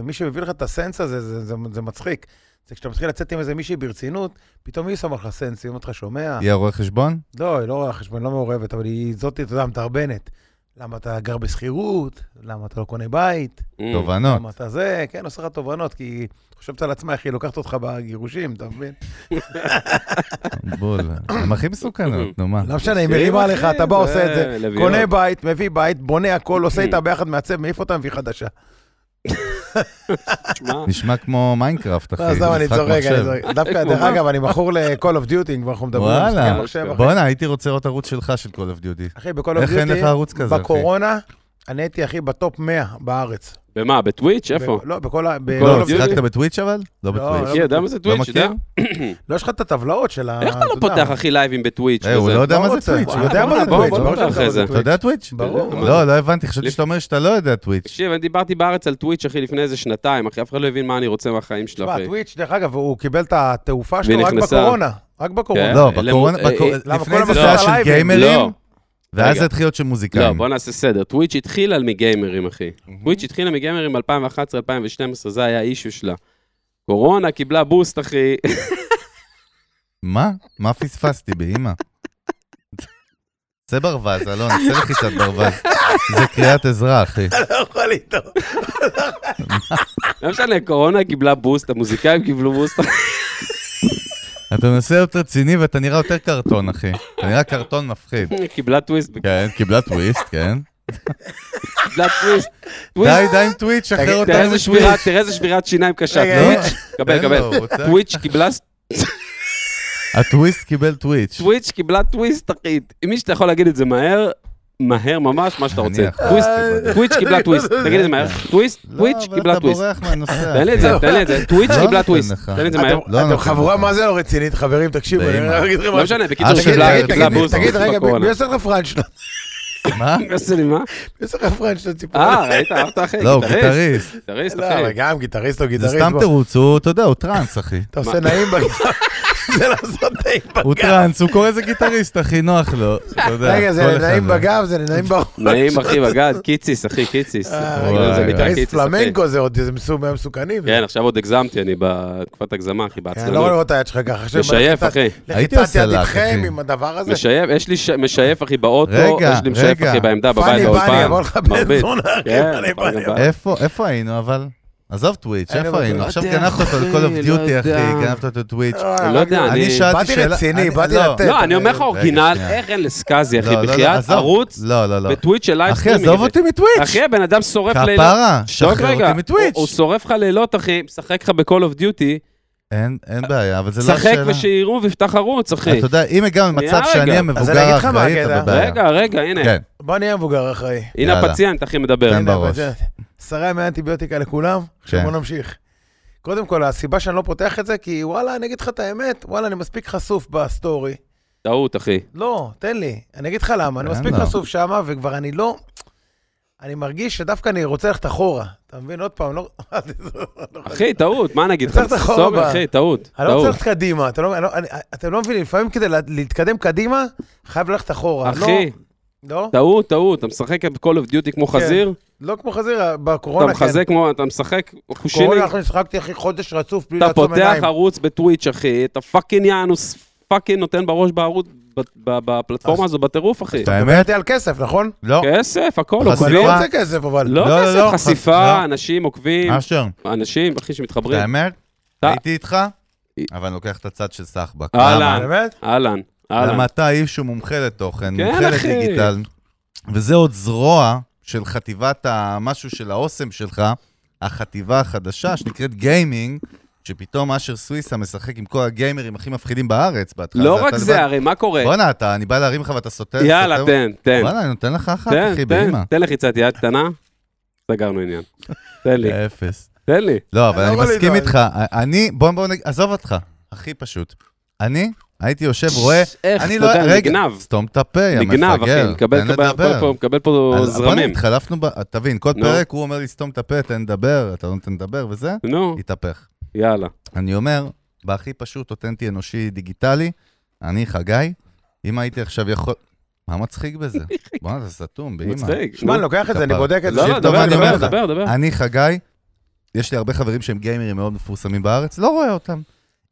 מי שמביא לך את הסנס הזה, זה, זה, זה מצחיק. זה כשאתה מתחיל לצאת עם איזה מישהי ברצינות, פתאום היא שמה לך סנס, היא אומרת לך, שומע?
יהיה רואה חשבון?
לא, היא לא רואה חשבון, לא מעורבת, אבל היא זאתי, אתה יודע, מתרבנת. למה אתה גר בשכירות, למה אתה לא קונה בית,
אה, Mm.
תובנות.
למה אתה זה, כן, עושה לך תובנות, כי היא חושבת על עצמה, איך היא לוקחת אותך בגירושים, אתה מבין?
בול. הן הכי
Mm.
מסוכנות, נו מה.
לא משנה, היא מרימה
אחי,
לך, אתה בא,
זה
עושה את זה,
לביאות.
קונה בית, מביא בית, בונה הכל, עושה איתה ביחד, מעצב, מעיף אותה, מביא חדשה.
תשמע,
נשמע כמו מיינקראפט, אחי.
לא, סתם, אני
משחק
צוחק, אני
מחשב.
צוחק. דווקא, דרך אגב, אני מכור ל-call of duty, אם כבר אנחנו מדברים על משחקי
וואלה.
מחשב, אחי.
בואנה, הייתי רוצה לראות ערוץ שלך של Call of Duty.
אחי, ב-call of
איך אין לך
duty,
ערוץ כזה, אחי?
בקורונה, אני הייתי, אחי, בטופ 100 בארץ.
במה, בטוויץ'? איפה?
ב- לא, בכל ה... ב-
Call
לא,
of Duty?
שיחקת בטוויץ' אבל? לא בטוויץ'.
אחי, יודע מה זה
לא
טוויץ'?
מכיר?
יודע?
לא, יש לך את הטבלאות של ה...
איך אתה לא
יודע,
פותח אחי לייבים בטוויץ'?
אה, הוא
וזה?
לא יודע מה זה
רוצה.
טוויץ'.
הוא יודע מה זה
בוא,
טוויץ'.
בוא
ברור
נדבר
שאתה
אחרי
יודע
זה.
טוויץ'.
אתה יודע טוויץ'?
ברור.
לא, לא הבנתי, חשבתי שאתה אומר שאתה לא יודע טוויץ'.
תקשיב, אני דיברתי בארץ על טוויץ', אחי, לפני איזה שנתיים, אחי, אף אחד לא הבין מה אני רוצה מהחיים שלו,
תשמע,
אחי.
טוויץ', דרך אגב, הוא קיבל את התעופה שלו רק
ונכנסה.
בקורונה. רק בקורונה.
כן.
לא,
אלה
בקורונה,
מ- אה,
בקור-
אה,
למה,
לפני
כל
זה זה
המסע
היה של
ללייבים?
גיימרים,
לא,
ואז
רגע.
זה התחיל להיות של
לא,
מוזיקאים.
בוא נעשה סדר. טוויץ' התחילה מגיימרים, אחי. טוויץ' התחילה מגיימרים ב-2011-2012, זה היה האישו שלה. קורונה קיבלה בוסט, אחי. [LAUGHS]
מה? מה פספסתי, באימא? [LAUGHS] צא ברווז, אלון, עושה לחיצת ברווז. זה קריאת עזרה, אחי.
לא יכול איתו.
לא משנה, קורונה קיבלה בוסט, המוזיקאים קיבלו בוסט.
אתה מנסה להיות רציני ואתה נראה יותר קרטון, אחי. אתה נראה קרטון מפחיד.
קיבלה טוויסט,
כן, קיבלה טוויסט, כן.
קיבלה טוויסט. טוויסט.
די, די עם טוויט, שחרר
תגיד,
אותנו
תראה איזה
מטוויט.
שבירת, תראה איזה שבירת שיניים קשה.
רגע,
לא,
טוויץ', קבל,
אין
קבל.
לו, הוא רוצה-
טוויץ' קיבלה
הטוויסט קיבל טוויץ'.
טוויץ' קיבלה טוויסט, אחי. עם מי שאתה יכול להגיד את זה מהר, מהר ממש, מה שאתה רוצה.
אני אחראי.
טוויסט,
אה,
טוויץ'
[LAUGHS]
קיבלה טוויסט. תגיד את זה מהר. טוויסט, טוויץ' קיבלה טוויסט.
לא, אבל אתה בורח מהנושא.
תן לי את זה,
אחי.
תן לי
[LAUGHS]
את זה. טוויץ'
לא
קיבלה
נותן
טוויסט.
לך.
תן לי את זה
אתם-
מהר.
לא
אתם
נותן.
חבורה מה זה לא רצינית, חברים, תקשיבו,
באמא.
אני אגיד לכם
לא
משהו.
משנה, בקיצור,
תגיד,
קיבלה
תגיד,
קיבלה
תגיד,
בוסט
תגיד, רגע, מי-
בקורונה.
מי עושה לך פרנצ'לה?
מה?
מי עושה לי מה?
מי עושה לך פרנצ'לה ציפור?
אה, ראית? אהבת אחי?
לא, הוא גיטריסט.
גיטריסט,
לא,
אחי.
אבל גם גיטריסט או
זה
גיטריסט.
סתם
בוא.
תירוץ, הוא, אתה יודע, הוא טראנס, אחי.
אתה עושה נעים בגב. [LAUGHS] זה לעשות נעים
הוא
בגב.
טראנס, הוא קורא לזה גיטריסט, אחי, נוח לו. אתה יודע,
רגע, זה
כל אחד
נעים בגב, זה נעים בראש.
נעים אחי בגד, קיציס אחי, קיציס.
אה,
וואי,
בגלל זה
וואי.
נקרא
גיטריסט
קיציס, אחי.
פלמנקו זה עוד איזה מסוג מהמסוכנים.
כן, עכשיו עוד הגזמתי, אני בתקופת הגזמה, אחי,
אני לא רואה
בעצלנות.
לראות את היד שלך ככה. עכשיו
משייף,
בלחיצת-
אחי.
הייתי
לחיצת
עושה
יד
לך,
איתכם
אחי.
עם הדבר הזה.
משייף, יש לי ש- משייף אחי באוטו,
רגע,
יש לי משייף
רגע.
אחי בעמדה
פאני
בבית
בני,
באולפן.
יבוא לך בן
מרבית.
זונה, אחי,
כן,
פאני
פאני
בני.
בני.
איפה, איפה היינו, אבל? עזוב טוויץ',
היינו
איפה היינו?
בטוויץ'.
עכשיו
לא
גנבת אותו
יודע,
ל-call of
לא
duty,
יודע.
אחי, גנבת אותו לטוויץ'.
אה,
לא יודע,
אני
אני-
שאלתי
באתי
שאלה...
רציני,
אני-
באתי
לא,
לתת.
לא, אני אומר לך
רגע,
אורגינל,
שנייה.
איך אין לסקאזי, אחי,
לא, לא, לא,
בחייאת
עזוב.
ערוץ
לא, לא, לא.
בטוויץ' של לייב
אחי, עזוב אותי מטוויץ'.
אחי, הבן אדם שורף לילות.
כפרה,
שתוק
שחרר אותי מטוויץ'.
הוא, הוא שורף לך לילות, אחי, משחק לך ב-call of duty,
אין, אין בעיה, אבל זה לא
שחק
השאלה.
ושיראו ויפתח ערוץ, אחי.
אתה יודע, אם הגענו למצב
שנייה,
שאני
רגע.
אז אני
המבוגר
אגיד לך מה
האחראי,
הקטע.
אתה בבעיה.
רגע, רגע, הנה,
כן,
בוא נהיה מבוגר אחראי.
הנה
יאללה.
הפציינט, אחי, מדבר.
כן.
הנה,
בראש.
בזה. שרי ימי אנטיביוטיקה לכולם, עכשיו
כן.
בוא נמשיך. קודם כל, הסיבה שאני לא פותח את זה, כי וואלה, אני אגיד לך את האמת, וואלה, אני מספיק חשוף בסטורי.
טעות, אחי.
לא, תן לי. אני אגיד לך למה, אני
אין
מספיק
לו.
חשוף שמה, וכבר אני לא... אני מרגיש שדווקא אני רוצה ללכת אחורה. אתה מבין? עוד פעם, לא... [LAUGHS]
אחי, טעות, מה אני אגיד לך?
צריך את החור
סורי,
הבא.
אחי, טעות.
אני לא רוצה
טעות.
ללכת קדימה, אתה לא- אני לא- אני- אתם לא מבינים, לפעמים כדי לה- להתקדם קדימה, חייב ללכת אחורה.
אחי,
לא, לא,
טעות, טעות. אתה משחק ב-call of duty
כן.
כמו חזיר,
לא כמו חזיר,
אתה
בקורונה כן.
מחזק כמו, אתה משחק חושיני,
קורונה אנחנו נשחקתי אחי חודש רצוף בלי
אתה
לעצום
פותח
עיניים.
ערוץ בטוויץ', אחי, אתה פאקינג יאנוס, פאקינג נותן בראש בערוץ, ב- ב- בפלטפורמה הזו, בטירוף, אחי.
את האמת?
דיברתי על כסף, נכון?
לא,
כסף, הכל,
אבל
אבל
חשיפה.
לא
עוקבים.
רוצה כסף, אבל.
לא,
לא, לא,
כסף,
לא,
חשיפה,
לא.
אנשים עוקבים,
אשר,
אנשים, אחי,
את
שמתחברים.
האמת,
כן. אתה- אה.
הייתי איתך, אבל אני לוקח את הצד של סחבק.
אהלן.
באמת?
אהלן,
למה?
אהלן.
למה אתה איש שהוא מומחה לתוכן,
כן,
מומחה
אחי.
לדיגיטל, וזה עוד זרוע של חטיבת המשהו של האוסם שלך, החטיבה החדשה שנקראת גיימינג, שפתאום אשר סוויסה משחק עם כל הגיימרים הכי מפחידים בארץ בהתחלה.
לא
אתה
רק
לבד-
זה, הרי מה קורה?
בואנה, אתה, אני בא להרים לך ואתה סוטה.
יאללה,
סוטה-
תן, תן.
וואלה, אני נותן לך אחת,
תן,
אחי, באמא.
תן, תן לחיצת יד קטנה, סגרנו עניין. תן
אה,
לי,
אפס.
תן לי.
לא, אבל
אני
אני
לא
מסכים
בלידו,
איתך. אני, בוא, בוא, נג- עזוב אותך, הכי פשוט. אני הייתי יושב, רואה,
איך,
אני
אתה
לא,
יודע,
רגע,
נגנב.
סתום את הפה, יא מפגר.
נגנב, אחי, מקבל
תן
פה-
לדבר.
פה- מקבל פה
אז בוא'נה,
זרמים.
התחלפנו, ב- אה, תבין, כל
נו.
פרק הוא אומר לי, סתום את הפה, תן לדבר, אתה לא נותן לדבר וזה,
נו,
התהפך.
יאללה.
אני אומר, בהכי פשוט, אותנטי, אנושי, דיגיטלי, אני חגי, אם הייתי עכשיו יכול... מה מצחיק
[LAUGHS]
בזה? בוא'נה, זה סתום, באמא.
מצחיק.
שמע, אני
נו.
לוקח את זה, אני אה,
כפרה.
בודק את
לא, לא,
זה.
תקשיב כן, טוב
דבר,
מה אני אומר
דבר,
לך.
דבר, דבר.
אני חגי, יש לי הרבה חברים שהם גיימרים מאוד מפורסמים בארץ, לא רואה אותם.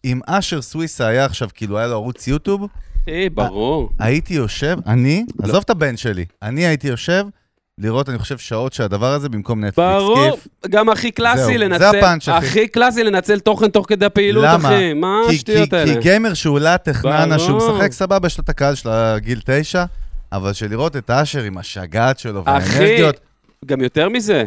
אם אשר סוויסה היה עכשיו, כאילו היה לו ערוץ יוטיוב,
אחי, אה, ברור. לא.
הייתי יושב, אני, עזוב את הבן שלי, אני הייתי יושב, לראות, אני חושב, שעות שהדבר הזה במקום נטפליקס.
ברור,
כיף.
גם הכי קלאסי
זהו, זה
לנצל...
הפאנץ', אחי.
הכי קלאסי לנצל תוכן תוך כדי הפעילות,
למה?
אחי. מה
כי-
השטויות
כי-
האלה?
כי גיימר שהוא להטכננה, שהוא
ברור.
משחק סבבה, יש לו את הקהל של הגיל תשע, אבל שלראות את אשר עם השגעת שלו
אחי,
והאנרגיות,
גם יותר מזה,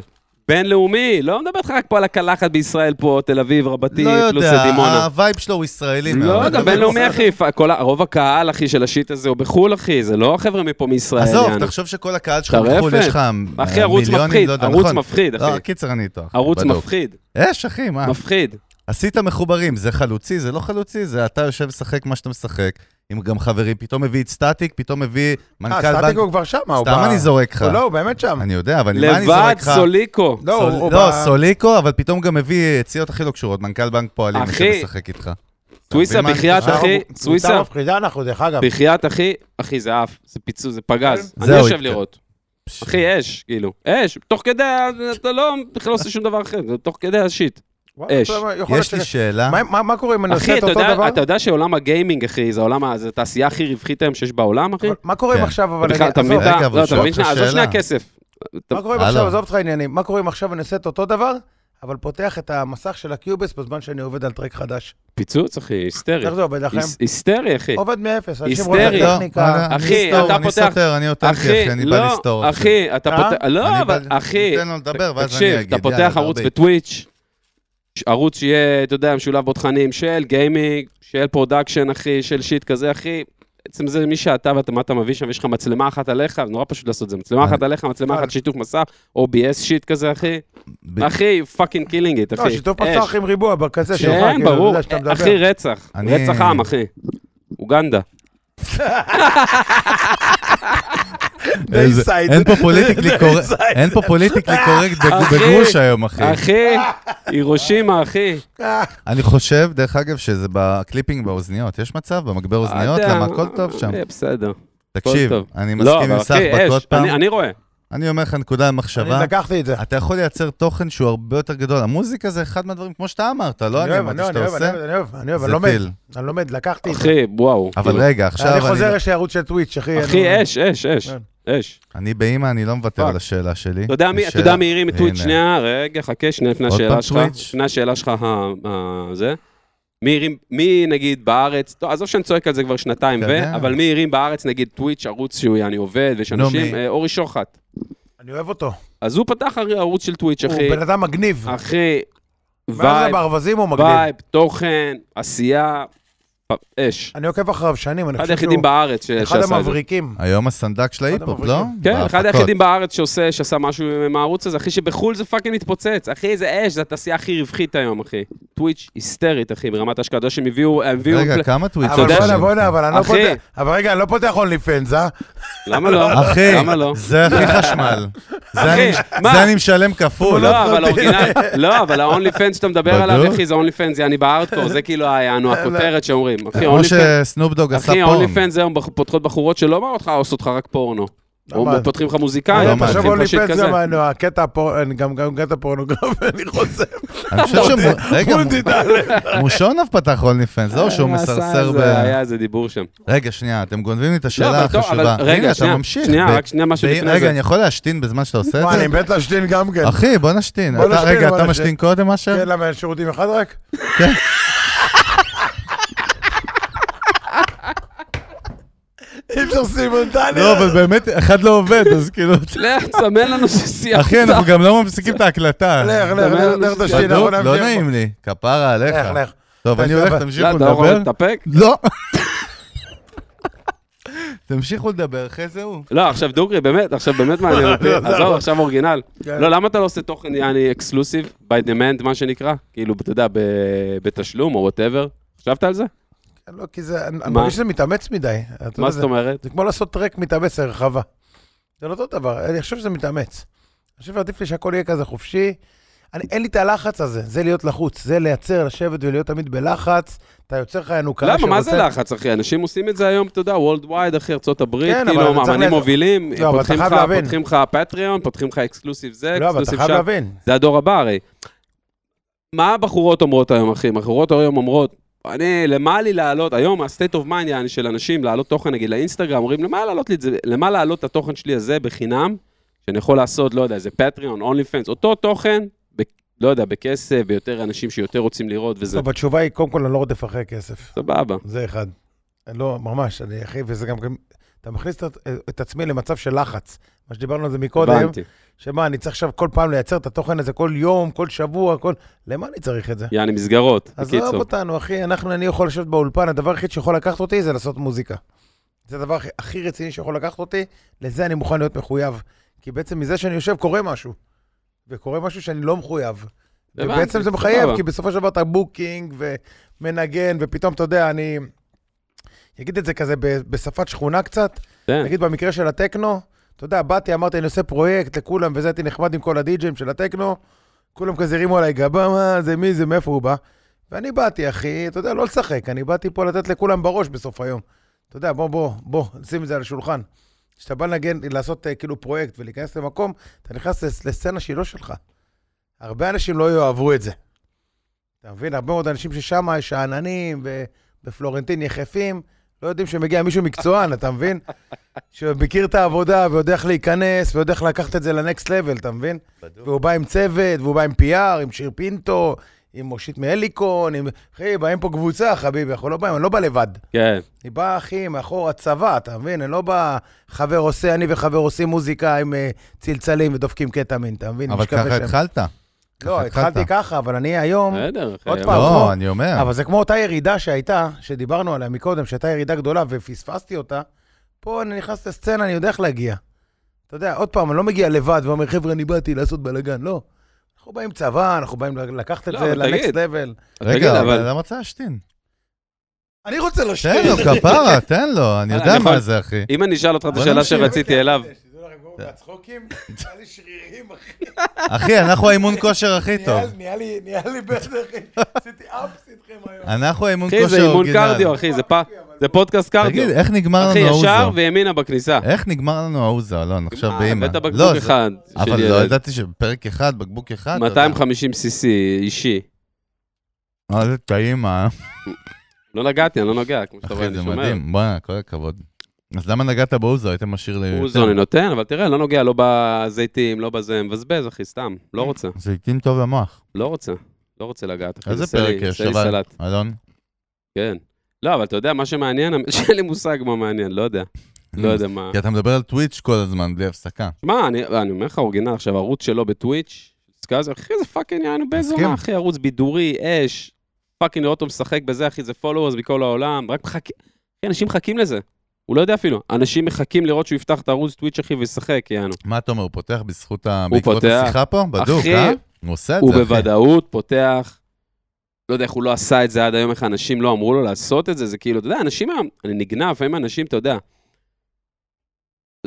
בינלאומי, לא מדבר איתך רק פה על הקלחת בישראל פה, תל אביב רבתי,
לא
פלוס
יודע, אוקיי.
דימונה.
הווייב שלו הוא ישראלי.
לא
מאוד.
יודע, בינלאומי אחי, פ- כל ה- רוב הקהל אחי של השיט הזה הוא בחו"ל אחי, זה לא החבר'ה מפה מישראל.
עזוב,
יעני.
תחשוב שכל הקהל שלך
טרפת.
בחו"ל, יש לך
אחי, ערוץ
מיליונים,
מפחיד,
לא יודע,
ערוץ
נכון?
מפחיד, אחי.
לא, קיצר, אני איתו. אחי,
ערוץ
בדוק. אה.
מפחיד,
יש, אחי, מה?
מפחיד.
עשית מחוברים, זה חלוצי, זה לא חלוצי, זה אתה יושב לשחק מה שאתה משחק, עם גם חברים, פתאום מביא את סטטיק, פתאום מביא
אה,
מנכ"ל
סטטיק
בנק,
הוא כבר שם, הוא
סתם
בא-
אני זורק לך.
הוא לא, הוא באמת שם.
אני יודע, אבל מה אני
לבד
זורק לך?
סוליקו.
לא,
סול-
הוא- הוא
לא,
בא-
סוליקו, אבל פתאום גם מביא יציאות הכי לא קשורות, מנכ"ל בנק פועלים,
אחי.
אחי, משחק איתך.
סוויסה,
אתה מבין מה אני
בחייאת
חושב?
אחי,
קבוצה
סוויסה,
מפחידה אנחנו, דרך אגב.
בחייאת אחי, אחי זה עף, זה פיצוץ, זה פגז.
כן.
אני
זהו,
יושב
התק-
לראות. אחי, אש, כאילו, אש, תוך כדי, אתה לא, בכלל לא עושה שום דבר אחר, זה תוך כדי השיט.
וואלה,
אש.
אתה יודע, יכול להיות
יש לי
ש-
שאלה,
מה- מה- מה קורה אם אני עושה
אחי,
את
אתה
אותו
יודע-
דבר?
אתה יודע שעולם הגיימינג, אחי, זה העולם, ה- זה התעשייה הכי רווחית היום שיש בעולם, אחי?
אבל מה קורה אם
כן.
עכשיו, אבל
בכלל,
אני...
אתה מבין
עזוב,
את
רגע,
ה...
אבל
לא,
הוא
אתה
שואל
מבין
אותך
שנייה, עזוב שנייה
שאלה.
כסף. אתה-
מה קורה אם
הלו.
עכשיו, עזוב אותך עניינים, מה קורה אם עכשיו אני עושה את אותו דבר, אבל פותח את המסך של הקיובס בזמן שאני עובד על טרק חדש?
פיצוץ, אחי, היסטרי.
איך זה עובד לכם?
היס- היסטרי, אחי.
עובד מאפס, אנשים רואים את
היסטרי.
לא,
הטכניקה.
אני- אני
אחי,
אסתור,
אתה
אני
פותח-
סותר, אני אותנטי, אחי,
אחי,
אני בא
לא,
לסתור.
אחי, אתה
אה?
פותח...
אני
לא, אבל
בא-
אחי...
תן לו לדבר, ואז אני
תקשיב,
אגיד,
אתה
יאללה,
פותח ערוץ
תרביץ.
בטוויץ', ש- ערוץ שיהיה, אתה יודע, משולב בתכנים של גיימינג, של פרודקשן, אחי, של שיט כזה, אחי. בעצם זה מי שאתה ואתה, מה אתה מביא שם, יש לך מצלמה אחת עליך, נורא פשוט לעשות את זה, מצלמה
אני-
אחת עליך, מצלמה
אבל-
אחת שיתוף מסך, OBS שיט כזה, אחי.
ב-
אחי, פאקינג קילינג איט, אחי.
לא, שיתוף
אש.
מסך עם ריבוע בקצה שלך,
כן,
כאילו,
ברור.
אתה יודע שאתה מדבר.
אחי, רצח.
אני-
רצח עם, אחי. אוגנדה.
איזה-
inside.
אין פה
[LAUGHS]
פוליטיקלי קורקט,
inside.
אין פה פוליטיקלי קורקט בג-
אחי.
בגרוש היום, אחי.
אחי, הירושימה, אחי.
אה,
אני חושב, דרך אגב, שזה בקליפינג באוזניות. יש מצב? במגבר אוזניות?
אתה-
למה? הכל טוב שם.
אה, בסדר.
תקשיב,
טוב.
אני
לא,
מסכים
אבל
עם
אחי,
סחבק עוד
אש.
פעם.
אני- אני רואה.
אני אומר לך נקודה
אני
למחשבה.
לקחתי את זה.
אתה יכול לייצר תוכן שהוא הרבה יותר גדול. המוזיקה זה אחד מהדברים, כמו שאתה אמרת, לא
אני
אני
אוהב,
אמרתי
אני אוהב,
שאתה
אני אוהב,
עושה.
אני אוהב, אני אוהב, אני
זה
לומד,
טיל.
אני לומד, לקחתי את זה.
אחי, וואו.
אבל
לא כאילו.
רגע, עכשיו
אני
אני-
חוזר, יש לי ערוץ של טוויץ', אחי.
אחי,
אני-
אש, אש, אש. אש.
אני באימא, אני לא מוותר
פאק.
על השאלה שלי.
אתה יודע מי, אתה
השאלה-
יודע מי הרים את טוויץ'
הנה.
שנייה? רגע, חכה שנייה לפני
עוד
השאלה
פעם
שלך.
טוויץ'?
לפני השאלה שלך, ה- ה- זה. מי הרים, מי נגיד בארץ, טוב, עזוב שאני צועק על זה כבר שנתיים,
אתה
ו...
יודע.
אבל מי הרים בארץ נגיד טוויץ', ערוץ שהוא יעני עובד, ויש
נו,
אנשים,
מי?
אה, אורי שוחט.
אני אוהב אותו.
אז הוא פתח הרי ערוץ של טוויץ',
הוא
אחי.
בן אדם מגניב.
אחי,
ואז זה
וייב,
ברווזים הוא מגניב.
וייב, תוכן, עשייה, פ- אש.
אני עוקב אחריו שנים, אני
אחד
חושב
היחידים
שהוא
בארץ ש-
אחד
שעשה את זה.
המבריקים.
היום הסנדק של ההיפ-הופ, לא?
המבריקים.
כן, אחד
בהפקות.
היחידים בארץ שעושה, שעשה משהו עם הערוץ הזה, אחי, שבחול זה פאקינג התפוצץ. אחי, זה אש, זה התעשייה הכי רווחית היום, אחי. טוויץ' היסטרית, אחי, ברמת ההשקעה. אתה יודע שהם הביאו... הם הביאו
רגע,
פל-
כמה טוויטים?
אבל
יודע
בואנה, בואנה, אבל אני לא
אחי.
פותח, אבל רגע, אני לא פותח אונלי פנס, אה?
למה לא?
אחי,
למה לא?
זה הכי חשמל. זה
אחי,
אני-
מה?
זה אני משלם כפול.
לא, אבל האורגינל, לא, אבל האונלי פנס שאתה מדבר עליו,
בדוק?
אחי, זה אונלי פנס, זה אני בארדקור, זה כאילו ה-
[LAUGHS]
יענו, הכותרת שאומרים. אחי,
כמו
אונלי פנס,
שסנופ דוג עשה
אחי, אונלי
פורן.
פנס היום בח- פותחות בחורות שלא אומרות לך, "אה, עושות לך רק פורנו. או
אבל-
פותחים לך
לא,
מוזיקאים,
מה,
תחשוב
פותחים
אונלי
לך שיט
פנס
כזה.
גם נו, הקטע פה, אני גם גם קטע פורנוגרפי, אני חוזר.
אני
[LAUGHS]
חושב שמו- רגע,
מוטי דלת.
מו- מושונוב פתח אונלי פנס, לא שהוא
היה-
מסרסר ב...
אה, זה- היה איזה דיבור שם.
רגע, שנייה, אתם גונבים לי את
לא,
השאלה
אבל טוב, אבל
החשובה.
רגע,
הנה,
שנייה,
אתה ממשיך.
שנייה,
ב-
רק שנייה, משהו
ב-
לפני זה.
רגע, אני יכול להשתין בזמן שאתה עושה את
וואי,
זה?
אני מת להשתין גם כן.
אחי, בוא נשתין.
בוא
אתה-
נשתין,
רגע,
בוא
אתה
נשתין.
משתין קודם אשר?
כן, למה אין שירותים אחד רק?
כן.
אי אפשר סימולטני.
לא, אבל באמת, אחד לא עובד, אז
[LAUGHS]
כאילו...
לך, [LAUGHS] תסמן לנו שסיימת.
אחי, אנחנו גם לא מפסיקים את ההקלטה.
לך, לך,
אתה אומר
לך,
לנו
לך
שזה
תשתין.
בדוק?
אנחנו
לא
נמשיך
נעים לי, כפרה
פה.
עליך.
לך, לך.
טוב, אני
לך,
הולך,
לך.
תמשיכו
לא, אתה אומר,
לדבר.
להתאפק?
לא. תמשיכו לדבר, אחרי זה הוא.
לא, עכשיו דוגרי, באמת, עכשיו באמת מעניין
[LAUGHS]
אותי. עזוב, עכשיו אורגינל.
לא. כן.
לא, למה אתה לא עושה תוכן יעני אקסקלוסיב, by demand, מה שנקרא? כאילו, אתה יודע, ב- בתשלום או וואטאבר? חשבת על זה?
לא, כי זה, אני אני
מה?
מרגיש שזה מתאמץ מדי. אתה יודע,
מה
זה-
זאת אומרת?
זה כמו לעשות טרק מתאמץ לרחבה. זה לא אותו דבר, אני חושב שזה מתאמץ. אני חושב שעדיף לי שהכל יהיה כזה חופשי. אני, אין לי את הלחץ הזה, זה להיות לחוץ, זה לייצר, לשבת ולהיות תמיד בלחץ. אתה יוצר לך ינוקה
למה, מה זה לחץ, אחי? אנשים עושים את זה היום, אתה יודע, World Wide, אחי, ארה"ב,
כן, אבל
כאילו,
אתה צריך
אמנים
לה-
מובילים,
לא, אבל אתה
פותחים
חייב
לך-
להבין.
פותחים לך פטריון, פותחים לך אקסקלוסיב זה,
לא, אבל אתה
אקסקלוסיב
חייב
שם.
להבין.
זה הדור הבא הרי. מה הבחורות אומרות היום, אחי? הבחורות היום אומרות, אני, למה לי לעלות, היום ה-state of mind יעני של אנשים, לעלות תוכן, נגיד לאינסטגרם, אומרים, למה לעלות לי את זה, למה לעלות את התוכן שלי הזה בחינם, שאני יכול לעשות, לא יודע, איזה פטריון, אונלי פנס, אותו תוכן, ב, לא יודע, בכסף, ויותר אנשים שיותר רוצים לראות וזה,
טוב, התשובה היא, קודם כל, אני לא רודף אחרי כסף.
סבבה.
זה אחד. לא, ממש, אני אחי, וזה גם... גם- אתה מכניס את, את עצמי למצב של לחץ. מה שדיברנו על זה מקודם,
הבנתי.
שמה, אני צריך עכשיו כל פעם לייצר את התוכן הזה כל יום, כל שבוע, כל... למה אני צריך את זה?
יעני מסגרות,
עזוב
בקיצור.
אותנו, אחי, אנחנו, אני יכול לשבת באולפן, הדבר היחיד שיכול לקחת אותי זה לעשות מוזיקה. זה הדבר הכי- הכי רציני שיכול לקחת אותי, לזה אני מוכן להיות מחויב. כי בעצם מזה שאני יושב קורה משהו, וקורה משהו שאני לא מחויב.
הבנתי,
ובעצם זה
סבבה.
מחייב, כי בסופו של דבר אתה בוקינג ומנגן, ופתאום, אתה יודע, אני אגיד את זה כזה ב- בשפת שכונה קצת,
כן,
נגיד במקרה של הטכנו, אתה יודע, באתי, אמרתי, אני עושה פרויקט לכולם, וזה הייתי נחמד עם כל הדי-ג'ים של הטכנו, כולם כזה הרימו עליי גבה, מה, זה מי זה, מאיפה הוא בא? ואני באתי, אחי, אתה יודע, לא לשחק, אני באתי פה לתת לכולם בראש בסוף היום. אתה יודע, בוא, בוא, בוא, שים את זה על השולחן. כשאתה בא לנגן, לעשות אה, כאילו פרויקט ולהיכנס למקום, אתה נכנס לס- לסצנה שהיא לא שלך. הרבה אנשים לא יאהבו את זה. אתה מבין? הרבה מאוד אנשים ששם יש שאננים, ובפלורנטין יחפים, לא יודעים שמגיע מישהו מקצוען, אתה מבין? שמכיר את העבודה ויודע איך להיכנס, ויודע איך לקחת את זה לנקסט לבל, אתה מבין? והוא בא עם צוות, והוא בא עם PR, עם שיר פינטו, עם מושיט מהליקון, עם... אחי, באים פה קבוצה, חביבי, אנחנו לא באים, אני לא בא לבד.
כן,
אני בא, אחי, מאחור הצבא, אתה מבין? אני לא בא, חבר עושה, אני וחבר עושים מוזיקה עם אה, צלצלים ודופקים קטמין, אתה מבין?
אבל
משכב
ככה
ושם.
התחלת.
לא, התחלתי ככה, אבל אני היום...
בסדר, אחי.
עוד פעם,
לא,
לא.
אני אומר.
אבל זה כמו אותה ירידה שהייתה, שדיברנו עליה מקודם, שהייתה ירידה גדולה ופספסתי אותה, פה אני נכנס לסצנה, אני יודע איך להגיע. אתה יודע, עוד פעם, אני לא מגיע לבד ואומר, חבר'ה, אני באתי לעשות בלאגן, לא. אנחנו באים צבא, אנחנו באים לקחת את
לא,
זה
אבל
לנקסט
תגיד.
לבל.
תגיד,
רגע,
אבל-
אבל למה רוצה להשתין?
אני רוצה
תן
[LAUGHS]
לשיר.
לו, כפרה, תן לו, אני יודע
אני יכול-
מה זה, אחי.
אם אני אשאל אותך את
בוא
השאלה
נמשיך.
שרציתי
[LAUGHS]
אליו,
שתדעו לכם, גורם מהצחוקים, היה לי שרירים, אחי.
אחי, אנחנו האימון כושר הכי טוב.
נהיה- נהיה לי- נהיה לי בטח, אחי. עשיתי אפס איתכם היום. אוקיי,
אנחנו האימון כושר
אחי, זה
אורגינל.
אימון קרדיו, אחי, זה פ- זה פודקאסט קרדיו.
תגיד, איך נגמר
אחי,
לנו
ישר
האוזר?
וימינה בכניסה.
איך נגמר לנו האוזר, אלון? עכשיו
אה,
באימא.
הבאת
אה, לא,
בקבוק
זה-
אחד. אה, של
אבל לא
ילד.
ידעתי שבפרק אחד, בקבוק אחד. אתה יודע.
250 cc אישי.
מה זה טעים, אה?
לא נגעתי, אני לא נוגע, כמו שאתה רואה,
אחי,
אני
זה
שומר.
מדהים. בוא'נה, כל הכבוד. אז למה נגעת באוזר? היית משאיר לי...
הוא זוני נותן, אבל תראה, לא נוגע לא בזיתים, לא בזה, מבזבז, אחי, סתם.
אה.
לא רוצה,
זה התאים טוב למוח.
לא רוצה. לא רוצה לגעת, אחי.
איזה
עשה
פרק
לי-
יש,
עשה לי
אבל...
סלט,
אלון?
כן. לא, אבל אתה יודע, מה שמעניין, [LAUGHS] שאין לי מושג מה מעניין, לא יודע.
[LAUGHS]
לא יודע מה.
כי אתה מדבר על טוויץ' כל הזמן, בלי הפסקה.
שמע, אני אני אומר לך, אורגינל עכשיו, ערוץ שלו בטוויץ', סקאזר, אחי, זה פאקינג יענו בזונה,
מסכים.
אחי, ערוץ בידורי, אש, פאקינג לראות אותו משחק בזה, אחי, זה followers מכל העולם, רק מחכים, אחי, אנשים מחכים לזה. הוא לא יודע אפילו, אנשים מחכים לראות שהוא יפתח את הערוץ טוויץ', אחי, וישחק, יענו.
מה אתה אומר, הוא פותח בזכות ה... בעקבות
פותח.
השיחה פה? בדוק,
אחי,
אה? הוא עושה את זה,
הוא
אחי.
בוודאות פותח, לא יודע איך הוא לא עשה את זה עד היום, איך האנשים לא אמרו לו לעשות את זה, זה כאילו, אתה יודע, אנשים היום, אני נגנב, לפעמים אנשים, אתה יודע.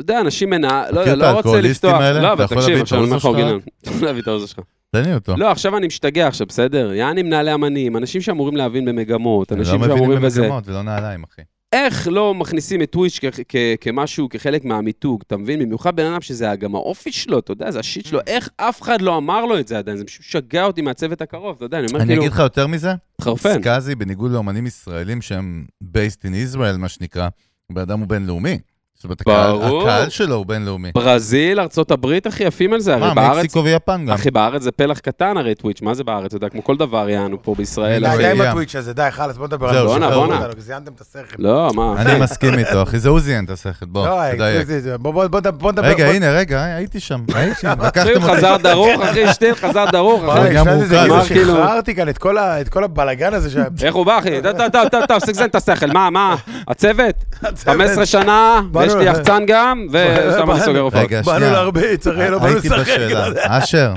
אתה יודע, אנשים מנה...
מכיר
לא, יודע,
את
לא רוצה
האלכוהוליסטים
לפתוח.
האלה?
לא,
אתה
אבל
יכול
תקשיב,
להביא את
עכשיו אני אומר
האוזר שלך?
לך אורגינל. [LAUGHS] אתה יכול להביא את האוזר שלך.
תן לי אותו.
לא, עכשיו אני משתגע עכשיו, בסדר? יעני מנהלי אמנים, אנשים שאמורים להבין במגמות,
אני לא
אנשים
מבינים
שאמורים בזה.
במגמות ולא נעליים, אחי.
איך לא מכניסים את טוויץ' כ- כ- כמשהו, כחלק מהמיתוג, אתה מבין? במיוחד בן אדם שזה גם האופי שלו, אתה יודע, זה השיט שלו, איך אף אחד לא אמר לו את זה עדיין? זה פשוט שגע אותי מהצוות הקרוב, אתה יודע, אני אומר
אני
כאילו, כן.
אגיד לך יותר מזה,
חרפן.
סקאזי, בניגוד לאומנים ישראלים שהם based in Israel, מה שנקרא, הבן אדם הוא בינלאומי. זאת אומרת, הקהל-
ברור.
הקהל שלו הוא בינלאומי.
ברזיל, ארצות הברית, אחי, יפים על זה, הרי
מה,
בארץ,
מקסיקו ויפן גם.
אה, אחי, בארץ זה פלח קטן הרי טוויץ', מה זה בארץ, אתה יודע, כמו כל דבר יענו פה בישראל,
לא,
די,
אחי.
די עם
ים.
הטוויץ' הזה, די, חלאס, בוא נדבר על זה.
זהו,
בואנה,
שחררו
בואנה.
אותנו.
אותנו, זיינתם את השכל.
לא, מה, אחי,
אני מסכים איתו, אחי, זה עוזי אין את השכל, בוא,
לא,
תדייק.
זה- זה- בוא- בוא- בוא- בוא נדבר.
רגע,
בוא-
הנה, רגע, אה, הייתי שם, הייתי
[LAUGHS]
שם,
אחי,
לקחתם אותי.
חזר דרוך, אחי, שתיהן חזר
[LAUGHS]
דרוך,
אבל
אחי.
גם
שני
הוא
זה, זה
קל.
מה,
כאילו
כאילו?
שחררתי כאן את כל ה- את כל הבלגן
[LAUGHS]
הזה שהיה.
איך הוא בא, אחי? טוב, טוב, טוב, טוב, טוב, תסגזן את השכל. מה, מה? הצוות? 15 שנה,
באנו
ויש לי
לזה.
יחצן גם, ושם אני סוגר הופעות.
רגע,
באנו
שנייה.
להרביץ, הרי לא באנו
הייתי
לשחק. [LAUGHS] אתה יודע.
בשאלה. אשר,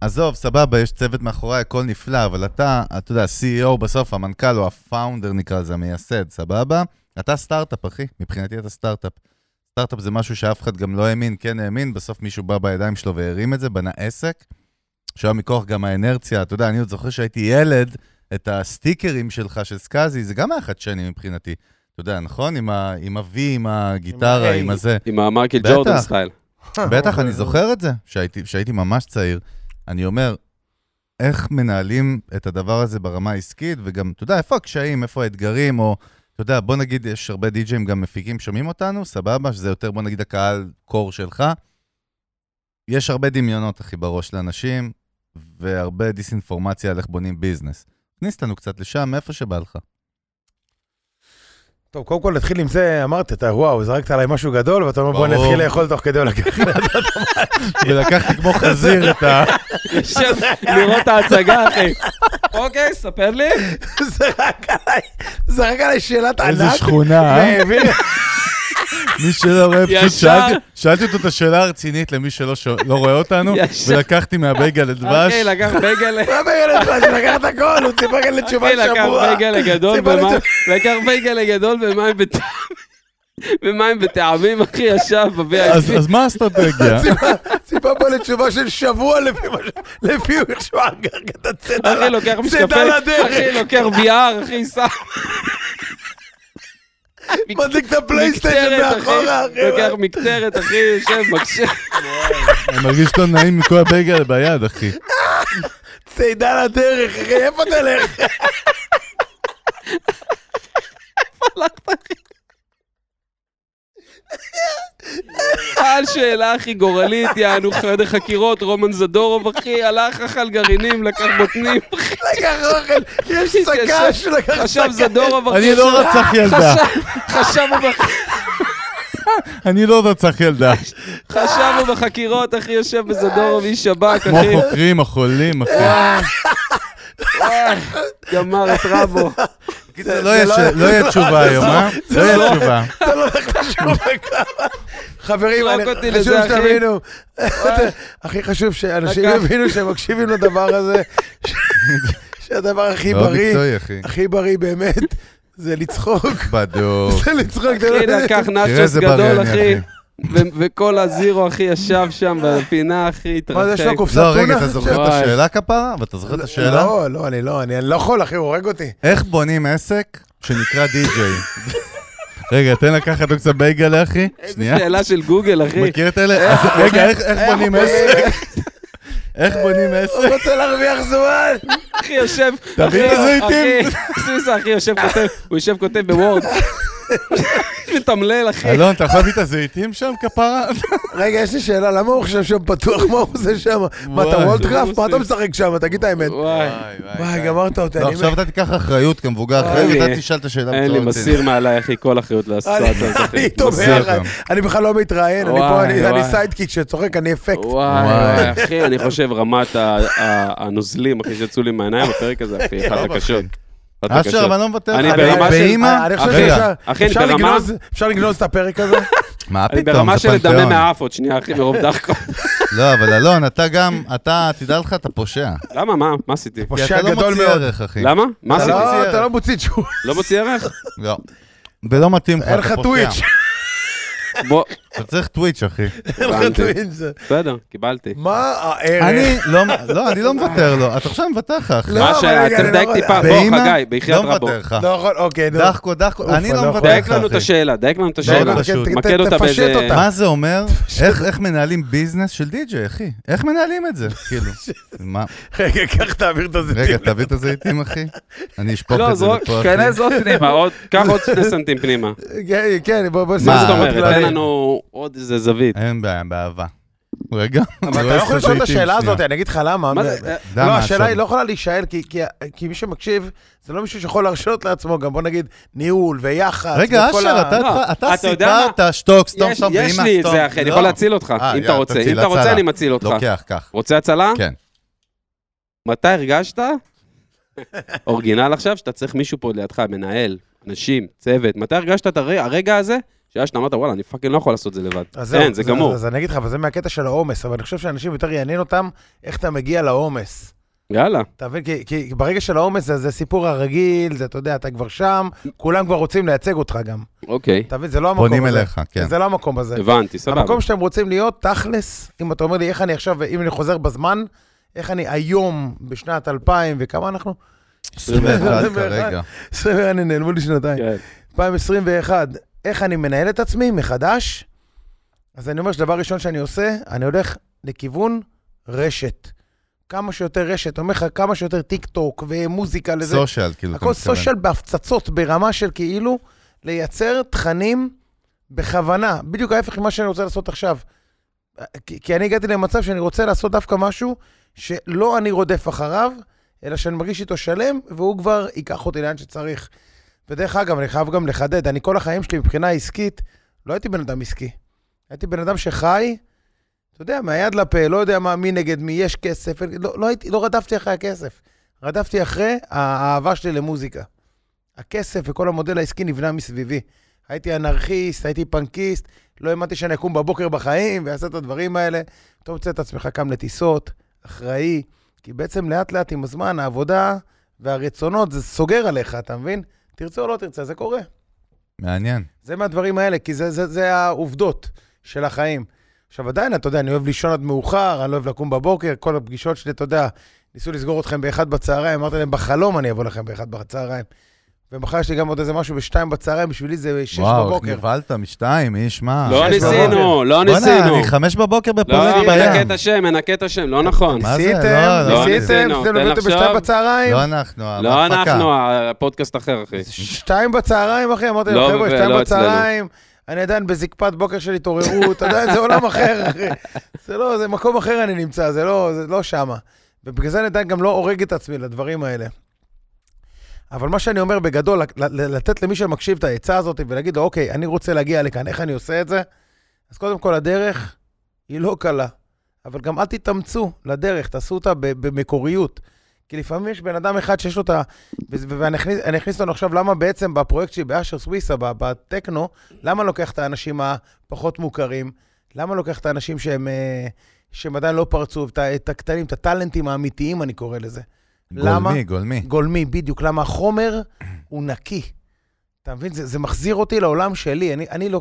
עזוב, סבבה, יש צוות מאחוריי, הכל נפלא, אבל אתה, אתה יודע, CEO בסוף, המנכ"ל או הפאונדר נקרא לזה, המייסד, סבבה? אתה סטארט-אפ, אחי, מבחינתי אתה סטארט-אפ. סטארט-אפ זה משהו שאף אחד גם לא האמין, כן האמין, בסוף מישהו בא בידיים שלו והרים את זה, בנה עסק, שהיה מכוח גם האנרציה, אתה יודע, אני עוד זוכר שהייתי ילד, את הסטיקרים שלך של סקאזי, זה גם היה חדשני מבחינתי. אתה יודע, נכון? עם ה- עם ה-V, עם הגיטרה,
ה-A.
עם הזה.
עם המייקל
בטח.
ג'ורדן סטייל.
בטח,
אה,
אני זוכר את זה, שהייתי, שהייתי ממש צעיר. אני אומר, איך מנהלים את הדבר הזה ברמה העסקית, וגם, אתה יודע, איפה הקשיים, איפה האתגרים, או, אתה יודע, בוא נגיד, יש הרבה די-ג'אים גם מפיקים שומעים אותנו, סבבה, שזה יותר, בוא נגיד, הקהל קור שלך. יש הרבה דמיונות, אחי, בראש לאנשים, והרבה דיסאינפורמציה על איך בונים ביזנס. תכניס אותנו קצת לשם, מאיפה שבא לך.
טוב, קודם כל נתחיל עם זה, אמרת, אתה וואו, זרקת עליי משהו גדול, ואתה אומר בוא
ברור.
נתחיל לאכול תוך כדי לקחת. [LAUGHS]
ולקחתי כמו חזיר את ה...
יושב לראות את ההצגה, אחי. אוקיי, ספר לי.
זרק עליי, זרק עליי שאלת ענק.
איזה שכונה, אה?
והעביר-
מי שלא רואה,
ישר.
פשוט שאלתי- שאלתי אותו את השאלה הרצינית למי שלא ש- לא רואה אותנו,
ישר.
ולקחתי מהבייגל את דבש.
אוקיי, לקח בייגל...
הוא אמר ילד מה, שלקח את הכל, הוא ציפה כאן לתשובה
אחי, אוקיי, כן, לקח
שבוע.
בייגל גדול
ציפה
במים,
לתשובה-
לקח בייגל גדול במים בטעמים, במים בטעמים, אחי, ישב
אז
ב-VIP.
אז מה האסטרטגיה?
ציפה- ציפה פה לתשובה של שבוע לפי מה ש- לפי הוא יחשוב הגרגת את הצדה.
אחי, לוקח
צדה
משקפי, אחי,
לדרך,
לוקח VR, אחי, שם.
מדליק את הפלייסטיישן
מקטרת, אחי,
לא מאחורה,
לוקח
אחי.
מקטרת, אחי, יושב, מקשיב.
אני מרגיש לא נעים עם כל הבייגל ביד, אחי.
צידה לדרך, אחי, איפה
[LAUGHS]
תלך?
[LAUGHS] שאל שאלה הכי גורלית, יענו חדר חקירות, רומן זדורוב, אחי, הלך אכל גרעינים, לקח בוטנים, אחי.
לקח אוכל, יש שק"ש,
ישב-
הוא לקח
חשב זדורוב, אחי.
אני לא רצח ילדה,
חשב- חשב הוא בח-
אני לא רצח ילדה.
חשב הוא בחקירות, אחי, יושב בזדורוב, איש שב"כ,
כמו
אחי.
חוקרים, החולים, אחי.
וואי, אה, גמר את רבו.
לא יהיה ש- לא
[LAUGHS]
יהיה תשובה היום, אה? לא יהיה תשובה.
אתה לא הולך [LAUGHS] לשום מקום. חברים,
זרוק
אני-
אותי
חשוב
לזה, אחי. אוקיי.
שתבינו. [LAUGHS] הכי חשוב שאנשים
לקח.
יבינו שהם מקשיבים לדבר הזה, ש- [LAUGHS] שהדבר הכי
מאוד
בריא,
מקצועי, אוקיי. אחי.
הכי בריא באמת, זה לצחוק.
בדוק.
[LAUGHS] זה לצחוק. אתה לא
אחי,
יודע.
לקח
תראה
נאצ'וס
איזה בריא
גדול,
אני,
אחי.
אחי.
ו- וכל הזירו, אחי, ישב שם בפינה, אחי, התרחק.
מה זה, יש לו קופסת
לא,
טונה?
רגע, אתה זוכר את
וואי.
השאלה כפרה? ואתה זוכר את השאלה?
לא, לא, אני לא, אני לא יכול, אחי, הוא הורג אותי.
איך בונים עסק שנקרא די-ג'יי? רגע, תן לקחת עוד קצת בייגלה, אחי. שנייה.
שאלה של גוגל, אחי.
מכיר את אלה? אז רגע, איך- איך בונים עסק? איך בונים עסק?
הוא רוצה להרוויח
[LAUGHS]
זמן.
אחי יושב,
תביא את
אחי,
הזיתים.
אחי, סיסה, אחי יושב כותב, הוא יושב כותב בוורד. [LAUGHS] מתמלל, אחי.
אלון, אתה יכול להביא את הזיתים שם,
[LAUGHS]
כפרה?
רגע, יש לי שאלה, למה הוא חושב שם פתוח? מה הוא עושה שם? מה, אתה
וואי.
וולדקראפט? מה אתה משחק שם? תגיד את האמת.
אוקיי. וואי,
וואי, גמרת אותי.
לא,
אני-
עכשיו אתה תיקח אחריות כמבוגר,
אוי.
אחרת אתה תשאל את השאלה
אין לי,
בצורה
מסיר
רצינית.
מעליי, אחי, כל אחריות לסיטואציה הזאת,
אני
אחי.
איתו
מפסיע
ביחד.
אותם.
אני בכלל לא מתראיין, אני פה,
וואי,
אני-
וואי.
אני סיידקיק שצוחק, אני אפקט.
וואי, וואי, אחי, אני חושב רמת ה- ה- הנוזלים, אחי, שיצאו לי מהעיניים בפרק הזה, אחי, אחת
טוב, לא, אחי.
הקשות. אחת
אשר,
הקשות.
אבל אני לא מוותר.
אני
לך.
ברמה של-
באמא?
אה, אני חושב
אחי,
רגע,
שאפשר
אחי,
אפשר
ברמה-
לגנוז- אפשר לגנוז את
[LAUGHS]
הפרק הזה.
מה
אני
פתאום?
ברמה
זה
של לדמם
פנתיאון.
מהאף עוד שנייה, אחי, מרוב
[LAUGHS]
דחקות.
לא, אבל אלון, אתה גם, אתה, תדע לך, אתה פושע.
למה, מה? מה עשיתי?
כי
פושע
אתה לא
גדול
מוציא
מאוד.
ערך, אחי.
למה? מה
אתה
עשיתי?
לא-
ערך.
אתה לא מוציא תשובה,
לא מוציא ערך?
לא. ולא מתאים לך,
אין
אתה
לך
פושע.
טוויץ'.
בוא,
אתה צריך טוויץ', אחי.
אין לך
הבנתי.
טוויץ'. זה-
בסדר, קיבלתי.
מה הערך?
אני לא, לא, אני לא מוותר לו. אתה עכשיו מוותר לך, אחי.
לא,
מה
אבל
ש...
רגע,
צריך
אני לא
לדייק
יכול-
טיפה, בוא,
באמא,
חגי, בחייאת
לא
רבו.
מוותר לך.
לא יכול, אוקיי, נו.
דחקו, דחקו,
אוף,
אני
אני
לא
לא
מוותר
יכול.
לך,
דייק
אחי.
לנו את השאלה, דייק לנו את
דייק
השאלה.
לנו את פשוט.
ת- ת-
מקד אותה
תפשט
באיזה-
אותה.
מה זה
[LAUGHS]
אומר? איך- איך מנהלים ביזנס של די-ג'יי, אחי? איך מנהלים
[LAUGHS]
את זה? כאילו, מה?
רגע, קח תעביר את הזיתים.
רגע, תביא את הזיתים, אחי? אני אשפוך
לא,
את זה אה,
זרוק,
לפה, אחי. [LAUGHS]
כנס עוד פנימה, עוד- קח עוד שני סנטים פנימה.
[LAUGHS] כן, כן, בוא בוא נשים
מה זאת
אה,
אומרת,
כללי.
תן לנו עוד איזה זווית.
אין בעיה, באהבה. רגע.
אבל אתה לא יכול לשאול את השאלה הזאת, אני אגיד לך למה.
מה זה? אה,
למה,
לא,
עכשיו?
השאלה היא לא יכולה להישאל, כי- כי- כי מי שמקשיב, זה לא מישהו שיכול להרשות לעצמו, גם בוא נגיד, ניהול ויחס.
רגע,
וכל
אשר,
ה-
אתה-
לא,
אתה- אתה
אתה יודע
סיפרת, שתוק, סתום,
יש-
סתום,
יש
ואמא,
לי את
סתום.
זה, אחי, אני
לא.
יכול להציל אותך,
אה,
אם
יאללה,
אתה רוצה.
תציל,
אם אתה רוצה,
הצלה.
אני מציל אותך.
לוקח, קח.
רוצה הצלה?
כן.
מתי הרגשת? אורגינל עכשיו, שאתה צריך מישהו פה לידך, מנהל, אנשים, צוות. מתי הרגשת את הר- הרגע הזה? שהיה שאתה אמרת, וואלה, אני פאקינג לא יכול לעשות את זה לבד.
אז זהו,
אין, כן, זה
אז-
גמור.
אז אני אגיד לך, אבל זה מהקטע של העומס, אבל אני חושב שאנשים יותר יעניין אותם איך אתה מגיע לעומס.
יאללה.
אתה מבין? כי, כי ברגע של העומס זה, זה סיפור הרגיל, זה, אתה יודע, אתה כבר שם, כולם כבר רוצים לייצג אותך גם.
אוקיי,
אתה מבין? זה לא המקום הזה.
פונים אליך, כן.
זה לא המקום הזה.
הבנתי, סבבה.
המקום שאתם רוצים להיות, תכלס, אם אתה אומר לי איך אני עכשיו, אם אני חוזר בזמן, איך אני היום, בשנת 2000, וכמה אנחנו? [LAUGHS]
21 כרגע.
21, אני נעלמו לי שנתיים.
כן.
2021, איך אני מנהל את עצמי מחדש? אז אני אומר שדבר ראשון שאני עושה, אני הולך לכיוון רשת. כמה שיותר רשת, אומר לך כמה שיותר טיק טוק ומוזיקה לזה.
סושיאל, כאילו. אתה
הכל
מתכוון.
סושיאל בהפצצות, ברמה של כאילו לייצר תכנים בכוונה, בדיוק ההפך ממה שאני רוצה לעשות עכשיו. כי, כי אני הגעתי למצב שאני רוצה לעשות דווקא משהו שלא אני רודף אחריו, אלא שאני מרגיש איתו שלם, והוא כבר ייקח אותי לאן שצריך. ודרך אגב, אני חייב גם לחדד, אני כל החיים שלי מבחינה עסקית, לא הייתי בן אדם עסקי. הייתי בן אדם שחי, אתה יודע, מהיד לפה, לא יודע מה, מי נגד מי, יש כסף, לא, לא, הייתי, לא רדפתי אחרי הכסף. רדפתי אחרי האהבה שלי למוזיקה. הכסף וכל המודל העסקי נבנה מסביבי. הייתי אנרכיסט, הייתי פנקיסט, לא האמנתי שאני אקום בבוקר בחיים ואעשה את הדברים האלה. אתה מוצא את עצמך קם לטיסות, אחראי, כי בעצם לאט-לאט עם הזמן העבודה והרצונות, זה סוגר עליך, אתה מבין? תרצה או לא תרצה, זה קורה.
מעניין.
זה מהדברים האלה, כי זה, זה, זה העובדות של החיים. עכשיו, עדיין, אתה יודע, אני אוהב לישון עד מאוחר, אני לא אוהב לקום בבוקר, כל הפגישות שלי, אתה יודע, ניסו לסגור אתכם באחד בצהריים, אמרתי להם, בחלום אני אבוא לכם באחד בצהריים. ומחר יש לי גם עוד איזה משהו בשתיים בצהריים, בשבילי זה שש
וואו, איך
בבוקר.
נבהלת משתיים, איש, מה?
לא
שש
ניסינו,
בבוקר.
לא
אה, בוא'נה,
ניסינו.
אני חמש בבוקר
לא,
בפולין
מנקה
בים.
את השם, מנקה את השם, לא נכון.
מה זה?
ניסיתם,
לא, לא
ניסיתם,
ניסינו,
ניסיתם
תן
לבנות
לחשוב.
בשתיים בצהריים.
לא אנחנו,
לא
המפקה.
אנחנו, הפודקאסט אחר, אחי.
שתיים בצהריים, אחי, אמרתי
לא,
להם, חבר'ה,
ו-
שתיים
לא
בצהריים, אני עדיין בזקפת בוקר של התעוררות, [LAUGHS] עדיין זה עולם אחר, אחי. זה לא, זה מקום אחר אני נמצא, זה לא, זה לא שמה. ובגלל זה אני עדיין גם לא הורג את עצמי לדברים האלה. אבל מה שאני אומר בגדול, ל- ל- לתת למי שמקשיב את העצה הזאת ולהגיד לו, אוקיי, אני רוצה להגיע לכאן, איך אני עושה את זה? אז קודם כל, הדרך היא לא קלה, אבל גם אל תתאמצו לדרך, תעשו אותה ב- במקוריות. כי לפעמים יש בן אדם אחד שיש לו את ה... וזה- ו- ואני אכניס, אני אכניס אותנו עכשיו, למה בעצם בפרויקט שלי באשר סוויסה, ב- בטכנו, למה לוקח את האנשים הפחות מוכרים? למה לוקח את האנשים שהם, אה, שהם עדיין לא פרצו, את ה- את הקטנים, את הטאלנטים האמיתיים, אני קורא לזה. למה?
גולמי, גולמי.
גולמי, בדיוק. למה החומר הוא נקי. אתה מבין? זה, זה מחזיר אותי לעולם שלי. אני, אני לא...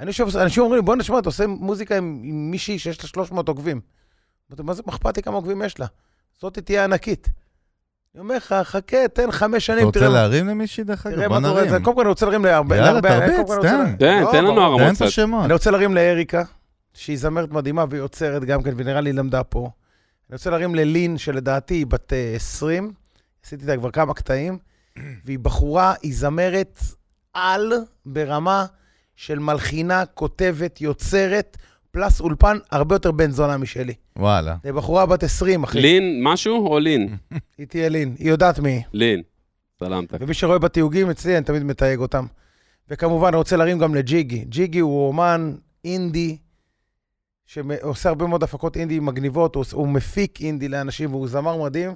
אני שוב, אנשים אומרים לי, בוא נשמע, אתה עושה מוזיקה עם, עם מישהי שיש לה 300 עוקבים. אמרתי, מה זה מה אכפת לי כמה עוקבים יש לה? זאת תהיה ענקית. אני אומר לך, חכה, תן חמש
אתה
שנים,
רוצה
תראה, מה-
להרים למישהו דרך אגב?
תראה
בוא
מה קורה.
נרים.
זה- קודם כל אני רוצה להרים להרבה...
יאללה,
להרבה-
תרביץ,
קודם כל אני רוצה-
תן.
תן,
לא,
כן, תן לנו
ברור.
תן
הרמות
את
קצת.
השמות.
אני לא- רוצה להרים לאריקה, שהיא זמרת מדהימה והיא יוצרת גם כן, ונראה לי למדה פה. אני רוצה להרים ללין, שלדעתי היא בת אה, 20, עשיתי איתה כבר
[CLEARS THROAT]
כמה קטעים, והיא בחורה, היא זמרת על ברמה של מלחינה, כותבת, יוצרת, פלס אולפן הרבה יותר בן זונה משלי.
וואלה.
זו בחורה בת 20, אחי.
לין משהו או
Mm.
לין?
היא תהיה לין, היא יודעת מי היא.
לין. סלמת.
ומי שרואה בתיוגים אצלי, אני תמיד מתייג אותם. וכמובן, אני רוצה להרים גם לג'יגי. ג'יגי הוא אומן אינדי, שעושה הרבה מאוד הפקות אינדי מגניבות, הוא, עוש- הוא מפיק אינדי לאנשים, והוא זמר מדהים.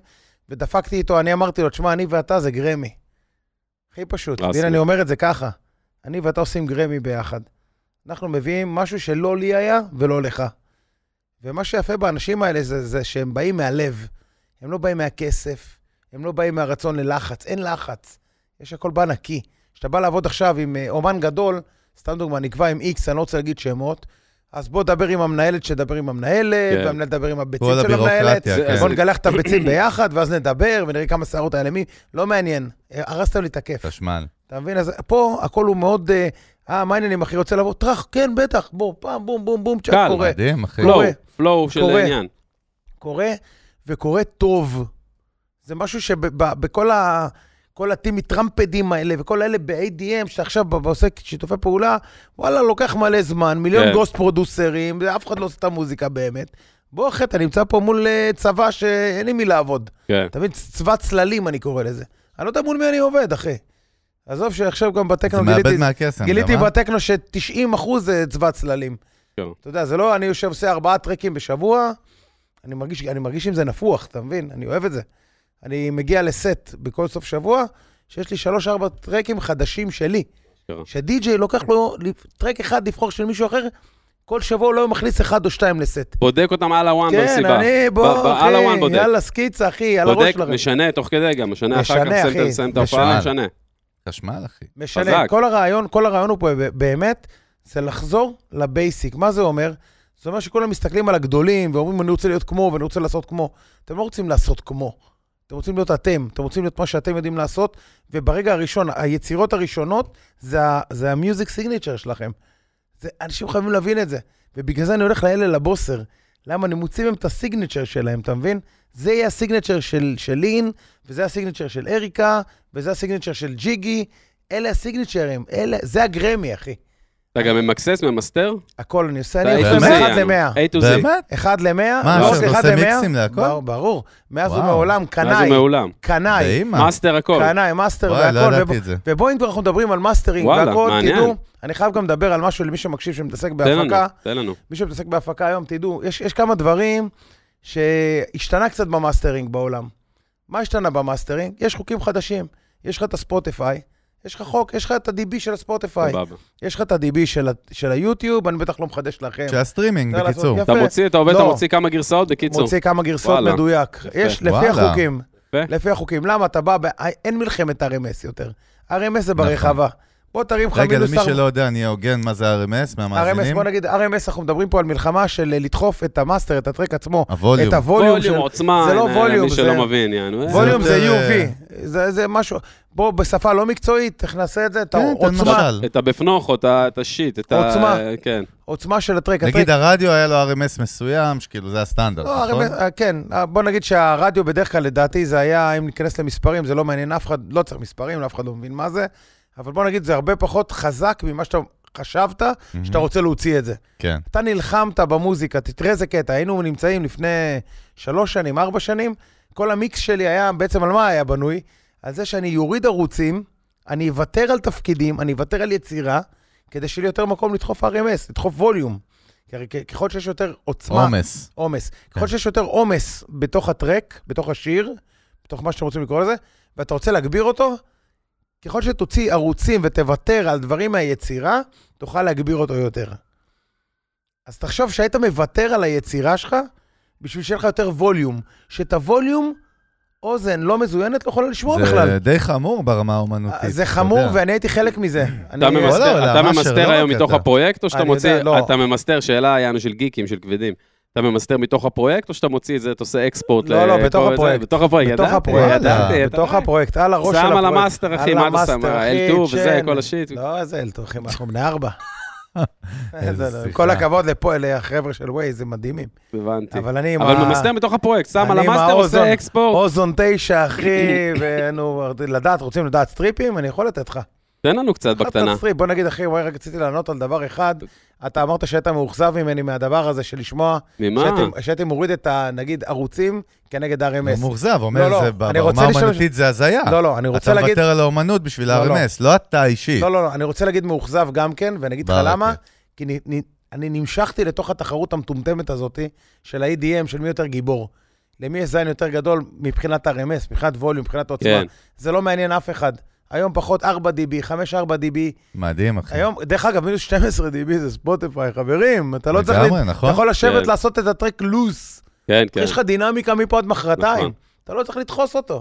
ודפקתי איתו, אני אמרתי לו, תשמע, אני ואתה זה גרמי. הכי פשוט.
קלאסי.
והנה, אני אומר את זה ככה. אני ואתה עושים גרמי ביחד. אנחנו מביאים משהו שלא לי היה ולא לך. ומה שיפה באנשים האלה זה, זה שהם באים מהלב. הם לא באים מהכסף, הם לא באים מהרצון ללחץ, אין לחץ. יש הכל בא נקי. כשאתה בא לעבוד עכשיו עם אה, אומן גדול, סתם דוגמה, נקבע עם איקס, אני לא רוצה להגיד שמות, אז בוא דבר עם המנהלת שתדבר עם המנהלת,
כן.
והמנהלת תדבר עם הביצים
כל
של המנהלת.
הבירוקרטיה,
זה-
בוא
כן.
נגלח את הביצים ביחד, ואז נדבר, ונראה כמה שערות על ימין. לא מעניין, אה, הרסת לי את הכיף.
חשמל.
אתה מבין? אז פה הכל הוא מאוד, אה, אה, מה העניינים, אחי, רוצה לבוא? טראח, כן, בטח, בוא, פעם, בום, בום, בום, צ'אק,
קל,
קורה.
מדהים, אחי.
פלואו,
קורה.
פלואו של
קורה.
העניין.
קורה, וקורה טוב. זה משהו שבכל ה... כל הטימי טרמפדים האלה, וכל אלה ב-ADM, שעכשיו ב- עושה שיתופי פעולה, וואלה, לוקח מלא זמן, מיליון
כן.
yeah. גוסט פרודוסרים, אף אחד לא עושה את המוזיקה באמת. בוא, אחי, אתה נמצא פה מול אה, צבא שאין עם מי לעבוד.
כן.
אתה מבין? צבא צללים, אני קורא לזה. אני לא יודע מול מי אני עובד, אחי. עזוב שעכשיו גם
זה
בטכנו
מאבד
גיליתי...
מהקסם.
גיליתי
גם, אה?
בטכנו ש-90% זה צבא צללים.
כן.
אתה יודע, זה לא, אני יושב עושה ארבעה טרקים בשבוע, אני מרגיש, אני מרגיש עם זה נפוח, אתה מבין? אני אוהב את זה. אני מגיע לסט בכל סוף שבוע, שיש לי שלוש-ארבע טרקים חדשים שלי.
כן.
שדי-ג'יי לוקח לו טרק אחד לבחור של מישהו אחר, כל שבוע הוא לא מכניס אחד או שתיים לסט.
בודק אותם על הוואן
כן,
במסיבה.
אני,
ב- ב-
בוא,
על הוואן
אחי,
בודק.
יאללה, סקיצה, אחי, על הראש
בודק,
שלכם.
משנה תוך כדי גם, משנה אחר כך,
משנה,
מסיים את-
אחי.
מסיים את ההופעה,
משנה.
משנה.
חשמל, אחי.
משנה.
חזק.
כל הרעיון, כל הרעיון הוא פה ב- באמת, זה לחזור לבייסיק. מה זה אומר? זה אומר שכולם מסתכלים על הגדולים ואומרים, אני רוצה להיות כמו ואני רוצה לעשות כמו. אתם לא רוצים לעשות כמו. אתם רוצים להיות אתם, אתם רוצים להיות מה שאתם יודעים לעשות, וברגע הראשון, היצירות הראשונות, זה, ה- זה המיוזיק סיגניצ'ר שלכם. זה, אנשים חייבים להבין את זה. ובגלל זה אני הולך לאלה לבוסר. למה? אני מוציא מהם את הסיגניצ'ר שלהם, אתה מבין? זה יהיה הסיגניצ'ר של, של לין, וזה הסיגניצ'ר של הריקה, וזה הסיגניצ'ר של ג'יגי. אלה הסיגניצ'רים, אלה, זה הגרמי, אחי.
אתה גם ממקסס, ממסתר?
הכל אני עושה,
אתה
אני
A to
עושה
Z,
מ-1
יענו.
ל-100.
A to Z.
באמת?
אחד ל-100,
מה,
לא
עכשיו אתה
רק אחד
עושה
ל-100.
מיקסים להכל?
ברור, ברור. מאז
וואו.
ומעולם,
מאז
קנאי,
ומעולם.
קנאי,
טעים, אה?
מאסטר הכל.
קנאי, מאסטר
וואי, לא
והכל.
ידעתי
ובוא-
את זה.
ובואו, אם כבר אנחנו מדברים על מאסטרינג
וואלה,
והכל,
מעניין.
תדעו, אני חייב גם לדבר על משהו למי שמקשיב שמתעסק
תן לנו,
בהפקה.
תן לנו.
מי שמתעסק בהפקה היום, תדעו, יש, יש כמה דברים שהשתנה קצת במאסטרינג בעולם. מה השתנה במאסטרינג? יש חוקים חדשים. יש לך את הספוטיפיי, יש לך חוק, יש לך את ה-DB של הספוטיפיי,
סבבה.
יש לך את ה-DB של, ה- של היוטיוב, אני בטח לא מחדש לכם.
שהסטרימינג,
אפשר לעשות
בקיצור.
יפה.
אתה מוציא, אתה עובד, אתה
לא.
מוציא כמה גרסאות, בקיצור.
מוציא כמה גרסות
וואלה.
מדויק.
יפה.
יש, לפי
וואלה.
החוקים.
יפה.
לפי החוקים. למה? אתה בא, ב... אין מלחמת RMS יותר. RMS זה
נכון.
ברחבה. בוא תרים לך
רגע,
מינוס
למי
ארבע-
שלא יודע, אני אהיה הוגן מה זה RMS
RMS,
מהמאזינים.
בוא נגיד, RMS, אנחנו מדברים פה על מלחמה של אה, לדחוף את המאסטר, את הטרק עצמו.
הווליום.
את הווליום של...
ווליום, עוצמה,
זה לא
אה,
ווליום,
למי
זה-
שלא מבין, יענו. אה,
ווליום זה
יותר, אה,
UV, זה, זה משהו, בוא, בשפה לא מקצועית, תכנסה את זה, את
כן, תן
העוצמה,
משל.
את הבפנוכו, את ה- את השיט, את ה...
עוצמה.
כן.
עוצמה של הטרק.
נגיד הרדיו היה לו RMS מסוים, שכאילו זה הסטנדרט,
לא,
נכון?
RMS, כן, אה, בוא נגיד שהרדיו בדרך כלל לדעתי זה היה, אם ניכנס למספרים, זה לא מעניין אף אחד, לא צריך מספרים, אף אחד לא מבין מה זה, אבל בוא נגיד זה הרבה פחות חזק ממה שאתה חשבת, שאתה רוצה להוציא את זה.
כן.
אתה נלחמת במוזיקה, תראה איזה קטע, היינו נמצאים לפני שלוש שנים, ארבע שנים, כל המיקס שלי היה, בעצם על מה היה בנוי? על זה שאני יוריד ערוצים, אני אוותר על תפקידים, אני אוותר על יצירה, כדי שיהיה לי יותר מקום לדחוף RMS, לדחוף ווליום. כי הרי כ- ככל שיש יותר עוצמה...
עומס.
עומס.
כן.
ככל שיש יותר עומס בתוך הטרק, בתוך השיר, בתוך מה שאתם רוצים לקרוא לזה, ואתה רוצה להגביר אותו, ככל שתוציא ערוצים ותוותר על דברים מהיצירה, תוכל להגביר אותו יותר. אז תחשוב שהיית מוותר על היצירה שלך בשביל שיהיה לך יותר ווליום. שאת הווליום, אוזן לא מזוינת לא יכולה לשמוע
זה
בכלל. אה,
די חמור ברמה האומנותית.
זה
אתה
חמור,
יודע.
ואני הייתי חלק מזה. אני-
אתה ממסתר-
וואלה,
אתה
ממש
ממסתר
לא
היום
רק
מתוך
אתה.
הפרויקט, או שאתה
אני יודע,
מוציא...
לא.
אתה ממסתר, שאלה יענו של גיקים, של כבדים. אתה ממסתר מתוך הפרויקט, או שאתה מוציא את זה, אתה עושה אקספורט?
לא, לא,
לכל
בתוך
זה?
הפרויקט.
בתוך הפרויקט,
בתוך
ידעתי,
הפרויקט, אה,
ידעתי, אתה
בתוך
רואה?
הפרויקט, על הראש של
שם
הפרויקט.
על המאסטר, אחי,
על
מה אתה
המאסטר,
שם?
אחי,
L2 וזה,
צ'ן.
כל השיט.
לא, זה אלטורכים, אנחנו בני
[LAUGHS]
ארבע. [LAUGHS]
איזה
זה לא-
שיחה.
כל הכבוד לפה, לחבר'ה של ווייז, הם מדהימים.
הבנתי.
אבל אני עם
אבל
ה-
ממסתר מתוך הפרויקט, שם על
אני עם
המאסטר,
האוזון-
עושה אקספורט.
אוזון
[LAUGHS]
תשע, אחי, ונו, לדעת, רוצים לדעת סטריפים? אני יכול לתת לך.
תן לנו קצת
אחת
בקטנה.
סטריפ, בוא נגיד, אחי, וואי, רק רציתי לענות על דבר אחד. אתה אמרת שהיית מאוכזב ממני מהדבר הזה של לשמוע...
ממה?
שהייתי- שהייתי מוריד את ה... נגיד, ערוצים כנגד
הוא
RMS.
מאוכזב,
לא,
אומר,
לא,
זה
אני רוצה
ברמה
לשאול-
האומנותית זה הזיה.
לא, לא, אני רוצה
אתה
להגיד...
מוותר על האומנות בשביל
לא, לא.
ה-RMS, לא אתה אישית.
לא, לא, לא, אני רוצה להגיד מאוכזב גם כן, ואני אגיד לך
ברכה.
למה, כי אני, אני, אני נמשכתי לתוך התחרות המטומטמת הזאת של ה-EDM, של מי יותר גיבור. למי יש זין יותר גדול מבחינת RMS, מבחינת ווליום, מבחינת עוצמה.
כן.
כן. זה לא מעניין אף אחד. היום פחות 4 dB, 5 4 dB.
כן. מדהים, אחי.
היום, דרך אגב, מינוס 12 dB זה ספוטיפיי, חברים. אתה לא צריך...
לגמרי,
לת-
נכון.
אתה יכול לשבת
כן.
לעשות את הטרק לוס.
כן, כן.
יש לך דינמיקה מפה עד מחרתיים.
נכון.
אתה לא צריך לדחוס אותו.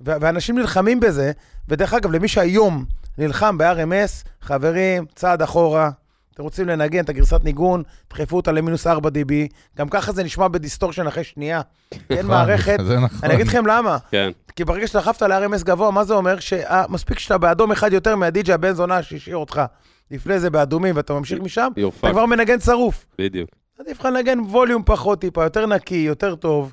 ו- ואנשים נלחמים בזה, ודרך אגב, למי שהיום נלחם ב-RMS, חברים, צעד אחורה, אתם רוצים לנגן את הגרסת ניגון, דחפו אותה למינוס 4 dB, גם ככה זה נשמע בדיסטורשן אחרי שנייה. אין
נכון,
מערכת.
זה נכון.
אני אגיד לכם למה.
כן.
כי ברגע שדחפת ל-RMS גבוה, מה זה אומר? שמספיק שאתה באדום אחד יותר מהדיג'י הבן זונה שהשאיר אותך לפני זה באדומים, ואתה ממשיך משם,
You're
אתה
fucked.
כבר מנגן שרוף.
בדיוק.
עדיף לך לנגן ווליום פחות טיפה, יותר נקי, יותר טוב.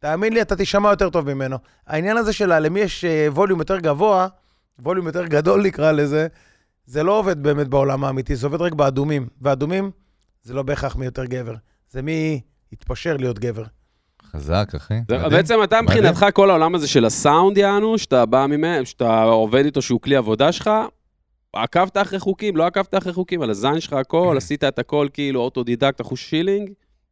תאמין לי, אתה תישמע יותר טוב ממנו. העניין הזה של למי יש אה, ווליום יותר גבוה, ווליום יותר גדול [LAUGHS] נקרא לזה, זה לא עובד באמת בעולם האמיתי, זה עובד רק באדומים. ואדומים זה לא בהכרח מי יותר גבר, זה מי התפשר להיות גבר.
חזק, אחי.
זה-
מדהים.
בעצם אתה
מדהים.
מבחינתך, כל העולם הזה של הסאונד, יענו, שאתה בא ממנו, שאתה עובד איתו, שהוא כלי עבודה שלך, עקבת אחרי חוקים, לא עקבת אחרי חוקים, על הזין שלך הכל, עשית את הכל כאילו אוטודידקט, אחוש שילינג,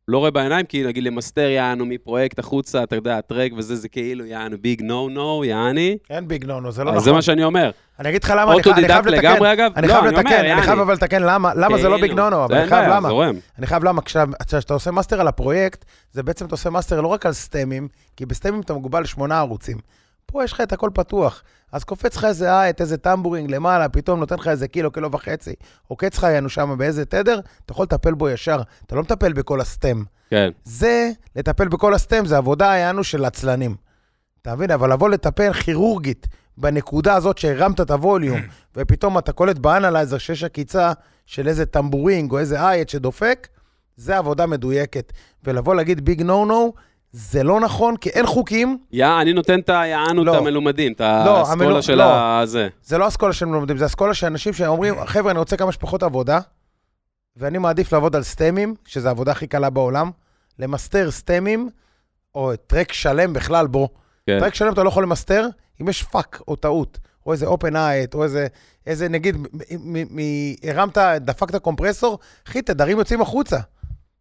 לא רואה בעיניים, כי נגיד למסטר, יענו, מפרויקט החוצה, אתה יודע, הטרק וזה, זה כאילו, יענו, ביג נו נו, יעני.
אין ביג נונו, זה לא
אז
נכון.
זה מה שאני אומר.
אני אגיד לך למה, אני, ח- אני
אוטודידקט
חייב לתקן.
לגמרי, אגב.
אני
לא,
חייב
אומר,
לתקן, אני
יעני.
חייב אבל לתקן למה, למה זה לא ביג
כאילו,
נונו, אבל
אין
אני חייב
בעיה,
למה.
זורם.
אני חייב למה, כשה- כשאתה עושה מאסטר על הפרויקט, זה בעצם אתה עושה מאסטר לא רק על סטמים, כי בסטמים אתה מוגבל שמונה ערוצים. פה יש לך את הכל פתוח. אז קופץ לך איזה אייט, איזה טמבורינג למעלה, פתאום נותן לך איזה קילו, קילו וחצי. עוקץ לך היינו שם באיזה תדר, אתה יכול לטפל בו ישר. אתה לא מטפל בכל הסטם.
כן.
זה, לטפל בכל הסטם, זה עבודה היינו של עצלנים. אתה מבין? אבל לבוא לטפל כירורגית בנקודה הזאת שהרמת את הווליום, ופתאום אתה קולט באנלייזר שיש עקיצה של איזה טמבורינג או איזה אייט שדופק, זה עבודה מדויקת. ולבוא להגיד ביג נו נו, זה לא נכון, כי אין חוקים,
יא, אני נותן את היענו,
לא.
את המלומדים, את
לא, המלו-
האסכולה של
לא.
הזה.
זה לא אסכולה שהם לומדים, זה אסכולה של אנשים שאומרים, חבר'ה, אני רוצה כמה שפחות עבודה, ואני מעדיף לעבוד על סטמים, שזו העבודה הכי קלה בעולם, למסתר סטמים, או טרק שלם בכלל, בו.
כן.
טרק שלם אתה לא יכול למסתר, אם יש פאק או טעות, או איזה open night, או איזה, איזה נגיד, מ- מ- מ- הרמת, דפקת קומפרסור, אחי, תדרים יוצאים החוצה.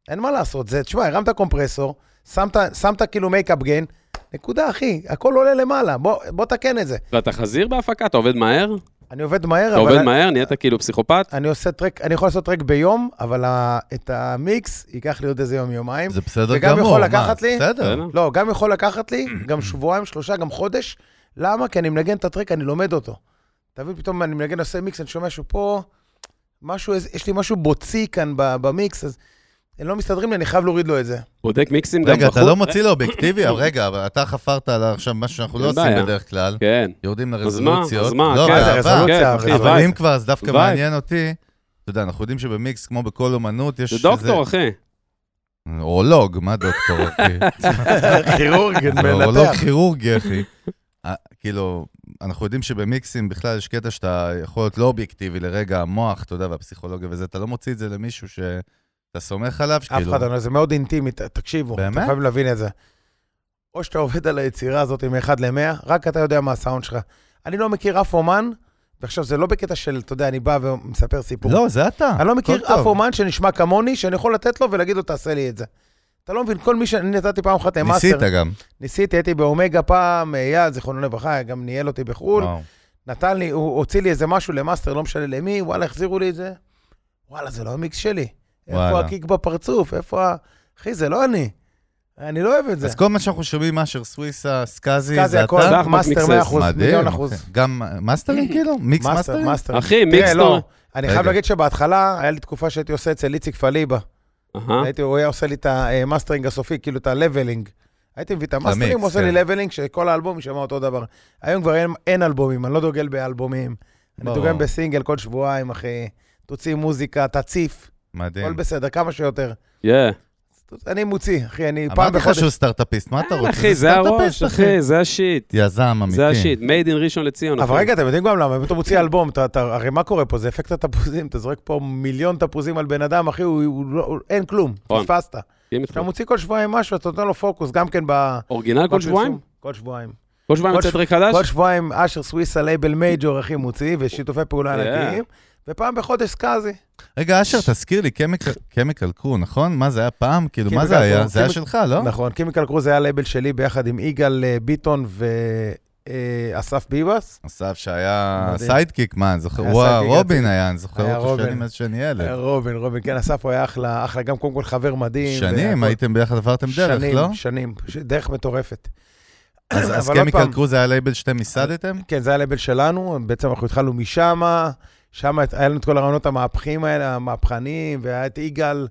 אין מה לעשות, זה, תשמע, הרמת קומפרסור, שמת, שמת כאילו מייקאפ גיין, נקודה, אחי, הכל עולה למעלה, בוא, בוא תקן את זה.
ואתה חזיר בהפקה? אתה עובד מהר?
אני עובד מהר,
אתה
אבל...
עובד מהר? נהיית כאילו פסיכופת?
אני עושה טרק, אני יכול לעשות טרק ביום, אבל ה, את המיקס ייקח לי עוד איזה יום-יומיים.
זה בסדר
וגם
גמור.
יכול
מה,
לקחת לי-
בסדר.
בסדר.
לא, גם יכול לקחת לי, גם שבועיים, שלושה, גם חודש. למה? כי אני מנגן את הטרק, אני לומד אותו. אתה מבין, פתאום אני מנגן, עושה מיקס, אני שומע שפה, משהו, איזה- יש לי משהו בוצי כאן ב- במיקס, אז הם לא מסתדרים לי, אני חייב להוריד לו את זה. [LAUGHS]
בודק מיקסים גם בחוץ?
רגע, אתה לא מוציא
[LAUGHS]
לאובייקטיבי, אבל רגע, אבל אתה חפרת על עכשיו משהו שאנחנו לא
אין
עושים
בעיה.
בדרך כלל.
כן.
יורדים
אז מה?
לרזולוציות.
אז מה?
לא,
כן,
אבל
זה
אבל-
רזולוציה,
כן, אחי,
רזולוציה.
אבל
וייב.
אם כבר, אז דווקא
וייב.
מעניין אותי, אתה יודע, אנחנו יודעים שבמיקס, כמו בכל אומנות, יש
זה
איזה...
דוקטור, אחי.
אורולוג, מה דוקטור, אחי?
כירורג,
זה לא אורולוג
כן, מנתח.
כירורגי, אחי. [LAUGHS] אה, כאילו, אנחנו יודעים שבמיקסים בכלל יש קטע שאתה יכול להיות לא אובייקטיבי לרגע המוח, אתה יודע, והפסיכולוגיה וזה, אתה לא מוציא את זה למישהו שאתה סומך עליו,
אף
שכאילו...
אחד לא, זה מאוד אינטימי, ת- תקשיבו,
כאילו. באמת?
אתם חייבים להבין את זה. או שאתה עובד על היצירה הזאת מ-1 ל-100, רק אתה יודע מה הסאונד שלך. אני לא מכיר אף אומן, ועכשיו זה לא בקטע של, אתה יודע, אני בא ומספר סיפור.
לא, זה אתה.
אני לא
הכל
מכיר
טוב.
אף אומן שנשמע כמוני, שאני יכול לתת לו ולהגיד לו, תעשה לי את זה. אתה לא מבין, כל מי שאני נתתי פעם אחת למאסטר.
ניסית גם.
ניסיתי, הייתי באומגה פעם, אייל, זיכרונו לברכה, גם ניהל אותי בחו"ל.
וואו.
נתן לי, הוא הוציא לי איזה משהו למאסטר, לא משנה למי, וואלה, החזירו לי את זה. וואלה, זה לא המיקס שלי. איפה
וואלה.
הקיק בפרצוף? איפה ה... אחי, זה לא אני. אני לא אוהב את זה.
אז כל מה שאנחנו שומעים, מאשר סוויסה, סקאזי,
סקאזי
זה אתה?
הכל,
זך
מאסטר
במיקסס.
100%, מיליון אחוז.
אוקיי. גם אה,
[LAUGHS]
מאסטרים כאילו? מיקס מאסטרים?
מאסטר.
אחי,
תראה, לא,
מיקסטור.
אני
רגע.
חייב להגיד שבהתחלה, היה לי תקופה שהייתי עושה אצל איציק פליבה.
אה?
אהה.
הייתי, הוא היה עושה לי את המאסטרינג הסופי, כאילו את הלבלינג. הייתי מביא את המאסטרינג,
המיקס,
הוא עושה לי
כן.
לבלינג, שכל האלבום יישמע אותו דבר. היום כבר אין- אין אלבומים, אני לא דוגל באלבומים. אני
ברור.
דוגל בסינגל כל שבועיים, אחי. תוציא מוזיקה, תציף, הכל
מדהים.
בסדר, כמה שיותר.
יא.
אני מוציא, אחי, אני פעם
אמרתי לך
בחודש... אה,
שהוא סטארט-אפיסט, מה אתה
אין,
רוצה?
אחי, זה הראש,
סטארט-אפיסט,
אחי, זה השיט.
יזם אמיתי.
זה השיט. made in ראשון לציון, אחי.
אבל רגע, אתם יודעים גם למה, אם אתה מוציא אלבום, אתה, אתה, הרי מה קורה פה? זה אפקט התפוזים, אתה זורק פה מיליון תפוזים על בן אדם, אחי, הוא, הוא, הוא, הוא, אין כלום,
נכון.
פספסת.
מסכים איתך.
כשאתה מוציא כל שבועיים משהו, אתה נותן לו פוקוס, גם כן ב...
אורגינל כל
בפרסום.
שבועיים?
כל שבועיים.
כל שבועיים
כל
יוצא
ש-
טרק
כל
חדש?
שבועיים אשר סוויסה לייבל מייג'ור, אחי, מוציא, ושיתופי פעולה
כן.
Yeah.
ענקיים, ופעם בחודש סקאזי.
רגע, אשר, תזכיר לי, קמיקל קרו, נכון? מה זה היה פעם? כאילו, מה
Chemical
זה היה?
Crew,
זה היה
Chemical-
שלך, לא?
נכון, קימיקל קרוז היה לייבל שלי ביחד עם יגאל אה, ביטון ואסף ביבס.
אסף שהיה
מדהים.
סיידקיק, מה, אני זוכר,
היה
הוא
סיידקיק
הרובין
רציני.
היה, אני זוכר
היה
אותו
רובין.
שנים מאז שאני ילד.
רובין, רובין, כן, אסף הוא היה אחלה, אחלה, גם קודם כל חבר מדהים.
שנים,
והכל.
הייתם ביחד, עברתם דרך,
שנים, [CLEARS THROAT]
לא?
שנים, ש- דרך מטורפת.
אז אז
אבל עוד
קמיקל
פעם-
קרו זה היה לייבל שאתם
[CLEARS THROAT]
ייסדתם?
כן, זה היה לבל שלנו, בעצם אנחנו התחלנו משם, שם היה לנו את כל הרעיונות המהפכים האלה, המהפכניים, והיה את יגאל,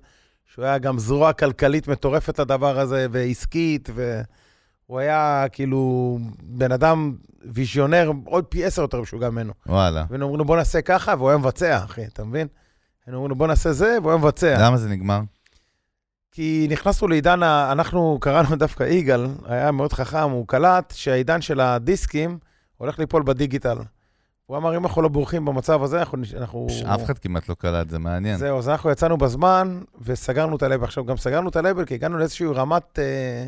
שהוא היה גם זרוע כלכלית מטורפת לדבר הזה, ועסקית, והוא היה כאילו בן אדם ויז'יונר עוד פי עשר יותר משוגע ממנו.
וואלה.
והיינו אומרים לו, בוא נעשה ככה, והוא היה מבצע, אחי, אתה מבין? היינו אומרים לו, בוא נעשה זה, והוא היה מבצע.
למה זה נגמר?
כי נכנסנו לעידן, ה- אנחנו קראנו [LAUGHS] דווקא יגאל, היה מאוד חכם, הוא קלט שהעידן של הדיסקים הולך ליפול בדיגיטל. הוא אמר, אם אנחנו לא בורחים במצב הזה, אנחנו... נש- אנחנו...
פש, אף אחד כמעט לא קלט, זה מעניין.
זהו, אז אנחנו יצאנו בזמן וסגרנו את הלבל. עכשיו, גם סגרנו את הלבל כי הגענו לאיזושהי רמת, אה,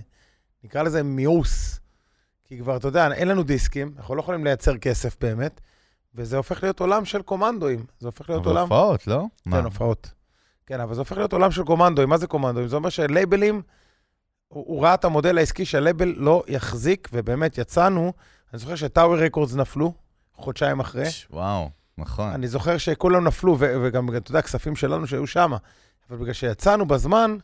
נקרא לזה מיאוס. כי כבר, אתה יודע, אין לנו דיסקים, אנחנו לא יכולים לייצר כסף באמת, וזה הופך להיות עולם של קומנדואים. זה הופך להיות
אבל
עולם...
הופעות, לא? מה?
כן, הופעות. כן, אבל זה הופך להיות עולם של קומנדואים. מה זה קומנדואים? זה אומר שלייבלים, הוא, הוא ראה את המודל העסקי שהלייבל לא יחזיק, ובאמת יצאנו. אני זוכר שטאוור רקורדס נפלו חודשיים אחרי.
ש- וואו, נכון.
אני זוכר שכולם נפלו, ו- וגם, אתה יודע, כספים שלנו שהיו שם. אבל בגלל שיצאנו בזמן,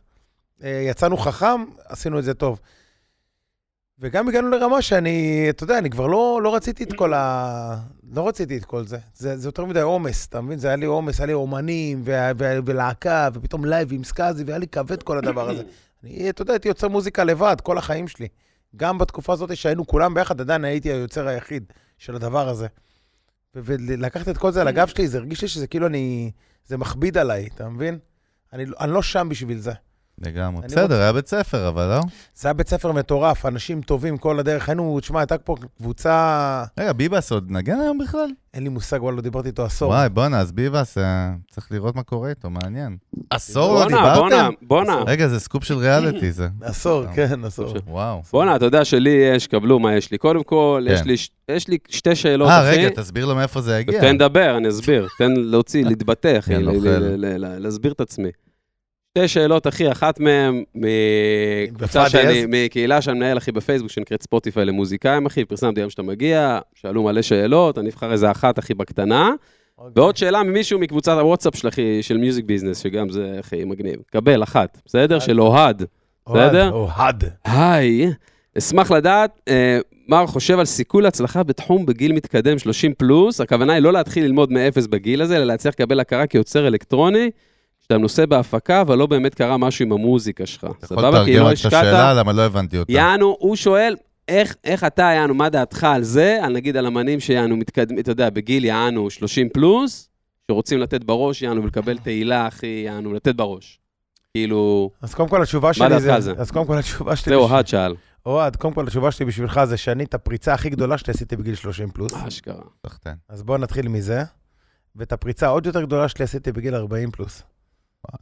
אה, יצאנו חכם, עשינו את זה טוב. וגם הגענו לרמה שאני, אתה יודע, אני כבר לא, לא רציתי את כל ה... לא רציתי את כל זה. זה, זה יותר מדי עומס, אתה מבין? זה היה לי עומס, היה לי אומנים, וה, וה, ולהקה, ופתאום לייב עם סקאזי, והיה לי כבד כל הדבר הזה. אני, אתה יודע, הייתי יוצר מוזיקה לבד כל החיים שלי. גם בתקופה הזאת שהיינו כולם ביחד, עדיין הייתי היוצר היחיד של הדבר הזה. ו- ולקחת את כל זה על הגב שלי, זה הרגיש לי שזה כאילו אני... זה מכביד עליי, אתה מבין? אני, לא- אני לא שם בשביל זה.
לגמרי.
אני
בסדר,
רוצה-
היה בית ספר, אבל לא?
זה היה בית ספר מטורף, אנשים טובים כל הדרך. היינו, תשמע, הייתה פה קבוצה...
רגע, ביבס עוד נגן היום בכלל?
אין לי מושג, וואלה, לא דיברתי איתו עשור.
וואי, בואנה, אז ביבס, אה, צריך לראות מה קורה איתו, מעניין. עשור לא
בואנה, בואנה,
דיברתם?
בואנה.
רגע, זה סקופ של ריאליטי, זה.
עשור,
אה,
כן, עשור.
וואו.
בואנה, אתה יודע שלי יש, קבלו מה יש לי. קודם כל, יש
כן.
לי ש- יש לי שתי שאלות,
אה,
אחי.
רגע, תסביר לו מאיפה זה יגיע.
תן לדבר, אני אסביר. תן להוציא, להתבטא, אחי.
כן,
ל- ל-
אוכל.
ל- ל- ל- להסביר את עצמי. שתי שאלות, אחי, אחת מהן מקבוצה
בפאדי,
שאני,
אז?
מקהילה שאני מנהל, אחי, בפייסבוק, שנקראת ספוטיפיי למוזיקאים, אחי, פרסמתי היום שאתה מגיע, שאלו מלא שאלות, אני אבחר איזה אחת, אחי, בקטנה. ועוד שאלה ממישהו מקבוצת הוואטסאפ של אחי, של מיוזיק ביזנס, שגם זה, אחי, מגניב. קבל, אחת, בסדר? של אוהד.
אוהד,
בסדר?
אוהד.
היי, אשמח לדעת אה, מה הוא חושב על סיכוי להצלחה בתחום בגיל מתקדם 30 פלוס. הכוונה היא לא להתחיל ללמוד מאפס בגיל הזה, אלא להצליח לקבל הכרה כיוצר אלקטרוני, שאתה נושא בהפקה, אבל לא באמת קרה משהו עם המוזיקה שלך.
אתה יכול
סבבה? כי
לתרגם
לא
רק את השאלה,
השקעת.
למה לא הבנתי אותה.
יענו, הוא שואל, איך, איך אתה, יענו, מה דעתך על זה? על נגיד על אמנים שיענו מתקדמים, אתה יודע, בגיל יענו 30 פלוס, שרוצים לתת בראש, יענו, ולקבל תהילה, אחי, יענו, לתת בראש. כאילו,
אז קודם כל התשובה שלי
דעתך
זה...
על זה?
אז קודם כל התשובה שלי...
זה
בשביל-
אוהד שאל.
אוהד, קודם כל התשובה שלי בשבילך זה שאני את הפריצה הכי גדולה שעשיתי בגיל 30 פלוס.
אשכרה.
סחטיין.
אז בואו נתחיל מזה. ואת הפריצה העוד יותר גדולה שלי עשיתי בגיל 40 פלוס.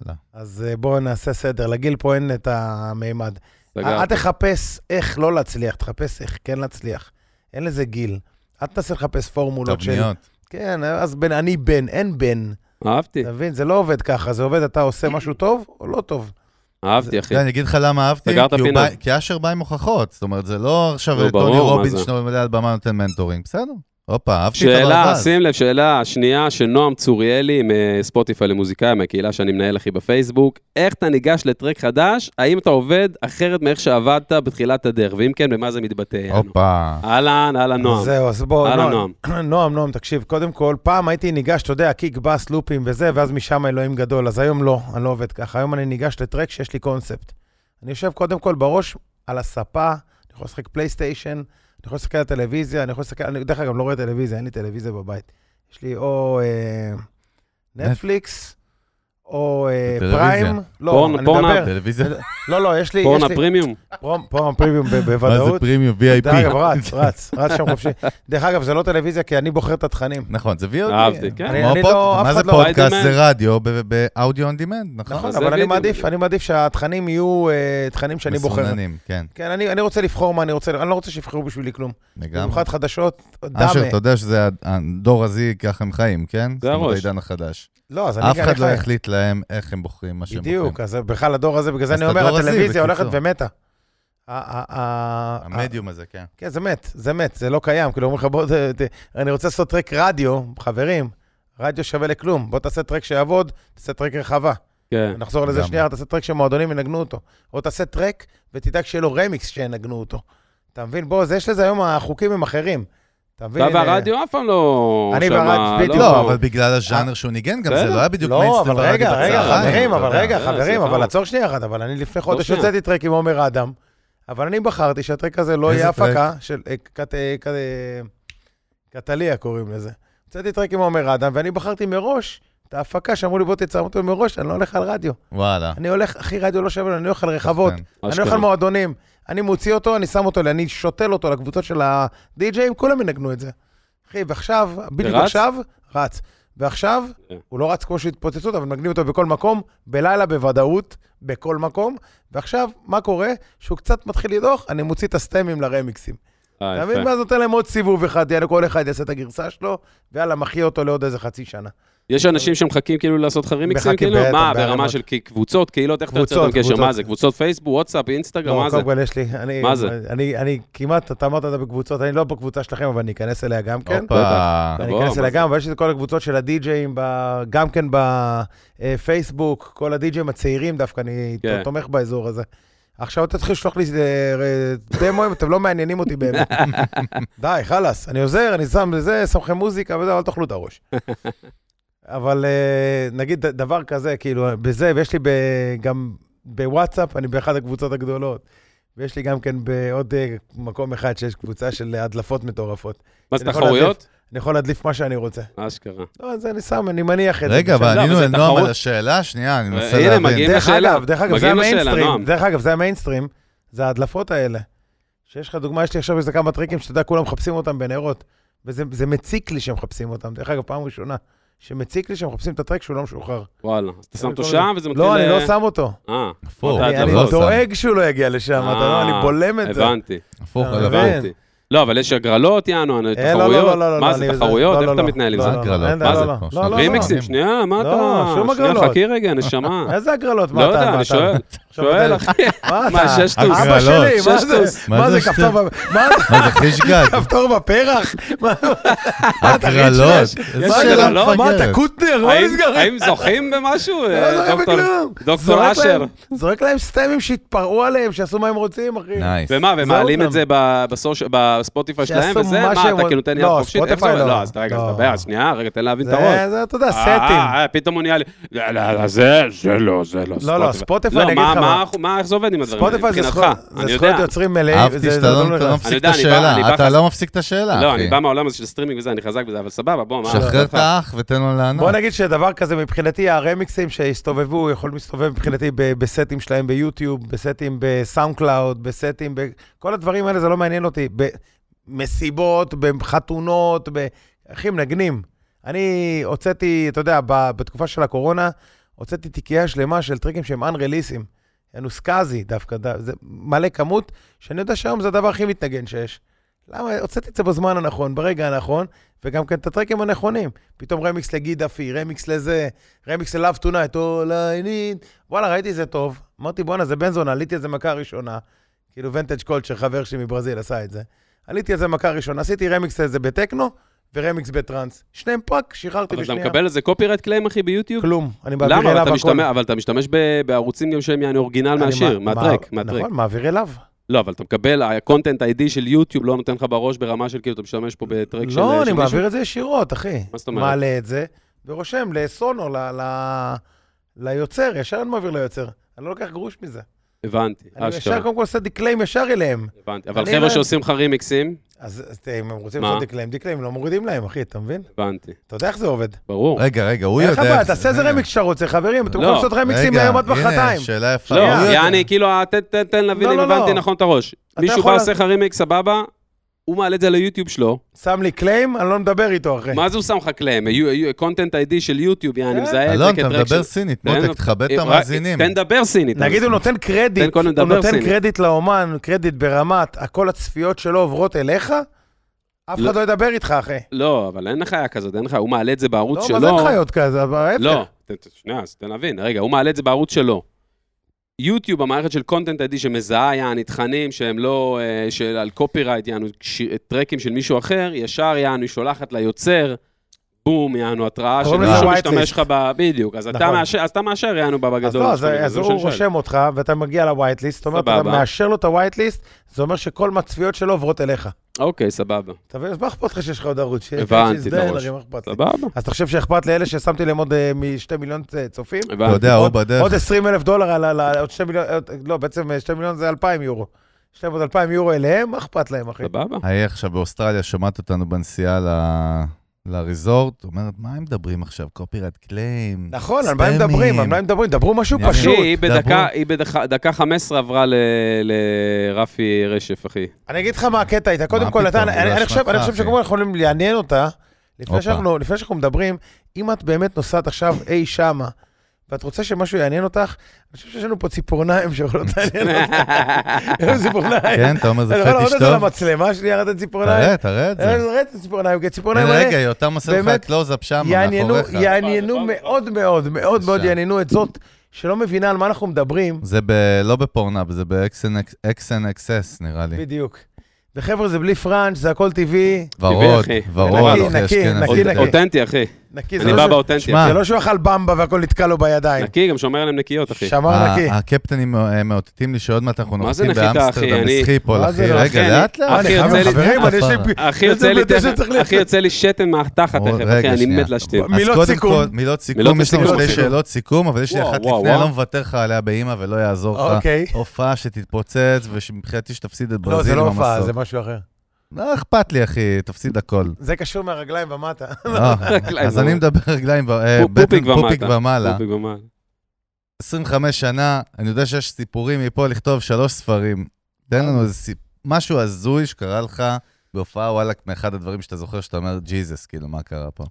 וואלה.
אז אה, בואו נעשה סדר. לגיל פה אין את המימד.
סגרתי.
אה, אל תחפש איך לא להצליח, תחפש איך כן להצליח. אין לזה גיל. אל תנסה לחפש
לא
פורמולות של...
תבניות.
כן, אז בן, אני בן, אין בן.
אהבתי,
אתה מבין? זה לא עובד ככה, זה עובד, אתה עושה משהו טוב או לא טוב.
אהבתי, אחי.
אתה יודע, לא, אני אגיד לך למה אהבתי,
סגרת
כי הוא
פינה.
בא- כי אשר בא עם הוכחות, זאת אומרת, זה לא עכשיו
נו,
טוני
ברור, מה
רובינס
זה.
שעולה על במה נותן מנטורינג, בסדר. הופה, אהבתי את
שאלה,
הברווז.
שים לב, שאלה שנייה של נועם צוריאלי מספוטיפיי למוזיקאים, מהקהילה שאני מנהל אחי בפייסבוק. איך אתה ניגש לטרק חדש? האם אתה עובד אחרת מאיך שעבדת בתחילת הדרך? ואם כן, במה זה מתבטא? יענו?
הופה.
אהלן, אהלן
אז
נועם.
זהו, אז בואו,
אהלן
נועם,
נועם.
[CLEARS THROAT] נועם, נועם, תקשיב, קודם כל, פעם הייתי ניגש, אתה יודע, קיק, בס, לופים וזה, ואז משם אלוהים גדול, אז היום לא, אני לא עובד ככה. היום אני ניגש לטרק שיש לי קונספט. אני יושב קודם כל בראש על הספה, אני יכול לשחק פלייסטיישן, אני יכול להסתכל על הטלוויזיה, אני יכול להסתכל, אני דרך אגב לא רואה טלוויזיה, אין לי טלוויזיה בבית. יש לי או אה, נטפליקס, או אה,
טלוויזיה.
פריים. לא,
פורנו-
אני
פורנו-
מדבר.
טלוויזיה,
לא, לא, יש לי... יש
פורנה
לי-
פרימיום?
פרום- פורנו פרימיום ב-
מה זה
בוודאות.
פרימיום
דרך אגב,
VIP?
רץ, רץ, רץ שם חופשי. דרך אגב, זה לא טלוויזיה, כי אני בוחר את התכנים.
[LAUGHS] נכון, זה VOD.
אהבתי, כן.
כמו
אני
הפוד-
לא- אף
מה זה
אחד לא-
פודקאסט?
on demand.
זה רדיו ב- באודיו און דימנד, נכון?
נכון,
זה
אבל אני
בדיוק.
מעדיף, אני מעדיף שהתכנים יהיו אה, תכנים שאני בוחר.
מסוננים, כן,
כן, אני אני רוצה לבחור מה אני רוצה, אני לא רוצה שיבחרו בשבילי כלום.
לגמרי.
במיוחד חדשות, דמה.
אשר, אתה יודע שזה הדור הזה, ככה הם חיים, כן? זאת אומרת,
הראש.
העידן החדש.
לא, אז אני
אף
גם
אחד לא
חי.
החליט להם איך הם בוחרים מה שהם בוחרים.
בדיוק, אז בכלל הדור הזה, בגלל זה
אז
אני
את
אומר,
הדור הזה,
הטלוויזיה הולכת
בקיצור.
ומתה. ה- ה- ה-
המדיום הזה, כן.
כן, זה מת, זה מת, זה לא קיים. כאילו, אומרים לך, בוא, ת, ת, אני רוצה לעשות טרק רדיו, חברים, רדיו שווה לכלום. בוא תעשה טרק שיעבוד, תעשה טרק רחבה.
כן.
נחזור לזה
לגמרי.
שנייה, תעשה טרק שמועדונים ינגנו אותו. או תעשה טרק ותדאג שיהיה לו רמיקס שינגנו אותו. אתה מבין? בוא, זה יש לזה היום, החוקים הם אחרים. אתה מבין?
אתה
אה,
והרדיו אף פעם לא...
אני
שמה,
והרדיו, בדיוק.
לא, אבל בגלל הז'אנר שהוא ניגן, גם זה
בסדר.
לא היה בדיוק
אה, לא, אבל
מיינסטרים ברדיו
רגע, רגע,
בצהריים,
חברים,
אתה
אבל
יודע.
רגע,
אה,
חברים,
סליחה.
אבל עצור שנייה אחת, אבל אני לפני חודש
שנייה.
הוצאתי טרק עם עומר אדם, אבל אני בחרתי שהטרק הזה לא
איזה
יהיה
טרק?
הפקה של... אה, קט- אה, קט- אה, קטליה קוראים לזה. הוצאתי טרק עם עומר אדם, ואני בחרתי מראש את ההפקה שאמרו לי, בוא תצרם אותו מראש, אני לא הולך על רדיו.
וואלה. כן.
אני הולך, אחי, רדיו לא שווה, לי, אני הולך על רחבות. אני הולך
אשכרה.
על מועדונים, אני מוציא אותו, אני שם אותו, לי, אני שותל אותו לקבוצות של הדי-ג'אים, כולם ינגנו את זה. אחי, ועכשיו, בדיוק
רץ?
עכשיו, רץ. ועכשיו,
כן.
הוא לא רץ כמו שהתפוצצות, אבל מנגנים אותו בכל מקום, בלילה בוודאות, בכל מקום. ועכשיו, מה קורה? שהוא קצת מתחיל לדוח, אני מוציא את הסטמים לרמיקסים.
אה,
אתה
יפה.
מבין? ואז נותן להם עוד סיבוב אחד, יאללה, כל אחד יעשה את הגרסה שלו, ויאללה, מחיה אותו לעוד איזה חצי שנה.
יש אנשים שמחכים כאילו לעשות לך רימיקסים,
מחכים
כאילו?
בטח,
מה, ברמה
בהרמות.
של כי- קבוצות, קהילות, איך אתה יוצר
קבוצות,
איתם קשר? מה
קבוצות.
זה, קבוצות פייסבוק, וואטסאפ, אינסטגרם,
לא,
מה זה?
קודם כל יש לי, אני,
מה זה?
אני, אני כמעט, אתה אמרת את זה בקבוצות, אני לא בקבוצה שלכם, אבל אני אכנס אליה גם כן.
הופה.
אני
תבוא,
אכנס
מה
אליה
זה?
גם, אבל יש את כל הקבוצות של הדי-ג'אים, ב- גם כן בפייסבוק, כל הדי-ג'אים הצעירים דווקא, אני
כן.
תומך באזור הזה. עכשיו תתחיל לשלוח לי אה, אה, דמוים, אתם לא מעניינים אותי
[LAUGHS]
באמת. די, חלאס, אני עוזר, אני שם לזה, שם לכם מוזיקה וזה, אבל תאכלו
[LAUGHS]
את הראש. אבל אה, נגיד ד- דבר כזה, כאילו, בזה, ויש לי ב- גם בוואטסאפ, אני באחת הקבוצות הגדולות. ויש לי גם כן בעוד אה, מקום אחד שיש קבוצה של הדלפות מטורפות.
מה זה,
אני יכול להדליף.
תחרויות?
אני יכול להדליף מה שאני רוצה.
אשכרה.
לא, זה אני שם, אני מניח את זה.
רגע, אבל
לא,
ענינו
אבל זה
לנועם
תחרות.
על השאלה? שנייה, אני מנסה
הנה,
להבין.
מגיעים
דרך
לשאלה.
אגב, דרך אגב, זה
מגיעים לשאלה,
המיינסטרים,
נועם.
דרך אגב, זה המיינסטרים, זה ההדלפות האלה. שיש לך דוגמה, יש לי עכשיו איזה כמה טריקים שאתה יודע, כולם מחפשים אותם בנרות. וזה זה מציק לי שהם מחפשים אותם. דרך אגב, פעם ראשונה, שמציק לי שהם מחפשים את הטרק שהוא לא משוחרר.
וואלה. אז אתה שם אותו שם וזה מתחיל...
לא, אני
אה,
לא שם אותו.
אה,
הפוך,
אתה
אני
אתה
אני
לא שם.
דואג שהוא לא יגיע לשם, אתה לא, אני
אה,
בולם את זה.
הבנתי.
הפוך,
אתה
על
אה, מבין?
הבנתי.
הבנתי. לא, אבל יש הגרלות, יענו, אני-
אה, לא, לא, לא,
תחרויות?
לא, לא,
מה
לא,
זה,
אני-
תחרויות?
לא,
איך
לא,
אתה
לא.
מתנהל עם
לא,
זה?
לא,
הגרלות,
אין-
מה
לא,
זה
לא,
פה?
לא, לא,
רימיקסים,
לא.
שנייה, מה
לא,
אתה...
שום
שנייה,
הגרלות.
חכי רגע, נשמה.
[LAUGHS] איזה הגרלות?
לא
מה אתה?
יודע, אני
מה אתה?
שואל.
עכשיו אתה-
שואל, אחי.
מה
מה,
אתה?
ששטוס?
אבא שלי, מה
ששטוס.
זה? מה
לא. מה
זה
זה
כפתור
שטוס?
ב- מה זה?
מה זה חישגג?
[LAUGHS] כפתור בפרח? מה
הגרלות. איזה
יש
שאלה
הגרלות?
מפגרת.
מה אתה קוטנר? מה
לא, האם-
נסגר?
האם זוכים במשהו?
לא
אה,
זורק
דוקטור-
בכלום.
דוקטור
זורק
אשר.
להם- זורק להם סטמים שהתפרעו עליהם, שיעשו מה הם רוצים, אחי.
נייס.
ומה, ומעלים
אותם.
את זה ב- בסוש- בספוטיפיי
שיעשו
שלהם וזה?
מה
מה,
שהם
אתה כאילו
רוצ-
תן לי
לא,
יד חופשית? איפה-
ספוטיפיי לא.
לא, אז רגע, אז
לא.
דבר, שנייה, רגע, תן להבין את הראש.
זה, זה, אתה יודע,
אה,
סטים.
אה, פתאום הוא נהיה לי, לא, לא, זה, זה לא, זה לא.
לא, לא, ספוטיפיי, אני אגיד
מה-
לך
מה,
מה.
מה, איך זה עובד עם הדברים האלה?
ספוטיפיי זה
מבחינתך?
זכויות-
אני
זה
יודע.
זכויות יוצרים מלאים.
אהבתי
אה, זה-
שאתה
זה נכון.
לא אתה לא
אני
מפסיק את
יודע, אני בא- אני
השאלה.
בא
אתה
חזק.
לא מפסיק את השאלה, אחי.
לא, אני בא מהעולם הזה של סטרימינג וזה, אני חזק בזה, אבל סבבה, בוא, מה?
שחרר את האח ותן לו לענות.
בוא נגיד שדבר כזה, מבחינתי, הרמיקסים שהסתובבו, יכולים להסתובב מבחינתי ב- בסטים שלהם ביוטיוב, בסטים בסאונד קלאוד, בסטים ב... כל הדברים האלה, זה לא מעניין אותי. במסיבות, בחתונות, ב... אחי, מנגנים. אני הוצאתי, אתה יודע, ב- בתקופה של הקורונה, הוצאתי תיקייה שלמה של טריקים שהם אנרליסים. יענו סקאזי דווקא, ד- זה מלא כמות, שאני יודע שהיום זה הדבר הכי מתנגן שיש. למה? הוצאתי את זה בזמן הנכון, ברגע הנכון, וגם כן את הטרקים הנכונים. פתאום רמיקס לגידאפי, רמיקס לזה, רמיקס ל-Love Tonight, All I need. וואלה, ראיתי זה טוב. אמרתי, בואנה, זה בן זונה, עליתי על זה מכה ראשונה. כאילו ונטג' קולצ'ר, חבר שלי מברזיל, עשה את זה. עליתי על זה מכה ראשונה, עשיתי רמיקס לזה בטכנו, ורמיקס בטראנס. שניהם פאק, שחררתי
אבל אתה
בשנייה.
מקבל איזה קופירייט קליים, אחי, ביוטיוב?
כלום. אני מעביר
למה? אבל
אליו
אתה
הכל.
משתמש- אבל אתה משתמש ב- בערוצים גם שהם יענו אורגינל
אני
מהשיר,
מה-
מהטרק,
מה-
מהטרק.
נכון, מעביר אליו.
לא, אבל אתה מקבל, ה-content ID של יוטיוב לא נותן לך בראש ברמה של כאילו, אתה משתמש פה בטרק של... אה,
לא,
של
אני
מישהו?
מעביר את זה ישירות, אחי.
מה זאת אומרת?
מעלה את זה, ורושם לסונו, ל- ל- ליוצר, ישר אני מעביר ליוצר. אני לא לוקח גרוש מזה.
הבנתי,
אני
אשכרה.
ישר קודם כל עושה דקליים ישר אליהם.
הבנתי. אבל
אני
חבר'ה
הבנתי.
שעושים לך רימיקסים,
אז אז תה, אם הם רוצים
מה?
לעשות דקליים, דקליים, לא מורידים להם, אחי, אתה מבין?
הבנתי.
אתה יודע איך זה עובד.
ברור.
רגע, רגע, הוא
אין לך
יודע...
בעיה,
איך זה-
תעשה איזה
רגע.
רמיקס שאתה רוצה, חברים, אתם
לא.
יכולים לעשות רמיקסים
רגע,
מהיום עד
הנה,
מחרתיים.
שאלה יפה.
לא,
הוא יודע.
יעני, כאילו, אה, תן- תן- תן להבין
לא,
אם
לא, לא.
הבנתי נכון את הראש. מישהו
יכול
בא,
לה-
עושה לך רימיקס, סבבה, הוא מעלה את זה ליוטיוב שלו.
שם לי קליים, אני לא מדבר איתו, אחי.
מה זה הוא שם לך קליים? קונטנט איי-די של יוטיוב, יעני,
כן.
מזהה את זה
אלון, אתה
כטרק
מדבר
של...
סינית,
תן- אה,
מותק, תכבד את
רק-
המאזינים.
תן לדבר סינית.
נגיד הוא נותן קרדיט,
תן קודם
הוא
לדבר
נותן
סינית.
קרדיט לאומן, קרדיט ברמת, כל הצפיות שלו עוברות אליך, אף
לא.
אחד לא ידבר איתך, אחי.
לא, אבל אין חיה כזאת, אין חיה, הוא מעלה את זה בערוץ
לא,
שלו.
מה זה אין חיות כזה? אבל ההפך.
לא, ת- ת- שנייה, אז תן להבין. רגע, הוא מעלה את זה בערוץ שלו. יוטיוב, המערכת של קונטנט איי-די שמזהה, יעני, תכנים שהם לא, אה, של על קופירייט, יענו, ש- טרקים של מישהו אחר, ישר, יענו, היא שולחת ליוצר, בום, יענו, התראה של
קוראים לזה
מישהו
white
משתמש
list.
לך ב... בדיוק, אז אתה
נכון.
מאשר- אז אתה מאשר, יענו, ב-
אז
בגדול.
לא,
מה
אז-
שאתה אומר,
אז
זה מה שאני
הוא
שואל.
רושם אותך, ואתה מגיע לווייט ליסט, זאת אומרת, אתה
סבבה.
מאשר לו את הווייט ליסט, זה אומר שכל מהצפיות שלו עוברות אליך.
אוקיי, סבבה.
אתה מבין? אז מה אכפת לך שיש לך עוד ערוץ? שיהיה-
הבנתי,
שיזדהה,
בראש.
הרי מה אכפת לי?
סבבה.
אז אתה חושב שאכפת לאלה ששמתי להם עוד אה, משתי מיליון אה, צופים?
אתה
הבנתי.
יודע, הוא
עוד-
בדרך.
עוד 20 אלף דולר על- על על- עוד 2 מיליון, עוד- לא, בעצם אה, 2 מיליון זה 2,000 יורו. יש להם עוד 2,000 יורו אליהם, מה אכפת להם, אחי?
סבבה.
היי עכשיו באוסטרליה, שומעת אותנו בנסיעה ל... לריזורט, אומרת, מה הם מדברים עכשיו? קופירט קליים.
נכון, על מה הם
ספאמים.
מדברים? על מה הם מדברים? דברו משהו
אני-
פשוט.
אחי, היא
דברו.
בדקה- היא בדקה 15 עברה ל- לרפי רשף,
[LAUGHS]
אחי.
אני אגיד לך מה הקטע איתה. קודם
מה
כל, אתה,
פתאום?
אני,
זה
אני, חושב,
אשמתך,
אני חושב
אחי.
שקודם כל אנחנו יכולים לעניין אותה, לפני
הופה.
שאנחנו, לפני שאנחנו מדברים, אם את באמת נוסעת עכשיו אי שמה, ואת רוצה שמשהו יעניין אותך, אני חושב שיש לנו פה
[LAUGHS]
ציפורניים שיכולות לעניין אותך. אין לנו ציפורניים.
כן, אתה אומר, זה
אני יכול להראות
פטיש
את זה
טוב?
למצלמה שלי, ירד את ציפורניים.
תראה, תראה את זה.
תראה את הציפורניים, כי הציפורניים
הנה, רגע,
האלה
יותם עושה לך
באמת,
קלוז-אפ שם,
יעניינו-
מאחוריך.
יעניינו מאוד מאוד, מאוד מאוד
בבקשה.
יעניינו את זאת שלא מבינה על מה אנחנו מדברים.
זה ב- לא בפורנאב, זה ב-XNXS, נראה לי.
בדיוק. וחבר'ה, זה בלי פרנץ', זה הכל טבעי,
ורוד,
אחי. לא?
ורוד, כן אחי,
נקי, נקי,
אשכנזי.
נקי, נקי.
אותנטי, אחי.
נקי. זה
אני
לא
בא
ש-
באותנטי.
שמע,
זה לא שהוא אכל במבה והכל נתקע לו בידיים.
נקי, גם שומר עליהם נקיות, אחי.
שמר
ה-
נקי.
הקפטנים אה, מאותתים לי שעוד מעט אנחנו
מה זה
נוחתים
נחיתה, אחי?
באמסטרדם,
אני-
בסחיפול,
מה זה
אחי.
לא,
רגע,
אחי,
לאט
אני-
לאט.
אחי, יוצא לי-
חברים, אני יש לי
כפרה.
אחי, יוצא לי
איזה בטן
תכף,
שצריך
אחי, יוצא לי שתן מהתחת
עוד
תכף, אחי,
רגע,
אני
שנייה.
מת להשתין.
אז
מילות
קודם
סיכום.
כל, מילות סיכום,
מילות
יש לנו
סיכום.
שתי שאלות סיכום, אבל יש לי
וואו,
אחת
וואו,
לפני, אני
וואו.
לא מוותר לך עליה באימא ולא יעזור לך.
אוקיי.
הופעה שתתפוצץ, ושמבחינתי שתפסיד את
לא,
ברזיל
זה לא
במסור.
הופעה, זה משהו אחר.
לא אכפת לי, אחי, תפסיד
[LAUGHS]
הכל.
זה קשור מהרגליים ומטה. [LAUGHS]
לא,
רגליים
אז אני
ומעלה.
מדבר רגליים, ו- אה,
פו-
בטן
פופיק ומטה.
פופיק ומעלה.
פופיק ומעלה.
25 שנה, אני יודע שיש סיפורים מפה לכתוב שלוש ספרים. תן לנו איזה סיפ... משהו הזוי שקרה לך בהופעה וואלכ, מאחד הדברים שאתה זוכר שאתה אומר, ג'יזוס, כאילו, מה קרה פה?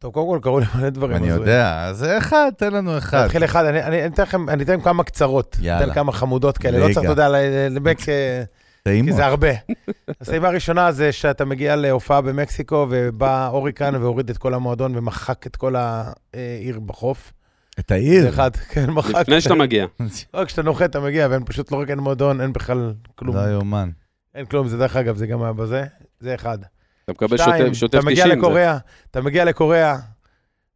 טוב, קודם כל קראו לי מלא דברים.
אני
הזויים.
יודע, אז אחד, תן לנו אחד.
נתחיל אחד, אני- אני אני אתן לכם, אני אתן כמה קצרות.
יאללה.
אתן כמה חמודות כאלה, לא
רגע.
צריך, אתה יודע, ל- לבק, אה, כי
טעימות.
זה הרבה. הסיבה הראשונה זה שאתה מגיע להופעה במקסיקו, ובא הוריקן והוריד את כל המועדון ומחק את כל העיר בחוף.
את העיר.
זה אחד, כן, מחק.
לפני שאתה מגיע.
רק כשאתה נוחת אתה מגיע, ואין פשוט לא רק אין מועדון, אין בכלל
[LAUGHS]
כלום.
לא יאומן.
אין כלום, זה דרך אגב, זה גם היה בזה. זה אחד.
אתה מקבל
שתיים,
שוטף- שוטף 90.
אתה מגיע
זה-
לקוריאה, אתה מגיע לקוריאה,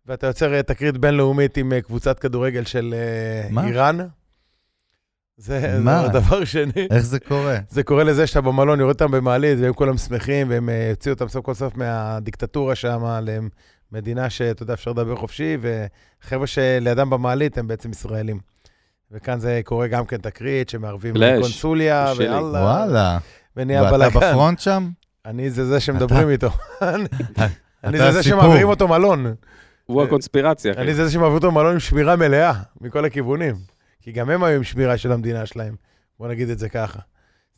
ואתה יוצר אה, תקרית בינלאומית עם אה, קבוצת כדורגל של אה,
מה?
איראן. זה
מה? אה,
זה הדבר שני.
איך זה קורה?
זה קורה לזה שאתה במלון, יורד אותם במעלית, והם כולם שמחים, והם אה, הוציאו אותם סוף כל סוף מהדיקטטורה שם, למדינה שאתה יודע, אפשר לדבר חופשי, וחבר'ה שלידם במעלית הם בעצם ישראלים. וכאן זה קורה גם כן תקרית, שמערבים
פלאש,
קונסוליה,
שלי.
ויאללה,
וואלה.
ונהיה
ואתה
לא. בלאגן.
בפרונט שם?
אני זה זה שמדברים איתו. [LAUGHS] אני
אתה
זה זה
הסיפור.
שמעבירים אותו מלון.
הוא הקונספירציה, אחי.
אני זה זה שמעביר אותו מלון עם שמירה מלאה, מכל הכיוונים. כי גם הם היו עם שמירה של המדינה שלהם. בוא נגיד את זה ככה.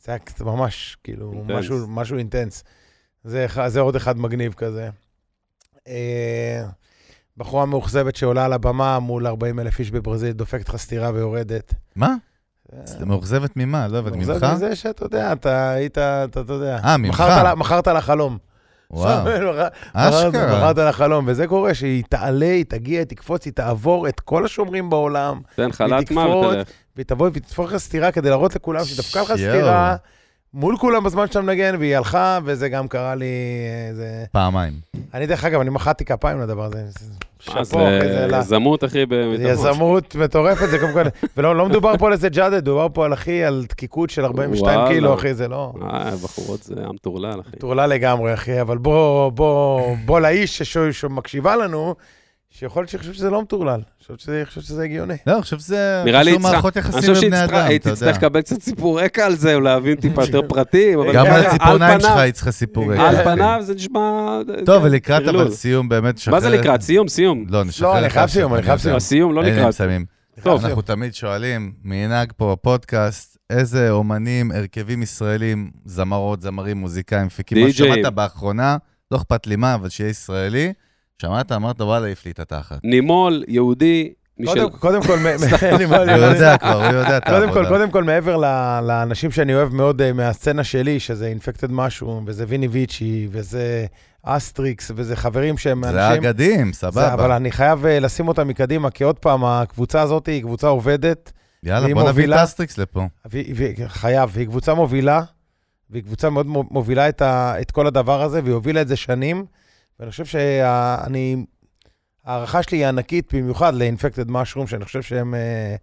זה היה קצת ממש, כאילו,
אינטנס.
משהו, משהו אינטנס. זה, אחד- זה עוד אחד מגניב כזה. אה, בחורה מאוכזבת שעולה על הבמה מול 40 אלף איש בברזיל, דופקת לך סטירה ויורדת.
מה? אז מאוכזבת ממה? לא עובד ממך?
מאוכזבת מזה שאתה יודע, אתה היית, אתה אתה יודע.
אה, ממך?
מכרת לה- מכרת לה חלום. [LAUGHS] לא,
וואו, אה, אשכרה.
מכרת לחלום, וזה קורה, שהיא תעלה, היא תגיע, היא תקפוץ, היא תעבור את כל השומרים בעולם,
תן חל"ת מה
תקפוץ,
ותלך.
והיא תבוא והיא תתפור לך סטירה כדי להראות לכולם שדפקה לך
יואו.
סטירה מול כולם בזמן שאתה מנגן, והיא הלכה, וזה גם קרה לי... אה, זה...
פעמיים.
אני, דרך אגב, אני מחאתי כפיים לדבר הזה. זה-
אה,
שאפו, אחי, זה
זה
לה-
יזמות, אחי,
זה
בביטחון.
יזמות מטורפת, זה
[LAUGHS]
קודם כל... ולא לא מדובר פה על איזה ג'אדד, דובר פה על אחי, על דקיקות של 42
וואלה.
קילו, אחי, זה לא...
אה, בחורות זה עם טורלל, אחי.
טורלה לגמרי, אחי, אבל בוא, בוא, בוא לאיש ששו- שמקשיבה לנו, שיכול להיות שחשוב שזה לא מטורלל, חושב שזה, חושב שזה הגיוני.
לא, אני חושב שזה...
נראה לי,
קשור
יצחק-
מערכות
אני
יחסים
חושב
עם בני אדם,
שהיא
אתה יודע.
תצטרך לקבל קצת סיפור רקע על זה, או להבין טיפה יותר פרטים. אבל
גם
ככה,
על
על
הציפורניים
פניו-
שלך היא צריכה סיפור רקע.
כן,
על
אחי.
פניו זה נשמע...
טוב, ולקראת
טרלול.
אבל סיום באמת שחרר...
מה זה לקראת? סיום, סיום.
לא, נשחרר...
לא, אני
לך
חייב
עכשיו,
סיום, אני חייב
יודע.
סיום.
הסיום לא
אין להם
לקראת.
סמים.
טוב.
אנחנו תמיד שואלים, מנהג פה בפודקאסט, איזה אומנים, הרכבים ישראלים, זמרות, זמרים, מוזיקאים, מפיקים, מה
די-ג'אים.
שמעת באחרונה, לא אכפת לי מה, אבל שיהיה ישראלי, שמעת, אמרת, וואלה, העיף לי את
[LAUGHS]
התחת.
נימול, יהודי, מישל...
קודם, קודם כל, מ- מ- [LAUGHS] אין לי מה
הוא
לראות.
לא יודע כבר, הוא יודע את
קודם כל,
העבודה.
קודם כל, מעבר ל- לאנשים שאני אוהב מאוד אה, מהסצנה שלי, שזה אינפקטד משהו, וזה ויני ויצ'י, וזה אסטריקס, וזה חברים שהם אנשים...
זה האגדים,
זה- אבל
סבבה.
אני חייב אה, לשים אותם מקדימה, כי עוד פעם, הקבוצה הזאת היא קבוצה עובדת,
יאללה,
היא
בוא נביא את
מובילה.
אסטריקס לפה.
והיא- והיא- חייב, והיא קבוצה מובילה, והיא קבוצה מאוד מו- מובילה את, ה, את כל הדבר הזה, והיא הובילה את זה שנים, ואני חושב שאני, ההערכה שלי היא ענקית, במיוחד ל-infected mushroom, שאני חושב שהם, אה,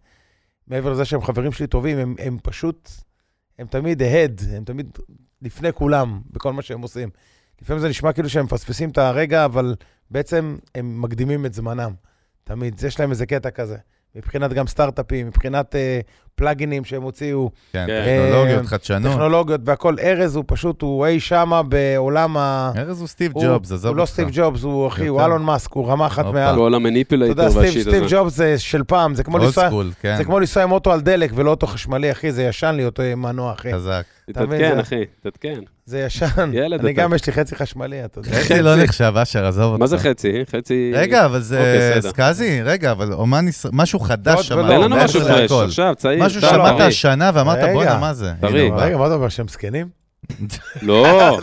מעבר לזה שהם חברים שלי טובים, הם, הם פשוט, הם תמיד ahead, הם תמיד לפני כולם, בכל מה שהם עושים. לפעמים זה נשמע כאילו שהם מפספסים את הרגע, אבל בעצם הם מקדימים את זמנם, תמיד. יש להם איזה קטע כזה. מבחינת גם סטארט-אפים, מבחינת אה, פלאגינים שהם הוציאו,
כן,
כן.
טכנולוגיות,
אה,
חדשנות.
טכנולוגיות והכל. ארז הוא פשוט, הוא אי שמה בעולם ה...
ארז הוא סטיב
הוא-
ג'ובס, עזוב
הוא לא
אותך.
סטיב ג'ובס, הוא אחי, הוא
יותר.
אלון מאסק, הוא רמה אחת
הופה.
מעל.
כל
אתה
המניפולייטור
יודע, סטיב,
והשיט
סטיב
הזה.
ג'ובס זה של פעם, זה כמו
אולד
לנסוע...
סקול, כן,
זה כמו לנסוע עם אוטו על דלק ולא אוטו חשמלי, אחי, זה ישן לי אותו מנוע, אחי.
חזק.
[LAUGHS] אתה מבין,
תתעדכן,
זה-
אחי, תתעדכן.
זה ישן.
ילד
אני
אתה.
גם, יש לי חצי חשמלי, אתה יודע.
חצי לא נחשב, אשר, עזוב אותך.
מה זה חצי? חצי...
רגע, אבל זה...
אוקיי, בסדר.
סקאזי, רגע, אבל אומן ישראל, משהו
ועוד-
חדש שמעת.
תן לנו
לא,
משהו
מעבר
פרש,
להכל.
עכשיו, לא, צעיר.
משהו
טוב,
שמעת
[LAUGHS]
טרי.
השנה ואמרת,
רגע.
בואנה, מה זה?
טרי.
הנה, הוא בא.
רגע, מה אתה אומר, שהם זקנים?
אה,
לא,
רגע,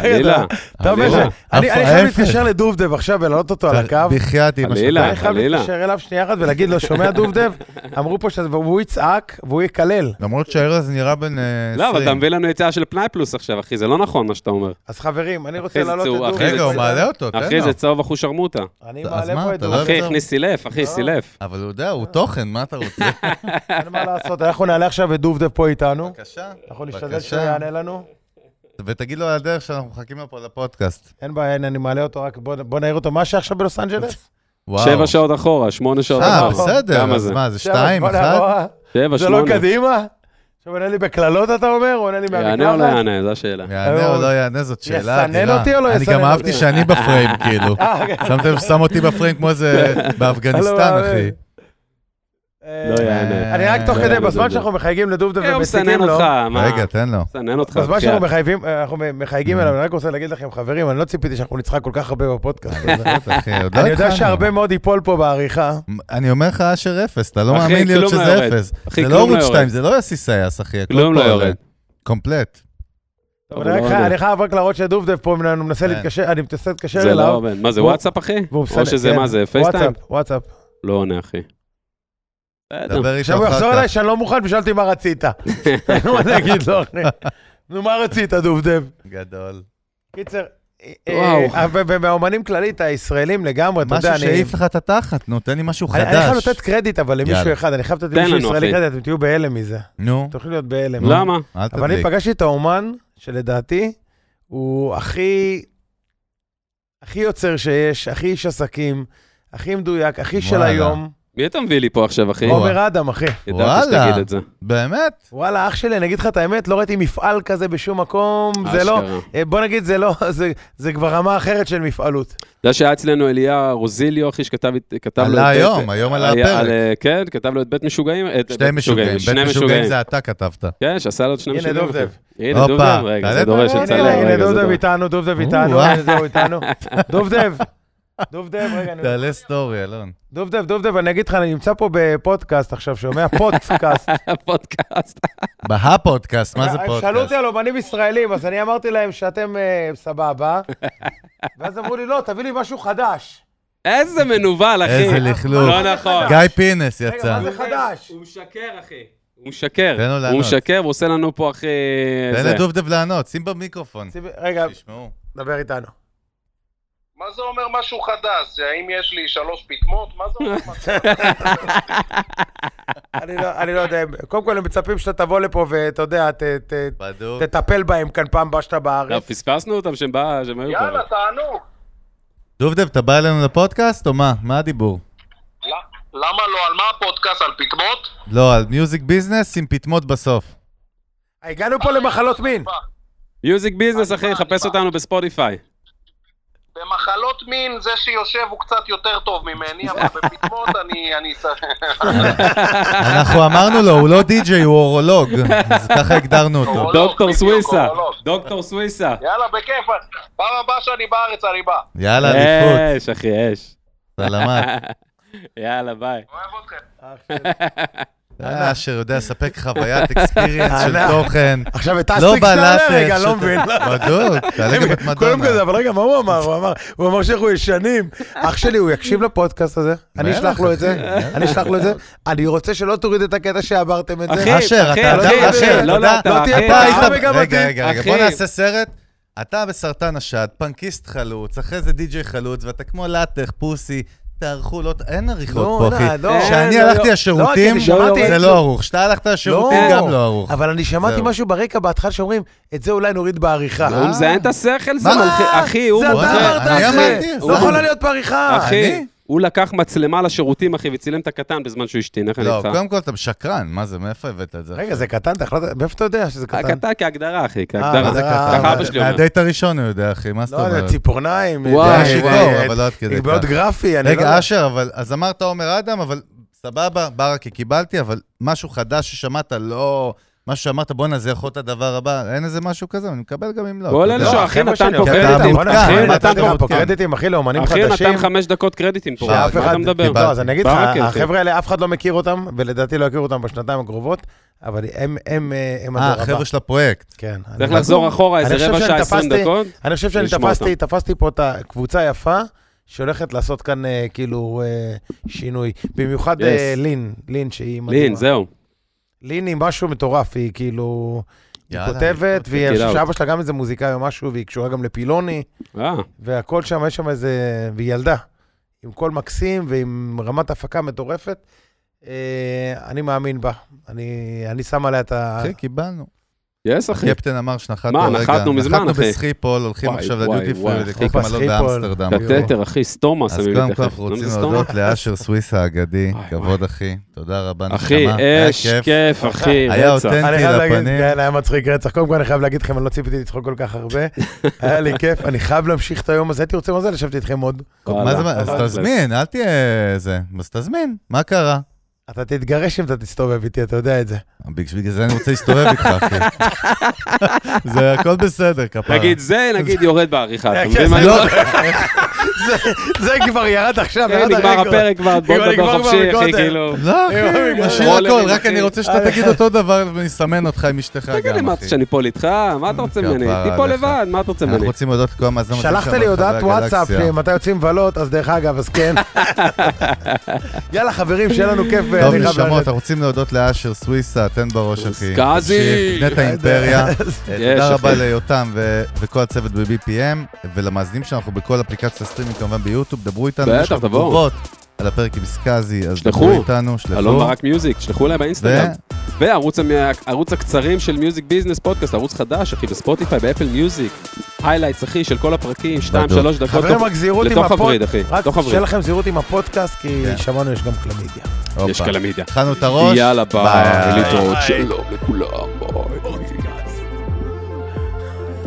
חלילה.
אתה אומר
חלילה.
ש- אני אני
הפוך,
חייב
ההפך. אה,
להתקשר לדובדב עכשיו ולהעלות אותו על הקו.
בחייאת אימא שלך.
חלילה.
אני חייב
חלילה.
להתקשר אליו שנייה אחת ולהגיד לו, שומע דובדב? אמרו פה שזה, והוא יצעק והוא יקלל.
למרות שהארז נראה בן אה, 20.
לא, אבל אתה מביא לנו יציאה של פנאי פלוס עכשיו, אחי, זה לא נכון מה שאתה אומר.
אז חברים, אני רוצה
אחי, זה
להעלות את
צהוב,
דובדב.
אחי,
רגע,
זה-
הוא מעלה אותו,
אוקיי,
תן
אחי,
לא.
לו.
זה צהוב אחושרמוטה.
אני
אז
מעלה
מה,
פה את
אתה לא
דובדב.
אחי,
לא.
הכניס סילף, אחי,
לא.
סילף.
אבל הוא יודע, הוא תוכן, מה אתה
[LAUGHS]
רוצה?
אין מה לעשות, אנחנו נעלה עכשיו את דובדב פה איתנו.
בבקשה.
אנחנו נשתדל שהוא
בבקשה.
יענה לנו.
ותגיד לו על הדרך שאנחנו מחכים לו פה לפודקאסט.
אין בעיה, הנה, אני מעלה אותו, רק בוא- בוא נעיר אותו. מה שעכשיו בלוס אנג'לס?
וואו.
שבע שעות אחורה, שמונה שעות
אה,
אחורה.
בסדר,
כמה
אז
זה?
מה, זה
שבע,
שתיים,
בוא
אחת?
נעבור.
שבע,
זה לא
שמונה.
קדימה? עכשיו עונה לי בקללות אתה אומר, או עונה לי מהמקלחת?
יענה או לא יענה, זו השאלה.
יענה או לא יענה, זאת שאלה.
אה, יסנן
עתירה.
אותי או לא
אני
יסנן
גם אהבתי
אותי?
שאני בפריים,
[LAUGHS]
כאילו.
אה, אוקיי.
שמתם ששם אותי בפריים כמו
[LAUGHS]
איזה באפגניסטן,
לא
אחי.
מאמין. אה,
לא יענה.
אני רק תוך
לא
כדי,
יענה,
בזמן
דודו.
שאנחנו מחייגים לדובדב
אה, הוא
ומציקים
מסנן
לו,
אותך, אוקיי. מה?
רגע, תן לו.
מסנן אותך.
בזמן
בחייאת.
שאנחנו מחייבים, אה, אנחנו
Mm.
מחייגים אליו, אני רק רוצה להגיד לכם, חברים, אני לא ציפיתי שאנחנו נצחק כל כך הרבה בפודקאסט הזה.
אחי, עוד לא
אני יודע
התחלנו.
שהרבה מאוד ייפול פה בעריכה.
אני אומר לך אשר אפס, אתה לא
אחי,
מאמין לי עוד
כלום לא
שזה
יורד.
אפס.
אחי,
זה לא
כלום לא
ערוץ
יורד.
2, זה לא יוסי סייס, אחי. הכל
כלום
פה
לא
עולה.
יורד.
קומפלט.
טוב,
אבל אני
לא
רק-
עובד.
אני חייב רק להראות שדובדב פה, אני מנסה
כן.
להתקשר, אני מנסה להתקשר
זה לא
אליו.
עובד. מה זה
והוא-
וואטסאפ אחי?
והוא
או
מסנן,
שזה
כן.
מה זה, פייסטיים?
וואטסאפ, וואטסאפ.
לא עונה אחי. בסדר.
דבר איתו
עכשיו הוא יחזור
אחר
אליי
כך.
שאני לא מוכן ושאל אותי מה רצית.
[LAUGHS]
נו, מה נגיד לו, אחי? נו, מה רצית, דובדב?
גדול.
קיצר, אה,
וואו.
אה, ו- ו- ומהאומנים כללית, הישראלים לגמרי, אתה יודע,
משהו
אני...
שהעיף לך את התחת, נו, תן לי משהו
אני- אני חייב
חדש.
לתת קרדיט, אבל למישהו
יאללה.
אחד, אני חייב לתת
תן
למישהו
לנו,
ישראלי
אחי.
קרדיט, אתם תהיו בהלם מזה.
נו,
אתם יכולים להיות בהלם.
נו.
למה?
אל
אבל אני
תדליק.
פגשתי את האומן, שלדעתי הוא הכי... הכי יוצר שיש, הכי איש עסקים, הכי מדויק, הכי של
וואלה.
היום.
מי אתה מביא לי פה עכשיו אחי?
וואו.
עומר אדם, אחי.
ידעתי שתגיד את זה.
באמת?
וואלה, אח שלי, אני אגיד לך את האמת, לא ראיתי מפעל כזה בשום מקום, זה לא...
אשכרה.
אה, בוא נגיד, זה לא... [LAUGHS] זה- זה כבר רמה אחרת של מפעלות.
אתה יודע שהיה אצלנו אליה רוזיליו, אחי, שכתב את- כתב לו...
עלה
את-
היום, היום עלה
היה- על,
הפרק.
לא, אה, כן, כתב לו את בית משוגעים. את-
שתי
בית
משוגעים.
שני
בית משוגעים
משוגעים.
זה אתה כתבת.
כן, שעשה לו את שני
הנה,
משוגעים.
דובדב.
אחי. הנה
הופה,
דובדב, רגע,
תעלה,
זה דורש
תעלה,
הצלה.
תעלה,
הנה, הנה,
רגע, זה
דובדב
דורש.
איתנו, דובדב איתנו,
וואו.
הנה, זהו איתנו. דובדב, דובדב,
[LAUGHS]
רגע, אני...
תעלה סטורי, אלון.
דובדב, דובדב, אני אגיד לך, אני נמצא פה בפודקאסט עכשיו, שומע? פודקאסט.
הפודקאסט.
בהפודקאסט, מה זה
אה, שאלו
פודקאסט?
אותי על אומנים ישראלים, אז אני אמרתי להם שאתם אה,
[LAUGHS]
סבבה. ואז אמרו לי, לא, תביא לי משהו חדש.
איזה מנוול, אחי.
איזה לכלוך.
לא נכון.
גיא פינס
רגע,
יצא.
מה זה חדש?
הוא משקר, אחי. הוא משקר.
תן לו
הוא
לענות.
משקר, הוא עושה לנו פה, אחי...
תן
זה.
לדובדב לענות, שים במיקרופון.
שים- רגע,
תשמעו.
דבר איתנו.
מה זה אומר משהו חדש? האם יש לי שלוש פטמות? מה זה אומר משהו
[LAUGHS]
חדש?
אני לא- אני לא יודע, קודם כל הם מצפים שאתה תבוא לפה ואתה יודע, ת- ת-
בדוק.
תטפל בהם כאן פעם הבאה שאתה
לא,
בארץ.
פספסנו אותם שהם בא- שהם היו פה.
יאללה, תענוג.
דובדב, אתה בא אלינו לפודקאסט או מה? מה הדיבור?
ל- למה לא? על מה הפודקאסט? על פטמות?
לא, על מיוזיק ביזנס עם פטמות בסוף. [LAUGHS]
הגענו פה למחלות מין.
אה,
מיוזיק ביזנס, אחי, חפש אותנו בספוטיפיי.
לא, במחלות מין זה שיושב הוא קצת יותר טוב ממני, אבל בפטמות אני... אני... ס-
אנחנו אמרנו לו, הוא לא די-ג'יי, הוא אורולוג. אז ככה הגדרנו אותו.
אורולוג,
דוקטור
לא, בדיוק, לא,
סוויסה.
אורולוג.
דוקטור סוויסה.
[LAUGHS] יאללה, בכיף. פעם הבאה שאני בארץ אני בא.
יאללה, אליפות.
אש, אחי, אש.
[LAUGHS] סלמת.
יאללה, ביי.
אוהב אתכם.
אה, אשר יודע לספק [LAUGHS] חוויית אקספיריאנס של
אנחנו-
תוכן.
עכשיו את
לא
אסטריקס נעלה
בלטת.
רגע,
שאתה-
לא מבין.
בדוק, תעלה גם את
קודם כל,
מדונה.
זה, אבל רגע, מה הוא אמר? הוא אמר, הוא אמר שאנחנו ישנים. אח שלי, הוא יקשיב לפודקאסט הזה, אני
מלך,
אשלח לו את
אחי,
זה,
מלך.
אני אשלח לו את זה. אני רוצה שלא תוריד את הקטע שעברתם את זה.
אחי,
אשר,
אחי,
אתה
אחי,
אדם, אשר,
לא, לא,
אתה
אתה,
אתה
אחי,
היית...
אתה לא
וגם אותי.
אה, רגע, רגע, רגע, בוא
אחי.
נעשה סרט. אתה בסרטן השד, פנקיסט חלוץ, אחרי זה די-ג'יי חלוץ, ואתה כמו לאטח, פוסי, תערכו, לא... אין עריכות
לא,
פה, אחי.
לא, לא.
כשאני
לא,
הלכתי
לא,
לשירותים,
לא, כי אני שמעתי-
זה לא ערוך. כשאתה הלכת לשירותים, גם לא ערוך.
אבל אני שמעתי
זהו.
משהו ברקע בהתחלה שאומרים, את זה אולי נוריד בעריכה. אה,
הוא מזיין את השכל, זה
מה?
מלחיץ. אחי, הוא
זה אתה
מומחה.
מוכר.
אמרת,
אני אמרתי,
אחי.
זה הוא.
לא יכולה להיות בעריכה.
אחי,
אני?
הוא לקח מצלמה לשירותים, אחי, וצילם את הקטן בזמן שהוא השתין, איך אני
לא,
איתך?
קודם כל אתה שקרן, מה זה, מאיפה הבאת את זה?
רגע, זה קטן, אתה החלטת, מאיפה אתה יודע שזה קטן?
הקטן כהגדרה, אחי,
אה,
מה זה
כהגדרה.
קטן?
ככה אבא שלי אומר.
מהדייט הראשון הוא יודע, אחי, מה זאת
לא, יודע,
אומרת?
ציפורניים.
וואי,
אה,
וואי,
שיכור,
וואי, אבל לא עד כדי
היא מאוד
כך.
גרפי, אני לא
רגע,
יודע.
אשר, אבל, אז אמרת עומר אדם, אבל סבבה, ברכה קיבלתי, אבל משהו חדש ששמעת, לא... משהו שאמרת, בואנה, זה יכול להיות הדבר הבא, אין איזה משהו כזה, אני מקבל גם אם לא.
כל
אתה
אלה
יודע.
ש-
לא,
אחי,
החבר'ה
נתן
שלי,
פה
בואנה,
קרדיט.
אתה מותקף,
אחי,
אני
נתן
נתתי לך
פה
פה קרדיטים, אחי, לאומנים
אחי,
חדשים.
נתן אוקיי, חמש דקות קרדיטים פה.
שאף
מה
אחד-
אתה מדבר?
קיבלתי.
לא, אז אני אגיד לך,
ברכה, אחי.
החבר'ה האלה, אף אחד לא מכיר אותם, ולדעתי לא יכירו אותם בשנתיים הקרובות, אבל הם, הם, אה, הם הדור
אה,
הבא.
החבר'ה של הפרויקט.
כן.
צריך
אני-
לחזור אחורה איזה
אני חושב
רבע
שאני
שעה, עשרים
תפסתי-
דקות.
אני חושב שאני
ולשמוע
תפסתי, תפסתי פה את הקבוצה היפה, שהולכת לעשות כאן אה, כאילו אה, שינוי. במיוחד
Yes.
אה, לין, לין שהיא
לין, זהו.
לין היא משהו מטורף, היא כאילו... היא
יאללה,
כותבת,
אני
והיא,
check
אני
it
חושב
out.
שאבא שלה גם איזה מוזיקאי או משהו, והיא קשורה גם לפילוני.
אה,
והכל שם, יש שם איזה... והיא ילדה. עם קול מקסים ועם רמת הפקה מטורפת. אה, אני מאמין בה. אני, אני שם עליה את ה...
כן,
אחי, כן, קיבלנו.
יס, אחי.
קפטן אמר שנחתנו
מה,
רגע,
נחתנו מזמן, אחי.
נחתנו בסחיפול, הולכים
וואי,
עכשיו
וואי,
לדיוטי
וואי.
פרי ולקנות
חופה
מלון
סחיפול.
באמסטרדם.
קטטר, אחי, סטומה
אז
שמים
קודם
לי
כל
תכף.
אנחנו
לא
רוצים
זה סטומה?
להודות לאשר סוויס האגדי,
וואי,
כבוד אחי, תודה רבה, נשמה.
אחי,
היה
אש, כן.
כיף.
כיף, אחי,
היה
רצח.
אותנטי.
אני חייב להגיד,
לפנים.
כן, היה מצחיק רצח. קודם כל אני חייב להגיד לכם, אני לא ציפיתי לצחוק כל כך
[LAUGHS]
הרבה. היה לי כיף, אני חייב להמשיך את היום הזה. הייתי רוצה מזל לשבת איתכם עוד.
וואלה. אה,
מה זה, מה- אז
אבל-
תזמין, אל תהיה זה, אז תזמין, מה קרה?
אתה תתגרש אם אתה תסתובב איתי, אתה יודע את זה.
בגלל זה אני רוצה להסתובב איתך, אחי. [LAUGHS] זה הכל בסדר, כפרה.
אה. נגיד זה, נגיד יורד בעריכה. אתה
אה,
כן,
מבין מה אני
לא.
אומר?
[LAUGHS] זה כבר ירד עכשיו,
אה,
ירד
נגמר
הרקורד.
הפרק
[LAUGHS]
כבר, בוא
כבר
נדבר
נגמר
חופשי, אחי,
מהרקורד.
כאילו. [LAUGHS]
לא, אחי,
אה,
משאיר
רולרים,
הכל, רק
אחי.
אני רוצה שאתה תגיד אותו דבר ואני אסמן אותך עם אשתך גם, אחי.
תגיד לי, מה אתה שאני פה לידך? מה אתה רוצה ממני?
כפרה
הייתי פה
עליך.
לבד, מה אתה רוצה
אנחנו
ממני?
רוצים להודות לכל המאזינים.
שלחת לי הודעת וואטסאפ, מתי יוצאים מבלות, אז דרך אגב, אז
[LAUGHS]
כן. יאללה, חברים, שיהיה לנו כיף. ואני
טוב,
חייב
נשמות,
לרדת.
אנחנו רוצים להודות לאשר סוויסה, תן בראש, אחי.
סקאזי!
תמשיך,
[LAUGHS]
תבנה את האימפריה. אה,
יש,
תודה
אחי.
רבה ליותם ו- וכל הצוות ב-BPM, ולמאזינים שאנחנו בכל אפליקציות הסטרימינג, כמובן ביוטיוב, דברו איתנו.
בטח,
יש לכם
תבואו.
תגובות על הפרק עם סקאזי, אז
שלחו.
דברו איתנו,
אלון
שלחו.
ברק מיוזיק, שלחו אליי באינסטגרם. וערוץ המ- ערוץ הקצרים של מיוזיק ביזנס פודקאסט, ערוץ חדש, אחי, בספוטיפיי, באפל מיוזיק. היילייטס, אחי, של כל הפרקים, 2-3
בדוק.
דקות.
חברים,
תוך-
רק זהירות עם
לתוך
הפודקאסט.
הווריד, אחי.
רק
לתוך
שיהיה
הווריד.
לכם זהירות עם הפודקאסט, כי
כן.
שמענו יש גם קלמידיה.
יש
הופה.
קלמידיה.
התחלנו את הראש.
יאללה, ביי.
ביי.
להתראות. שלום לכולם, ביי.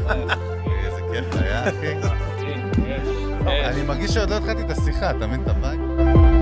איזה כיף היה, אחי. אני מרגיש שעוד לא התחלתי את השיחה, אתה מבין את הבית?